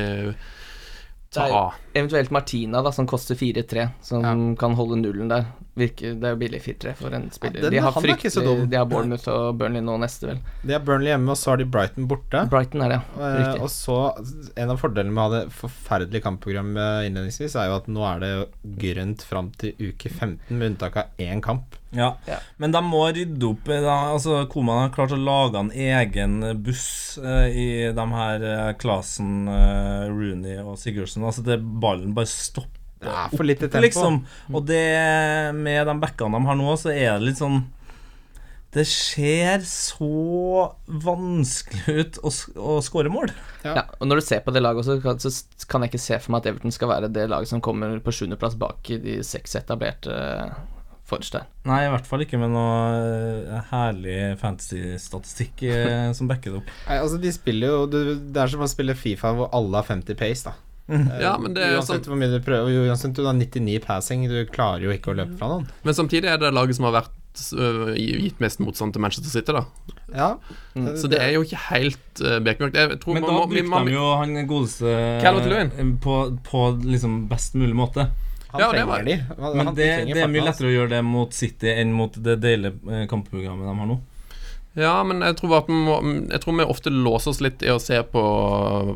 E: ta
B: Det er-
E: av.
B: Eventuelt Martina, da, som koster 4-3, som
C: Ja.
B: kan holde nullen der. Virker, det er jo billig 4-3 for en spiller.
C: den-
B: de har
C: han er ikke så dum.
B: fryktelig De har Bournemouth og Burnley nå neste, vel.
C: Det er Burnley hjemme, og så har de Brighton borte.
B: Brighton er det, ja.
C: Eh, og
B: Riktig.
C: så En av fordelene med å ha det forferdelige kampprogrammet innledningsvis, er jo at nå er det grønt fram til uke 15, med unntak av én kamp.
D: Ja.
B: Ja.
D: Men de må rydde opp i det. Altså, Koman har klart å lage en egen buss eh, i de her eh, Klasen, eh, Rooney og Sigurdsen. Altså, det, ballen bare stopper
C: Det er for lite tempo.
D: liksom. Og det med de backene de har nå, så er det litt sånn Det ser så vanskelig ut å, sk- å skåre mål.
B: Ja, og når du ser på det laget også, kan- så s- kan jeg ikke se for meg at Everton skal være det laget som kommer på sjuendeplass bak i de seks etablerte eh, forrest der.
D: Nei, i hvert fall ikke med noe eh, herlig fantasy-statistikk eh, som backer det opp.
C: Nei, altså de spiller jo du, Det er som å spille Fifa hvor alle har 50 pace, da.
D: Mm.
C: Eh,
E: Ja, men det er jo
C: uansett
E: sånn-
C: hvor mye du prøver, jo, uansett om du har 99 passing, du klarer jo ikke å løpe fra noen.
E: Men samtidig er det laget som har vært øh, gitt mest motstand til Manchester City, da.
C: Ja,
D: Mm.
C: Eh,
E: Så det er jo ikke helt uh, bekmørkt. Jeg tror
D: Men
E: man
D: da
E: må- vi-
D: brukte
E: man-
D: de jo han godeste eh,
E: Calvert-Lewin.
D: på, på liksom best mulig måte.
C: han
E: Ja, det var-
C: trenger de. Han,
D: Men
C: han
D: det,
C: trenger
D: det er mye
C: partneren, altså.
D: lettere å gjøre det mot City enn mot det deilige eh, kampprogrammet de har nå.
E: Ja, men jeg tror, bare at vi må, jeg tror vi ofte låser oss litt i å se på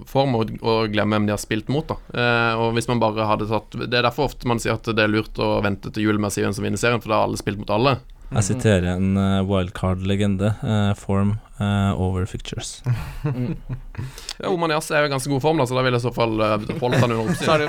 E: form og, og glemme hvem de har spilt mot. da eh, Og hvis man bare hadde tatt Det er derfor ofte man sier at det er lurt å vente til jul med å si hvem som vinner serien, for da har alle spilt mot alle.
D: Jeg siterer en eh, wildcard-legende. eh, form eh, over fictures.
E: Ja, Oman Yas er jo i ganske god form, da så da vil jeg i så fall eh, holdt han under oppsyn.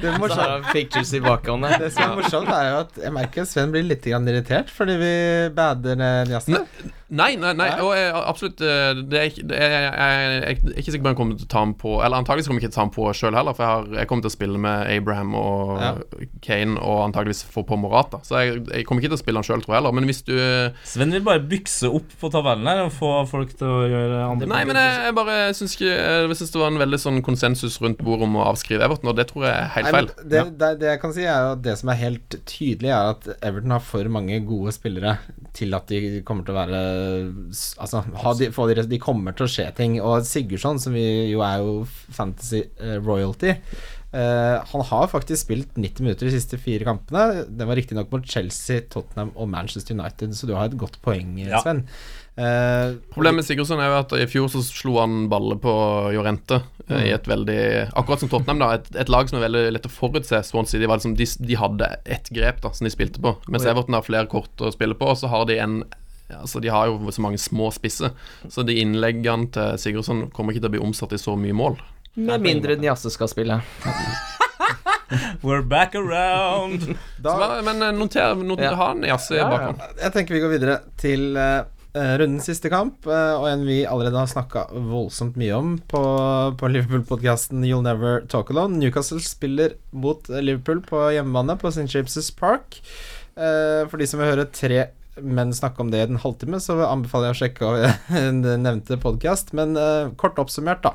C: Det er morsomt.
B: Pictures i bakhånd
C: Det som er morsomt, er jo at jeg merker at Sven blir litt grann irritert fordi vi bader ned jazzen.
E: Nei, nei, nei, og jeg, absolutt eh, det er, ikke- det er, jeg, jeg, jeg er ikke sikker på om jeg kommer til å ta ham på Eller antakeligvis kommer jeg ikke til å ta ham på sjøl heller, for jeg, har, jeg kommer til å spille med Abraham og Kane og antakeligvis få på Morata. Så jeg, jeg kommer ikke til å spille han sjøl, tror jeg heller. Men hvis du
D: Sven vil bare bykse opp på tabellen her og få folk til å gjøre andre
E: Nei, men jeg, jeg bare syns ikke eh, Jeg syns det var en veldig sånn konsensus rundt bordet om å avskrive Everton, og det tror jeg er helt
C: Nei, men
E: feil.
C: Det, det, det jeg kan si er jo at det som er helt tydelig, er at Everton har for mange gode spillere til at de kommer til å være s- Altså, ha de, få de, res- de kommer til å skje ting. Og Sigurdsson, som vi jo er jo fantasy eh, royalty eh, han har faktisk spilt 90 minutter de siste fire kampene. Det var riktignok mot Chelsea, Tottenham og Manchester United, så du har et godt poeng, eh,
D: Ja.
C: Sven. Eh,
E: Problemet med Sigurdsson er jo at i fjor så slo han balle på Jorente
B: Mm.
E: eh, i et veldig Akkurat som Tottenham, da. Et, et lag som er veldig lett å forutse. Swansea de, var liksom, de, de hadde ett grep da som de spilte på, mens Everton har flere kort å spille på, og så har de en Altså, De har jo så mange små spisser, så de innleggene til Sigurdsson kommer ikke til å bli omsatt i så mye mål.
B: Med mindre Niasse skal spille.
D: We're back around!
E: Så,
C: da,
E: hva- men eh, noter, noter
B: Ja.
E: ha en jazz i
B: Ja, ja.
E: bakhånd.
C: Jeg tenker vi går videre til eh, eh, rundens siste kamp, eh, og en vi allerede har snakka voldsomt mye om på, på Liverpool-podkasten You'll Never Talk Alone. Newcastle spiller mot eh, Liverpool på hjemmebane på St. James' Park. Eh, for de som vil høre tre menn snakke om det i en halvtime, så anbefaler jeg å sjekke av en nevnte podkast. Men eh, kort oppsummert, da.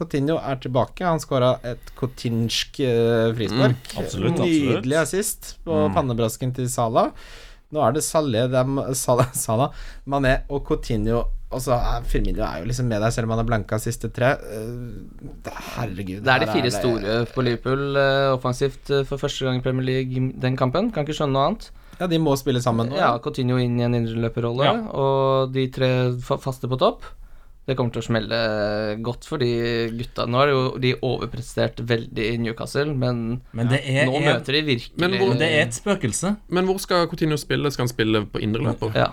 C: Coutinho er tilbake. Han skåra et coutinsk eh, frispark.
D: Mm, absolutt, absolutt.
C: Nydelig assist på
B: Mm.
C: pannebrasken til Salah. Nå er det Salé, det er M- Salah, Salah, Mané og Coutinho. Og så er Firmino er jo liksom med der, selv om han har blanka siste tre. Eh, det- Herregud.
B: Det er de
C: her
B: fire
C: det-
B: store på Liverpool eh, offensivt eh, for første gang i Premier League den kampen. Kan ikke skjønne noe annet.
C: Ja, de må spille sammen nå.
B: Ja, Coutinho inn i en indreløperrolle,
D: Ja.
B: og de tre fa- faste på topp. Det kommer til å smelle eh, godt for de gutta. Nå har jo de overprestert veldig i Newcastle, men
F: Men det er,
B: nå
F: en,
B: møter de virkelig
E: Men hvor-
F: det er et spøkelse.
E: Men hvor skal Coutinho spille? Skal han spille på indreløper?
B: Ja.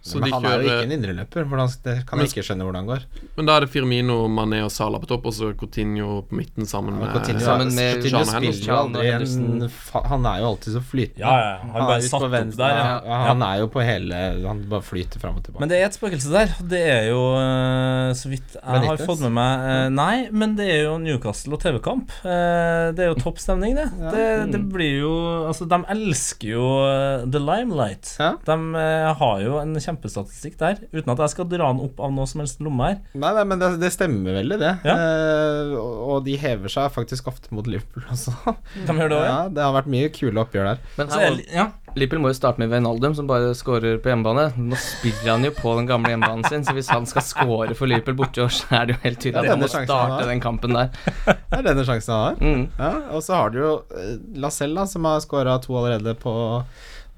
E: Så
C: Men
E: de
C: han er jo ikke
E: kjører
C: en indreløper. Hvordan, det kan
E: Men-
C: jeg ikke skjønne hvordan det går.
E: Men da er det Firmino, Mané og Salah på topp, og så Coutinho på midten sammen med
C: Coutinho,
B: sammen med
C: Coutinho
E: Sean
C: spiller jo
B: Henderson.
C: aldri en
B: Henderson.
C: fa- Han er jo alltid så flytende.
D: Ja, ja. Han
C: er
D: bare
C: ute
D: satt
C: på
D: opp
C: venstre,
D: der, ja.
C: ja. Ja, Han er jo på hele Han bare flyter fram og tilbake.
D: Men det er et spøkelse der. og Det er jo eh, så vidt jeg har
C: Benitez?
D: fått med meg eh, Nei, men det er jo Newcastle og TV-kamp. Eh, Det er jo topp stemning, det. det.
C: Mm.
D: Det blir jo Altså, de elsker jo eh, The Limelight.
C: Ja.
D: De eh, har jo en kjempestatistikk der, uten at jeg skal dra den opp av noe som helst lomme her.
C: Nei, nei, men det, det stemmer veldig, det.
D: Ja.
C: Eh, og, og de hever seg faktisk ofte mot Liverpool også.
D: De gjør det også,
C: ja,
D: ja.
C: det har vært mye kule oppgjør der.
B: Men
D: Så
B: her,
D: jeg- ja.
B: Liverpool må jo starte med Wijnaldum, som bare skårer på hjemmebane. Nå spiller han jo på den gamle hjemmebanen sin, så hvis han skal skåre for Liverpool borte i år, så er det jo helt
C: Ja,
B: tydelig
C: det
B: at
C: er
B: han må
C: den sjansen han har.
B: starte den kampen der.
C: Det er denne sjansen han har.
B: Mm.
C: Ja, og så har du jo eh, Lacelle, da, som har skåra to allerede på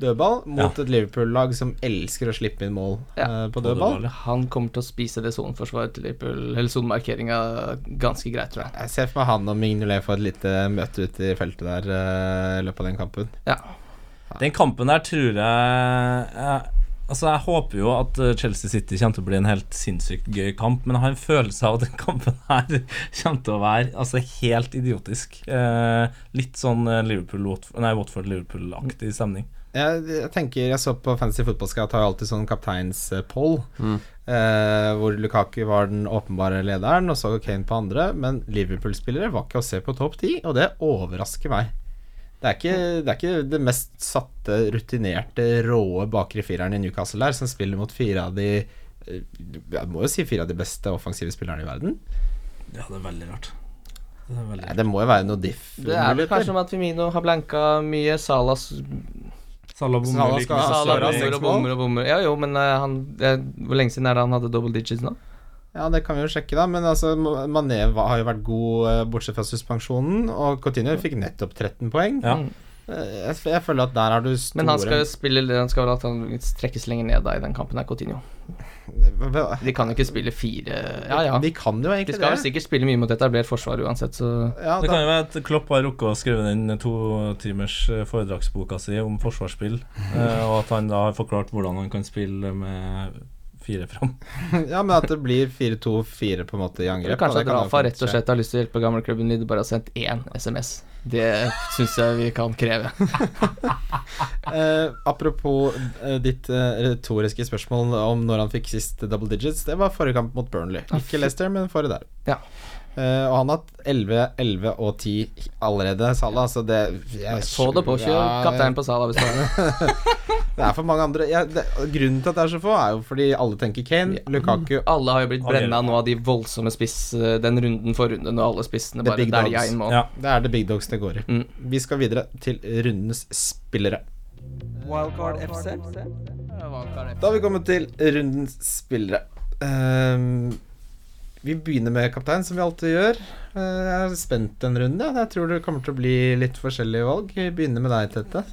C: dødball, mot et Liverpool-lag som elsker å slippe inn mål
B: Ja,
C: eh, på dødball.
B: Han kommer til å spise det soneforsvaret til Liverpool, eller sonemarkeringa, ganske greit, tror jeg.
C: Jeg ser for meg han og Mignolet får et lite møte ute i feltet der eh, i løpet av den kampen.
B: Ja.
D: Den kampen der tror jeg, jeg Altså, jeg håper jo at eh, Chelsea City kommer til å bli en helt sinnssykt gøy kamp, men jeg har en følelse av at den kampen her kommer til å være altså, helt idiotisk. Eh, litt sånn eh, Liverpool- Watf- nei, Watford-Liverpool-aktig stemning.
C: Jeg, jeg tenker, jeg så på Fantasy Football Scout har jo alltid sånn kapteinspoll,
B: Mm.
C: eh, hvor Lukaku var den åpenbare lederen, og så Kane på andre, men Liverpool-spillere var ikke å se på topp ti, og det overrasker meg. Det er, ikke, det er ikke det mest satte, rutinerte, råe bakre fireren i Newcastle der, som spiller mot fire av de eh, Jeg må jo si fire av de beste offensive spillerne i verden.
D: Ja, det er veldig rart. Det er veldig
C: Nei, det må jo være noe diff.
B: Det er vel
C: muligheter.
B: kanskje om at Femino har blanka mye, Salas
D: rart. Salah bommer
C: Salah
D: like
C: skal
D: mye.
C: ha-
B: Salah
C: Salah
B: bommer
C: seks
B: og
C: mål.
B: bommer og bommer. Ja jo, men eh, han eh, Hvor lenge siden er det han hadde double digits nå?
C: Ja, det kan vi jo sjekke, da. Men altså, Mané va- har jo vært god eh, bortsett fra suspensjonen, og Coutinho fikk nettopp 13 poeng.
D: Ja.
C: Eh, Jeg, f- jeg føler at der har du store
B: Mm. Men han skal jo spille Han skal vel at han trekkes lenger ned da i den kampen her, Coutinho.
C: Hva-
B: De kan jo ikke spille fire Ja ja.
C: De kan jo
B: De
C: egentlig
B: skal vel
C: det.
B: sikkert spille mye mot etablert forsvar uansett, så
C: Ja,
D: Det
C: da,
D: kan jo være at Klopp har rukket å skrive den to timers eh, foredragsboka si om forsvarsspill, eh, og at han da har forklart hvordan han kan spille med fire fram.
C: ja, men at det blir 4-2-4 på en måte i
B: Eller
C: angrep. da,
B: kanskje
C: det
B: at
C: kan jo
B: Rafa
C: fint
B: rett og
C: skje.
B: slett har lyst til å hjelpe gamleklubben din, bare har sendt én SMS. Det syns jeg vi kan kreve.
C: Eh, apropos eh, ditt eh, retoriske spørsmål om når han fikk sist double digits, det var forrige kamp mot Burnley. Ikke Leicester, men forrige der.
B: Ah, Ja.
C: Eh, og han har hatt 11, 11 og 10 allerede, Salah, så det jeg,
B: Få det på, kjør
C: Ja,
B: kaptein på Salah hvis du har det.
C: Det er for mange andre jeg, det, Grunnen til at det er så få, er jo fordi alle tenker Kane, Lukaku
B: Alle har jo blitt
D: Han gjør
B: brenna
D: det.
B: nå av de voldsomme spiss eh, den runden for runden, og alle spissene
C: The
B: bare
C: big
B: dælja
C: dogs.
B: inn mål.
D: Ja.
C: Det er the big dogs det går i.
B: Mm.
C: Vi skal videre til rundens spillere.
A: Wildcard FC.
C: Da har vi kommet til rundens spillere. Ehm, vi begynner med kaptein, som vi alltid gjør. Eh, jeg er spent en runde. Jeg tror det kommer til å bli litt forskjellige valg. Vi begynner med deg, Tette.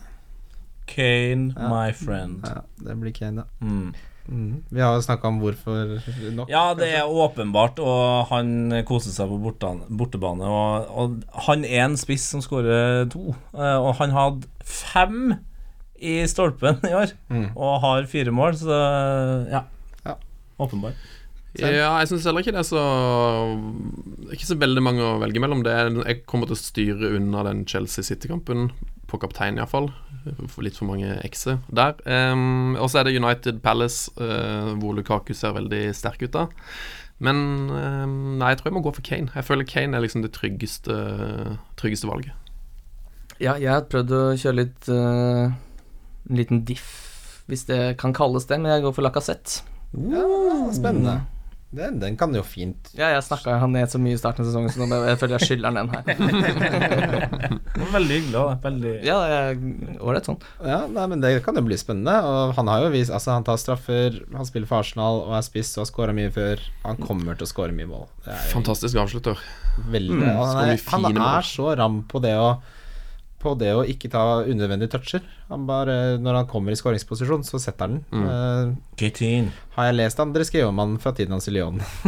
D: Kane,
C: Ja.
D: my friend.
C: Ja, det blir Kane, da.
D: Mm.
C: Mm. Vi har jo snakka om hvorfor nok.
D: Ja, det er åpenbart, og han koser seg på bortan- bortebane. Og, og han er en spiss som skårer to, eh, og han hadde fem i stolpen i år,
C: Mm.
D: og har fire mål, så ja.
C: Ja.
D: Åpenbart.
E: Ja, jeg syns heller ikke det er så Ikke så veldig mange å velge mellom. Det er, jeg kommer til å styre unna den Chelsea City-kampen, på kaptein iallfall. Litt for mange ekser der. Um, og så er det United Palace, eh, hvor Lukaku ser veldig sterk ut da. Men ehm, nei, jeg tror jeg må gå for Kane. Jeg føler Kane er liksom det tryggeste, tryggeste valget.
B: Ja, jeg har prøvd å kjøre litt eh, En liten diff, hvis det kan kalles det, men jeg går for Lacassette.
C: Ja, spennende. Den, den kan jo fint
B: Ja, jeg snakka han ned så mye i starten av sesongen, så nå bare- jeg føler jeg skylder han den her.
D: Det var Veldig hyggelig. da. Veldig
B: Ja, jeg- ålreit sånn.
C: Ja, nei, men Det kan jo bli spennende. Og Han har jo vist, altså han tar straffer, han spiller for Arsenal og er spiss og har skåra mye før. Han kommer til å skåre mye mål. Det er
E: Fantastisk avslutter.
C: veldig, han,
E: skårer mye
C: er,
E: fine
C: han
E: mål.
C: er så ram på det å på det å ikke ta unødvendige toucher. Han bare, når han kommer i skåringsposisjon, så setter han den. Eh,
D: Get in.
C: har jeg lest andre skriver om han fra tiden hans i Lyon.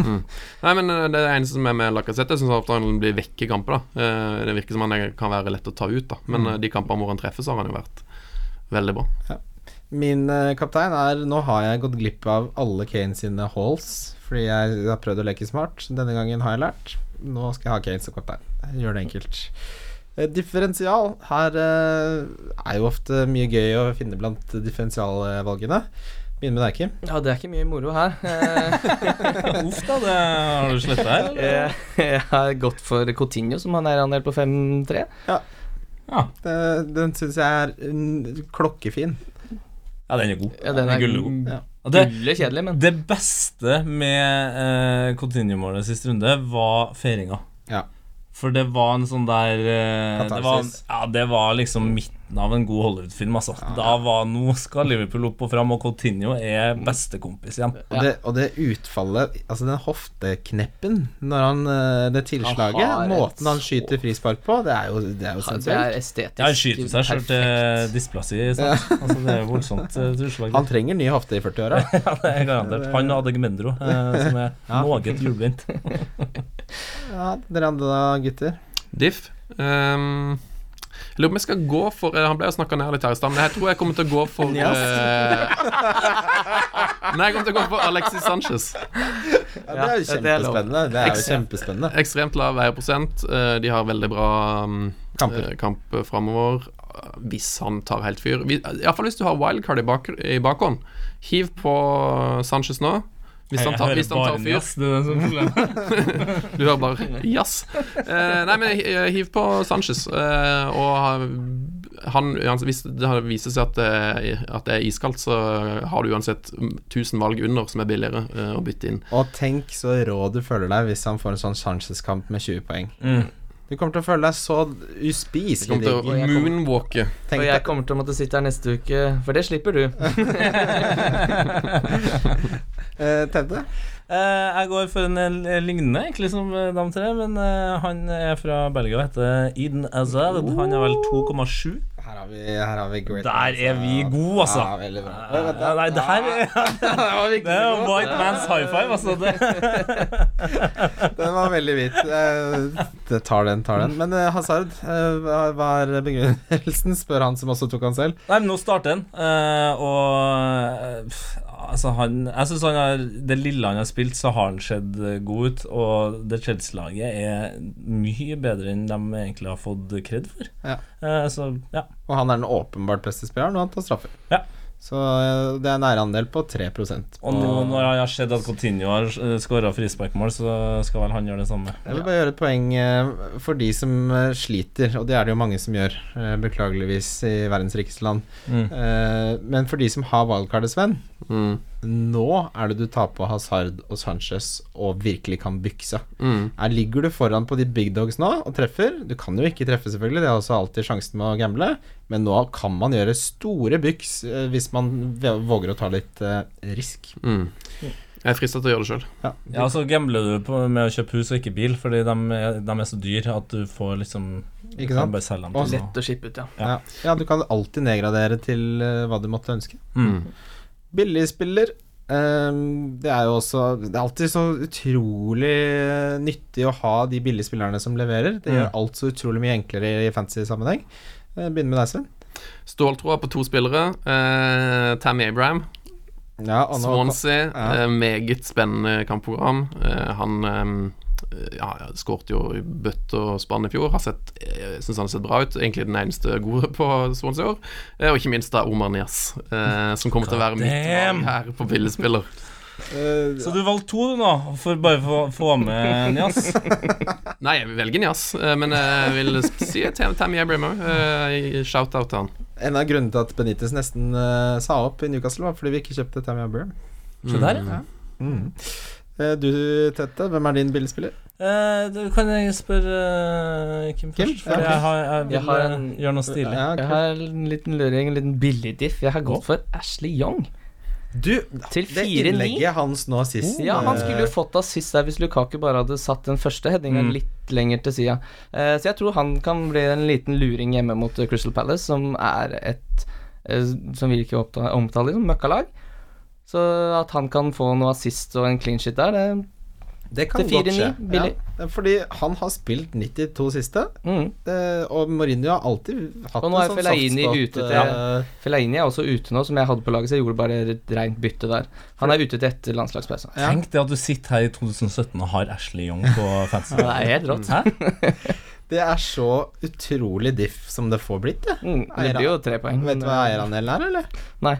E: Nei, men eh, det eneste som er med Lacassette, jeg syns ofte han blir vekk i kamper. da Eh, Det virker som han er- kan være lett å ta ut, da men eh, de kampene hvor han treffer, så har han jo vært veldig bra.
C: Min eh, kaptein er Nå har jeg gått glipp av alle Kane sine halls, fordi jeg har prøvd å leke smart. Denne gangen har jeg lært. Nå skal jeg ha Kane som kaptein. Jeg gjør det enkelt. Eh, Differensial. Her eh, er jo ofte mye gøy å finne blant differensialvalgene. Begynn med deg, Kim.
B: Ja, det er ikke mye moro her. Eh,
D: Uff da, det har du sletta her? eller?
B: Jeg Eh, jeg har gått for Coutinho, som han er andel på 5-3.
D: Ja.
C: Eh, Den syns jeg er mm, klokkefin.
D: ja, den er god.
B: Ja, den er
D: gullgod.
C: Ja.
D: Og det,
B: Gulle kjedelig, men
D: det beste med eh, Coutinho-målet sist runde var feiringa.
C: Ja.
D: For det var en sånn der eh, det var,
C: Katarsis.
D: Ja, det var liksom midten av en god Hollywood-film, altså. Da var Nå skal Liverpool opp og fram, og Coutinho er bestekompis igjen.
C: Og, det, og det utfallet, altså den hoftekneppen når han eh, Det tilslaget,
B: har et
C: måten han
B: så-
C: skyter frispark på, det er jo, det er jo
B: Ja, altså, det
C: sensuelt.
B: er estetisk.
D: Ja, han skyter seg sjøl til
B: perfekt.
D: dysplasi. sant? Altså, det er voldsomt eh, utslag.
C: Han trenger ny hofte i 40-åra.
D: Ja, det er garantert. Han og Adegmendro, eh, som er
C: Ja.
D: noe hjulbeint.
C: Ja, dere andre da, gutter?
E: Diff. ehm, jeg lurer på om jeg skal gå for eh, Han ble jo snakka ned litt her i stad, men jeg tror jeg kommer til å gå for
C: Yes.
E: eh, Nei, jeg kommer til å gå for Alexis Sanchez.
C: Ja,
B: det er jo kjempespennende.
C: Det er
E: jo
C: kjempespennende.
E: Ekstremt lav eierprosent. eh, De har veldig bra mm,
C: Kamper.
E: eh, kamp framover. Hvis han tar helt fyr. Vi- eh, Iallfall hvis du har wildcard i, bak, i bakhånd. Hiv på Sanchez nå. Hvis han tar, hvis han tar fyr
D: det er som problemet.
E: Du hører bare jazz. Eh, nei, men hi- hiv på Sanchez. eh, og han, han, hvis det har- viser seg at det, er- at det er iskaldt, så har du uansett 1000 valg under som er billigere eh, å bytte inn.
C: Og tenk så rå du føler deg hvis han får en sånn Sanchez-kamp med 20 poeng.
D: Mm.
C: Du kommer til å føle deg så
E: Vi
C: uspiselig
E: kommer til
C: digg.
E: å moonwalke.
C: Tenk
B: Og jeg
C: deg-
B: kommer til å måtte sitte her neste uke, for det slipper du.
C: Eh, Tedde?
D: Eh, jeg går for en eh, lignende, egentlig, som eh, de tre, men eh, han er fra Belgia og heter Eden Azad. Han er vel 2,7.
C: Her har vi, her har vi great
D: Der er vi gode, altså.
C: Ja, veldig bra.
D: Eh, Nei, det her er
C: Det var
D: Det er jo white man's high five, altså. Det.
C: Den var veldig hvit. Eh, Det tar den, tar den. Men eh, Hazard, eh, hva hva er begrunnelsen? Spør han som også tok han selv.
D: Nei, men nå starter han, eh, og eh, pff, Altså, han Jeg syns han har Det lille han har spilt, så har han sett eh, god ut, og det Chelsea-laget er mye bedre enn de egentlig har fått kred for.
C: Ja.
D: Eh, så ja.
C: Og han er den åpenbart beste spilleren, og han tar straffer.
D: Ja.
C: Så eh, det er en nærandel på 3
D: Og nå når jeg har sett at Coutinho har skåra frisparkmål, så skal vel han gjøre det samme.
C: Jeg vil bare gjøre et poeng eh, for de som eh, sliter, og det er det jo mange som gjør, eh, beklageligvis, i verdens rikeste land.
D: Mm.
C: Eh, Men for de som har wildcardet, Sven,
E: Mm.
C: nå er det du tar på Hazard og Sanchez og virkelig kan bykse.
E: Mm.
C: Her ligger du foran på de big dogs nå og treffer. Du kan jo ikke treffe, selvfølgelig, det er også alltid sjansen med å gamble, men nå kan man gjøre store byks eh, hvis man v- våger å ta litt eh, risk.
E: Mm. Jeg er frista til å gjøre det sjøl.
C: Ja.
D: Ja, så gambler du på med å kjøpe hus og ikke bil, fordi de er, de er så dyre at du får liksom
C: Ikke
D: kan
C: sant?
D: bare selge dem
C: Og
D: til noe.
B: Lett å shippe ut, ja.
C: Ja. ja, du kan alltid nedgradere til eh, hva du måtte ønske.
D: Mm.
C: Billigspiller. ehm, det er jo også Det er alltid så utrolig eh, nyttig å ha de billige spillerne som leverer. Det gjør
D: Mm.
C: alt så utrolig mye enklere i fantasy-sammenheng. Eh, Begynner med deg, Sven.
E: Ståltroa på to spillere. Eh, Tammy Abraham,
C: Ja, og nå-
E: Swansea.
C: Ja.
E: eh, meget spennende kampprogram. Eh, han eh, ja, skårte jo i bøtte og spann i fjor. Har sett, eh, synes han har sett bra ut. Egentlig den eneste gode på Swansea i år. Eh, og ikke minst da Omar Nias, eh, som kommer til å være mitt
D: Goddamn.
E: valg her på billigspiller.
C: Eh,
D: Så du valgte to, du, nå, for bare å få- få med Nias?
E: Nei, jeg velger Nias, eh, men jeg vil si Tam- Tammy Abraham òg. Eh, Shout-out til han.
C: En av grunnene til at Benitez nesten eh, sa opp i Newcastle, var fordi vi ikke kjøpte Tammy Abraham.
D: Se der,
E: Mm.
D: ja.
C: Eh, du, Tette, hvem er din billedspiller?
D: Eh, du, kan jeg spørre eh, Kim
C: Kim?
D: først? For
C: Ja, ok.
D: jeg, har, jeg vil
B: Jeg har en-
D: eh, gjøre noe stilig.
C: Ja,
B: Jeg
C: kult.
B: har en liten luring, en liten billigdiff. Jeg har gått for Ashley Young.
C: Du,
B: Til
C: det
B: 4-9?
C: innlegget hans nå sist
B: Ja, han
C: eh,
B: skulle jo fått assist der hvis Lukaku bare hadde satt den første headinga
E: Mm.
B: litt lenger til sida. Eh, så jeg tror han kan bli en liten luring hjemme mot eh, Crystal Palace, som er et eh, Som vi ikke oppta- omtaler som møkkalag. Så at han kan få noe assist og en clean shit der, det
C: Det kan
B: til
C: godt
B: 4-9,
C: skje.
B: billig.
C: Ja, fordi han har spilt 92 siste,
B: mm.
C: eh, og Mourinho har alltid hatt
B: Og nå er
C: en sånn
B: Fellaini
C: softspot,
B: ute til-
C: eh,
B: Fellaini er også ute nå, som jeg hadde på laget, så jeg gjorde bare et rent bytte der. Han er ute til etter landslagspausen.
C: Ja.
D: Tenk det at du sitter her i 2017 og har Ashley Young på fansen.
B: Det er helt rått.
D: Hæ?
C: Det er så utrolig diff som det får blitt, det.
B: Mm, det blir jo tre poeng. eh,
C: Vet du hva eierandelen er, eller?
B: Mm. Nei.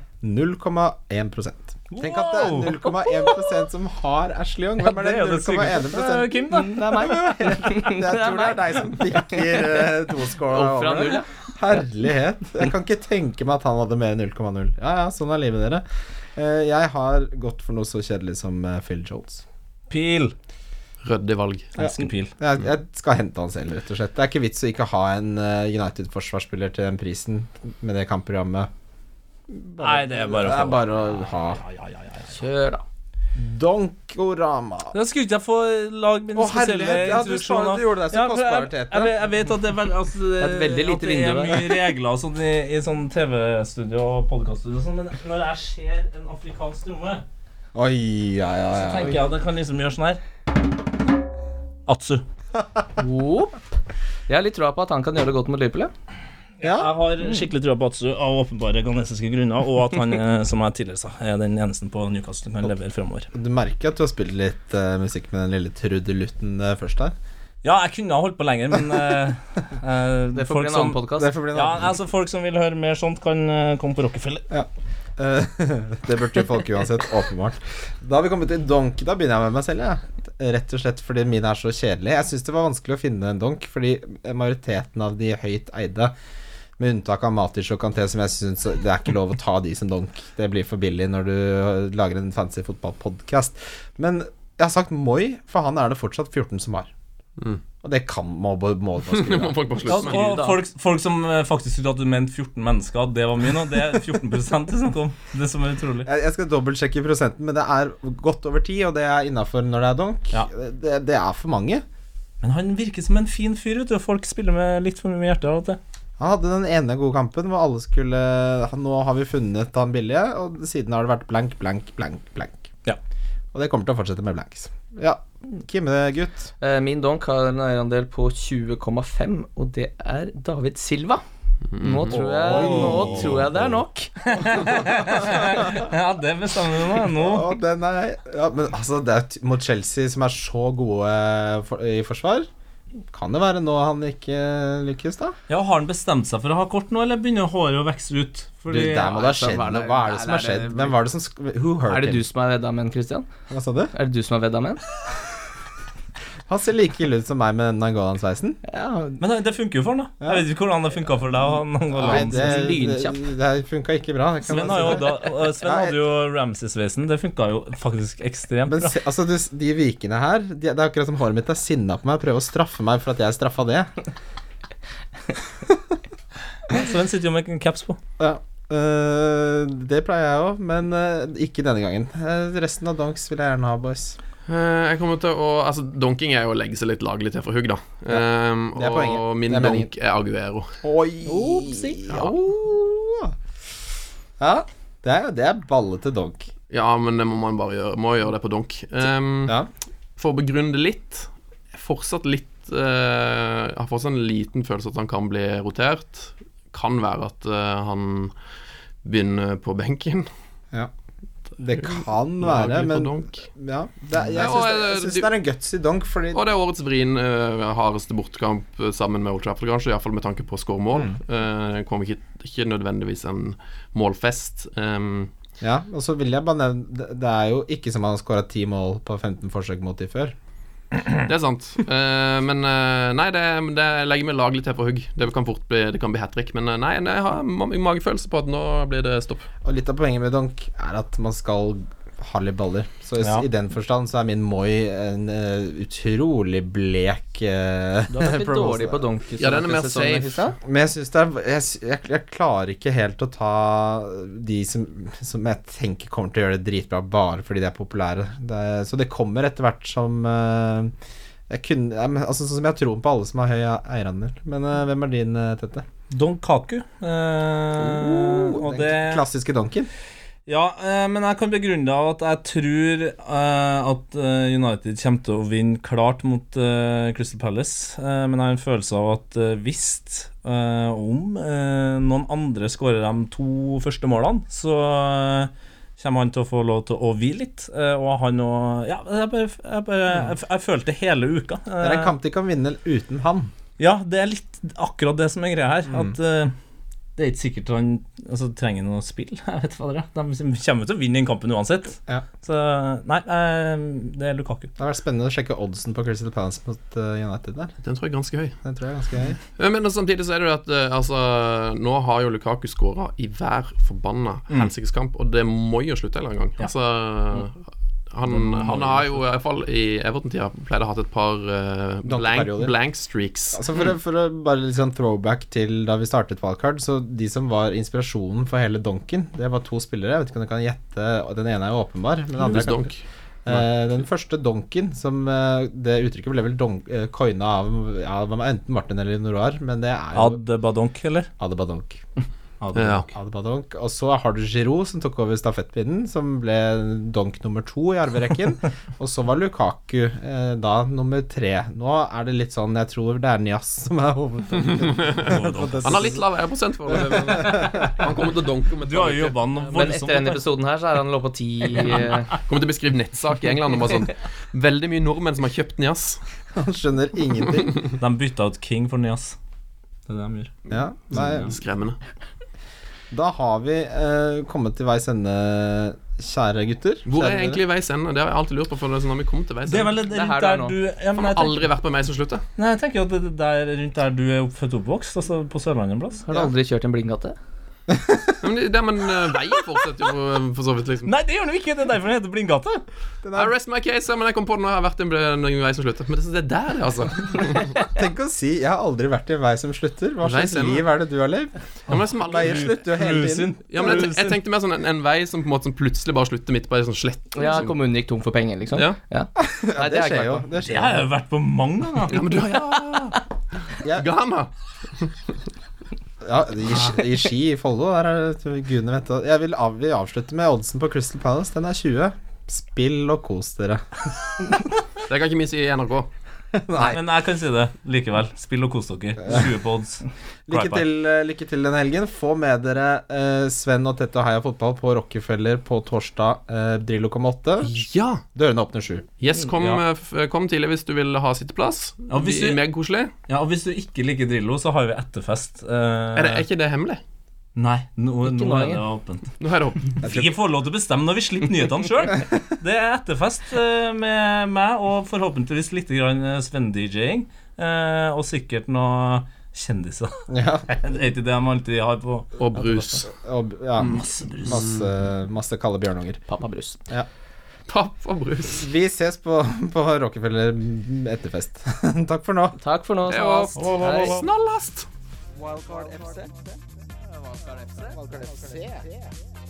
C: 0,1 Tenk at det
D: Wow!
C: er 0,1 som har Ashley Young. Hvem er det?
D: jo det sykeste. Det er
C: 0,1
D: Kim, da.
B: Mm, Det er meg.
C: Jeg tror det er deg som bikker eh, toskåla
B: Opp fra
C: over.
B: null,
C: det. Herlighet. Jeg kan ikke tenke meg at han hadde mer enn 0,0. Ja, ja, sånn er livet, dere. Eh, Jeg har gått for noe så kjedelig som eh, Phil Jones.
D: Pil.
E: Ryddig valg.
D: Jeg elsker pil.
C: Jeg, jeg skal hente han selv, rett og slett. Det er ikke vits å ikke ha en eh, United-forsvarsspiller til den prisen med det kampprogrammet.
D: Nei, det er bare å
C: Det
D: få.
C: er bare å ha
D: Ja, ja, ja, ja.
B: Kjør, da.
C: Donkorama.
D: Da skulle ikke jeg få lag min
C: Å,
D: spesielle
C: herlighet, ja, du
D: introduksjon.
C: sa
D: da.
C: det, du gjorde deg så
D: for
C: kostbar,
D: jeg,
C: Tete.
D: jeg, vet- jeg vet at det er, vel, altså, det
B: er et veldig lite
D: at det er
B: vindu, det.
D: mye regler og sånn i, i sånn TV-studio og podkaststudio og sånn, men når jeg ser en afrikansk tromme,
C: Oi, ja, ja,
D: så
C: ja.
D: tenker jeg at jeg kan liksom gjøre sånn her. Atsu.
B: Opp. Jeg har litt troa på at han kan gjøre det godt mot Liverpool.
C: ja.
B: ja.
D: Jeg har skikkelig trua på Atsu av åpenbare ghanesiske grunner, og at han, eh, som jeg tidligere sa, er den eneste på Newcastle som kan levere framover.
C: Du merker at du har spilt litt eh, musikk med den lille trudelutten eh, først her.
D: Ja, jeg kunne ha holdt på lenger, men eh, eh,
B: Det får
D: folk
B: bli en
D: som-
B: annen podkast.
C: Det får bli en
D: Ja,
C: annen.
D: altså Folk som vil høre mer sånt, kan eh, komme på Rockefeller.
C: Eh, det burde jo folk uansett, åpenbart. Da har vi kommet til donk. Da begynner jeg med meg selv, jeg. Rett og slett fordi mine er så kjedelige. Jeg syns det var vanskelig å finne en donk, fordi majoriteten av de høyt eide, med unntak av Matic og Kanté, som jeg syns det er ikke lov å ta de som donk. Det blir for billig når du øh, lager en fancy fotballpodkast. Men jeg har sagt Moi, for han er det fortsatt 14 som har. Og det kan må, må, må
E: Det må folk bare
D: Ja,
E: slutte med.
D: og folk, folk som eh, faktisk trodde at du mente 14 mennesker, det var mye nå. Det er 14 det snakk om. Det som er utrolig.
C: Jeg, jeg skal dobbeltsjekke prosenten, men det er godt over ti, og det er innafor når det er donk.
D: Ja.
C: Det, det er for mange.
D: Men han virker som en fin fyr, vet du. og Folk spiller med litt for mye hjerte av og til.
C: Han hadde den ene gode kampen hvor alle skulle han- Nå har vi funnet han billige, og siden har det vært blank, blank, blank, blank.
D: Ja.
C: Og det kommer til å fortsette med blanks. Ja. Kimme, gutt.
B: Eh, Min donk har en eierandel på 20,5, og det er David Silva. Nå
E: Mm.
B: tror jeg, nå tror jeg det er nok.
D: Ja, det bestemmer du nå. nå.
C: Og den er Ja, men altså, det er t- mot Chelsea, som er så gode eh, for, i forsvar. Kan det være nå han ikke eh, lykkes, da?
D: Ja, Har han bestemt seg for å ha kort nå, eller begynner håret å vokse ut?
C: Du,
D: Fordi
C: der må det ha
B: altså,
C: skjedd
B: hva er
C: noe.
B: det-
C: Hva er det som har
B: er det-
C: skjedd? Hvem var det som sk- Who hurt
B: Er det du
C: him?
B: som er vedda med en, Christian?
C: Hva sa du?
B: Er det du som er vedda med en?
C: Han ser like ille ut som meg med den Angolan-sveisen.
B: Ja,
D: Men det funker jo for han, da. Jeg vet ikke hvordan det funka for deg. og han går langs.
B: er
C: det,
B: lynkjapp.
C: det funka ikke bra. det kan
D: Sven,
C: man
D: har jo,
C: si.
D: da, og Sven hadde jo Ramsay-sveisen. Det funka jo faktisk ekstremt
C: Men
D: bra.
C: se, altså, du, de vikene her de, Det er akkurat som håret mitt er sinna på meg og prøver å straffe meg for at jeg straffa det.
D: Sven sitter jo med en caps på.
C: Ja. Øh, det pleier jeg òg, men øh, ikke denne gangen. Eh, resten av donks vil jeg gjerne ha, boys.
E: Eh, Jeg kommer til å Altså, donking er jo å legge seg litt laglig til for hugg, da. Ehm,
C: det er poenget.
E: og min
C: Det er meningen.
E: donk er Aguero.
C: Oi!
B: Opsi.
C: Ja. ja. Det er, det er ballete donk.
E: Ja, men det må man bare gjøre. Må gjøre det på donk. Ehm,
C: Ja.
E: For å begrunne det litt jeg er Fortsatt litt eh, Jeg har fortsatt en liten følelse at han kan bli rotert. Kan være at eh, han begynner på benken.
C: Det kan være,
E: Laglig på
C: men
E: donk.
C: ja, det, er-
E: Ja,
C: Jeg syns
E: og,
C: det,
E: eh,
C: jeg syns
E: du-
C: det er en gutsy donk, fordi
E: Og det er årets vrien eh, hardeste bortekamp eh, sammen med Old Trafford, kanskje. Iallfall med tanke på å skåre mål. Eh, Det kom ikke, ikke nødvendigvis en målfest. Ehm,
C: Ja, og så vil jeg bare nevne Det, det er jo ikke som han har skåra ti mål på 15 forsøk mot de før.
E: det er sant. Eh, men eh, nei, det, det legger meg laglig til for hugg. Det kan fort bli, det kan bli hat trick. Men eh, nei, nei, jeg har ma- magefølelse på at nå blir det stopp.
C: Og litt av poenget med donk er at man skal Harley baller. Så i, s-
D: Ja.
C: i den forstand så er min Moi en eh, utrolig blek eh,
B: Du har vært litt
C: proposal.
B: dårlig på Donkey
E: Ja, den er mer safe.
B: Kong-sesongen, Christian.
C: Men jeg synes det er jeg, sy- jeg, jeg klarer ikke helt å ta de som, som jeg tenker kommer til å gjøre det dritbra bare fordi de er populære. Det, er- så det kommer etter hvert som eh, jeg kunne, ja, men altså, Sånn som jeg har troen på alle som har høy eierandel. Men eh, hvem er din, eh, Tette?
D: Don Kaku. eh, og
C: Oh, Den
D: det
C: klassiske donken?
D: Ja, eh, men jeg kan begrunne det av at jeg tror eh, at eh, United kommer til å vinne klart mot eh, Crystal Palace. Eh, men jeg har en følelse av at eh, hvis eh, om eh, noen andre skårer de to første målene, så eh, kommer han til å få lov til å hvile litt. Eh, og han og Ja, jeg, bare, jeg, bare, jeg, f- jeg følte det hele uka.
C: Det er
D: Eh,
C: en kamp de kan vinne uten han.
D: ja, det er litt akkurat det som er greia her. At eh, det er ikke sikkert han altså, trenger noe spill. Jeg vet hva det er. De kommer til å vinne den kampen uansett.
C: Ja.
D: Så nei, eh, det er Lukaku.
C: Det har vært spennende å sjekke oddsen på Crystal Palace mot eh, United der.
E: Den tror jeg er ganske høy.
C: Den tror jeg er ganske høy.
E: Ja, Men samtidig så er det jo at eh, altså, nå har jo Lukaku skåra i hver forbanna helsikes kamp, og det må jo slutte en eller annen gang.
D: Ja.
E: Altså, han, han har jo i hvert fall i Everton-tida pleide å ha hatt et par eh, blank,
C: Dankeperioder.
E: blank streaks.
C: Altså for, å, for å bare litt sånn throwback til da vi startet Wildcard, så de som var inspirasjonen for hele donken, det var to spillere. Jeg vet ikke om du kan gjette. og Den ene er jo åpenbar. Men den, andre
E: Louis
C: er kanskje-
E: Dunk.
C: Eh, den første donken, som eh, det uttrykket ble vel donk, eh, coina av ja, det var enten Martin eller Norar, men det er jo
D: Ad Badonk, eller?
C: Adebadonk.
E: Ja.
C: Adebadonk. Og så har du Giroud, som tok over stafettpinnen, som ble donk nummer to i arverekken. og så var Lukaku eh, da nummer tre. Nå er det litt sånn, jeg tror det er Nias som er hoveddonken.
E: Han har litt lav eierprosent for det. men Han kommer til å donke om et
D: Du har jo
E: par uker.
D: jobba noe
B: Men etter denne episoden her, så er han lå på ti eh,
E: Kommer til å beskrive nettsak i England om bare sånn Veldig mye nordmenn som har kjøpt den, jazz.
C: Han skjønner ingenting.
D: De bytta ut King for Nias. Det er det de gjør.
C: Ja, nei,
E: Skremmende.
C: da har vi eh, kommet til veis ende, kjære gutter.
E: Hvor er
C: Kjære
E: egentlig veis ende? Det har jeg alltid lurt på. For det er sånn, når vi kom til veis
D: Det er
E: ende
D: vel rundt
B: her du er
D: der
B: nå.
D: du ja, men jeg, tenker,
E: Aldri vært på meg som slutter.
D: nei, jeg tenker jo at det det der rundt der du er opp- født og oppvokst, altså på Sørlandet en plass.
B: Har du aldri kjørt en blindgate?
E: Men det, det, men eh, veien fortsetter jo eh, for så vidt, liksom.
D: Nei, det gjør den jo ikke! Det er derfor den heter Blindgate.
E: I rest my case, ja, men jeg kom på det når jeg har vært en, en vei som slutter. Men det, det er der, det, altså.
C: Tenk å si 'jeg har aldri vært i en vei som slutter'. Hva
E: Veis
C: slags
E: ende.
C: liv er det du har levd?
E: Ja, men, det er som aldri,
C: Veier slutter jo hele tiden.
E: ja, men jeg, te- jeg tenkte mer sånn en, en vei som på en måte som plutselig bare slutter midt på ei sånn slett.
B: Ja,
E: liksom.
B: kommunen gikk tom for penger, liksom.
E: Ja.
B: Nei,
C: Det
B: har jeg ikke
C: skjer jo.
B: vært på.
C: Det
D: Det
C: skjer.
D: har jeg jo vært på mange ganger.
E: ja, men du har ja.
C: Jeg-
E: Ghana.
C: Ja, i, Sk- I Ski i Follo. Der er det gudene vet det. Jeg vil av, vi avslutte med oddsen på Crystal Palace. Den er 20. Spill og kos dere.
E: Det kan ikke vi si i NRK.
C: Nei.
D: Men jeg kan si det likevel. Spill og kos dere. 20 på odds.
C: Lykke til, eh, lykke til den helgen. Få med dere eh, Sven og Tette og Heia Fotball på Rockefeller på torsdag. Eh, Drillo kom åtte.
E: Ja.
C: Dørene åpner sju.
E: Yes, kom,
D: Ja.
E: eh, f- kom tidlig hvis du vil ha sitteplass.
D: Ja, hvis
E: Vi-
D: du-
E: Megakoselig.
D: Ja, og hvis du ikke liker Drillo, så har vi etterfest. eh,
E: Er, det- er ikke det hemmelig?
D: Nei, nå, nå
B: nå
D: er det
B: lenger.
D: åpent.
E: Nå er det opp.
D: Vi får lov til å bestemme når vi slipper nyhetene sjøl. Det er etterfest eh, med meg og forhåpentligvis litt eh, Sven-DJ-ing. eh, Og sikkert noen kjendiser.
C: Ja.
D: Det er ikke det de alltid har på
E: Og brus.
C: Og, ja.
D: masse brus.
C: Masse, masse kalde bjørnunger.
B: Pappa Brus.
E: Papp og brus.
C: Vi ses på, på Rockefeller etterfest. Takk for nå.
B: Takk for nå.
E: Det var
B: Salast. Hei.
E: snallast.
A: Wildcard FC.
C: Wildcard FC.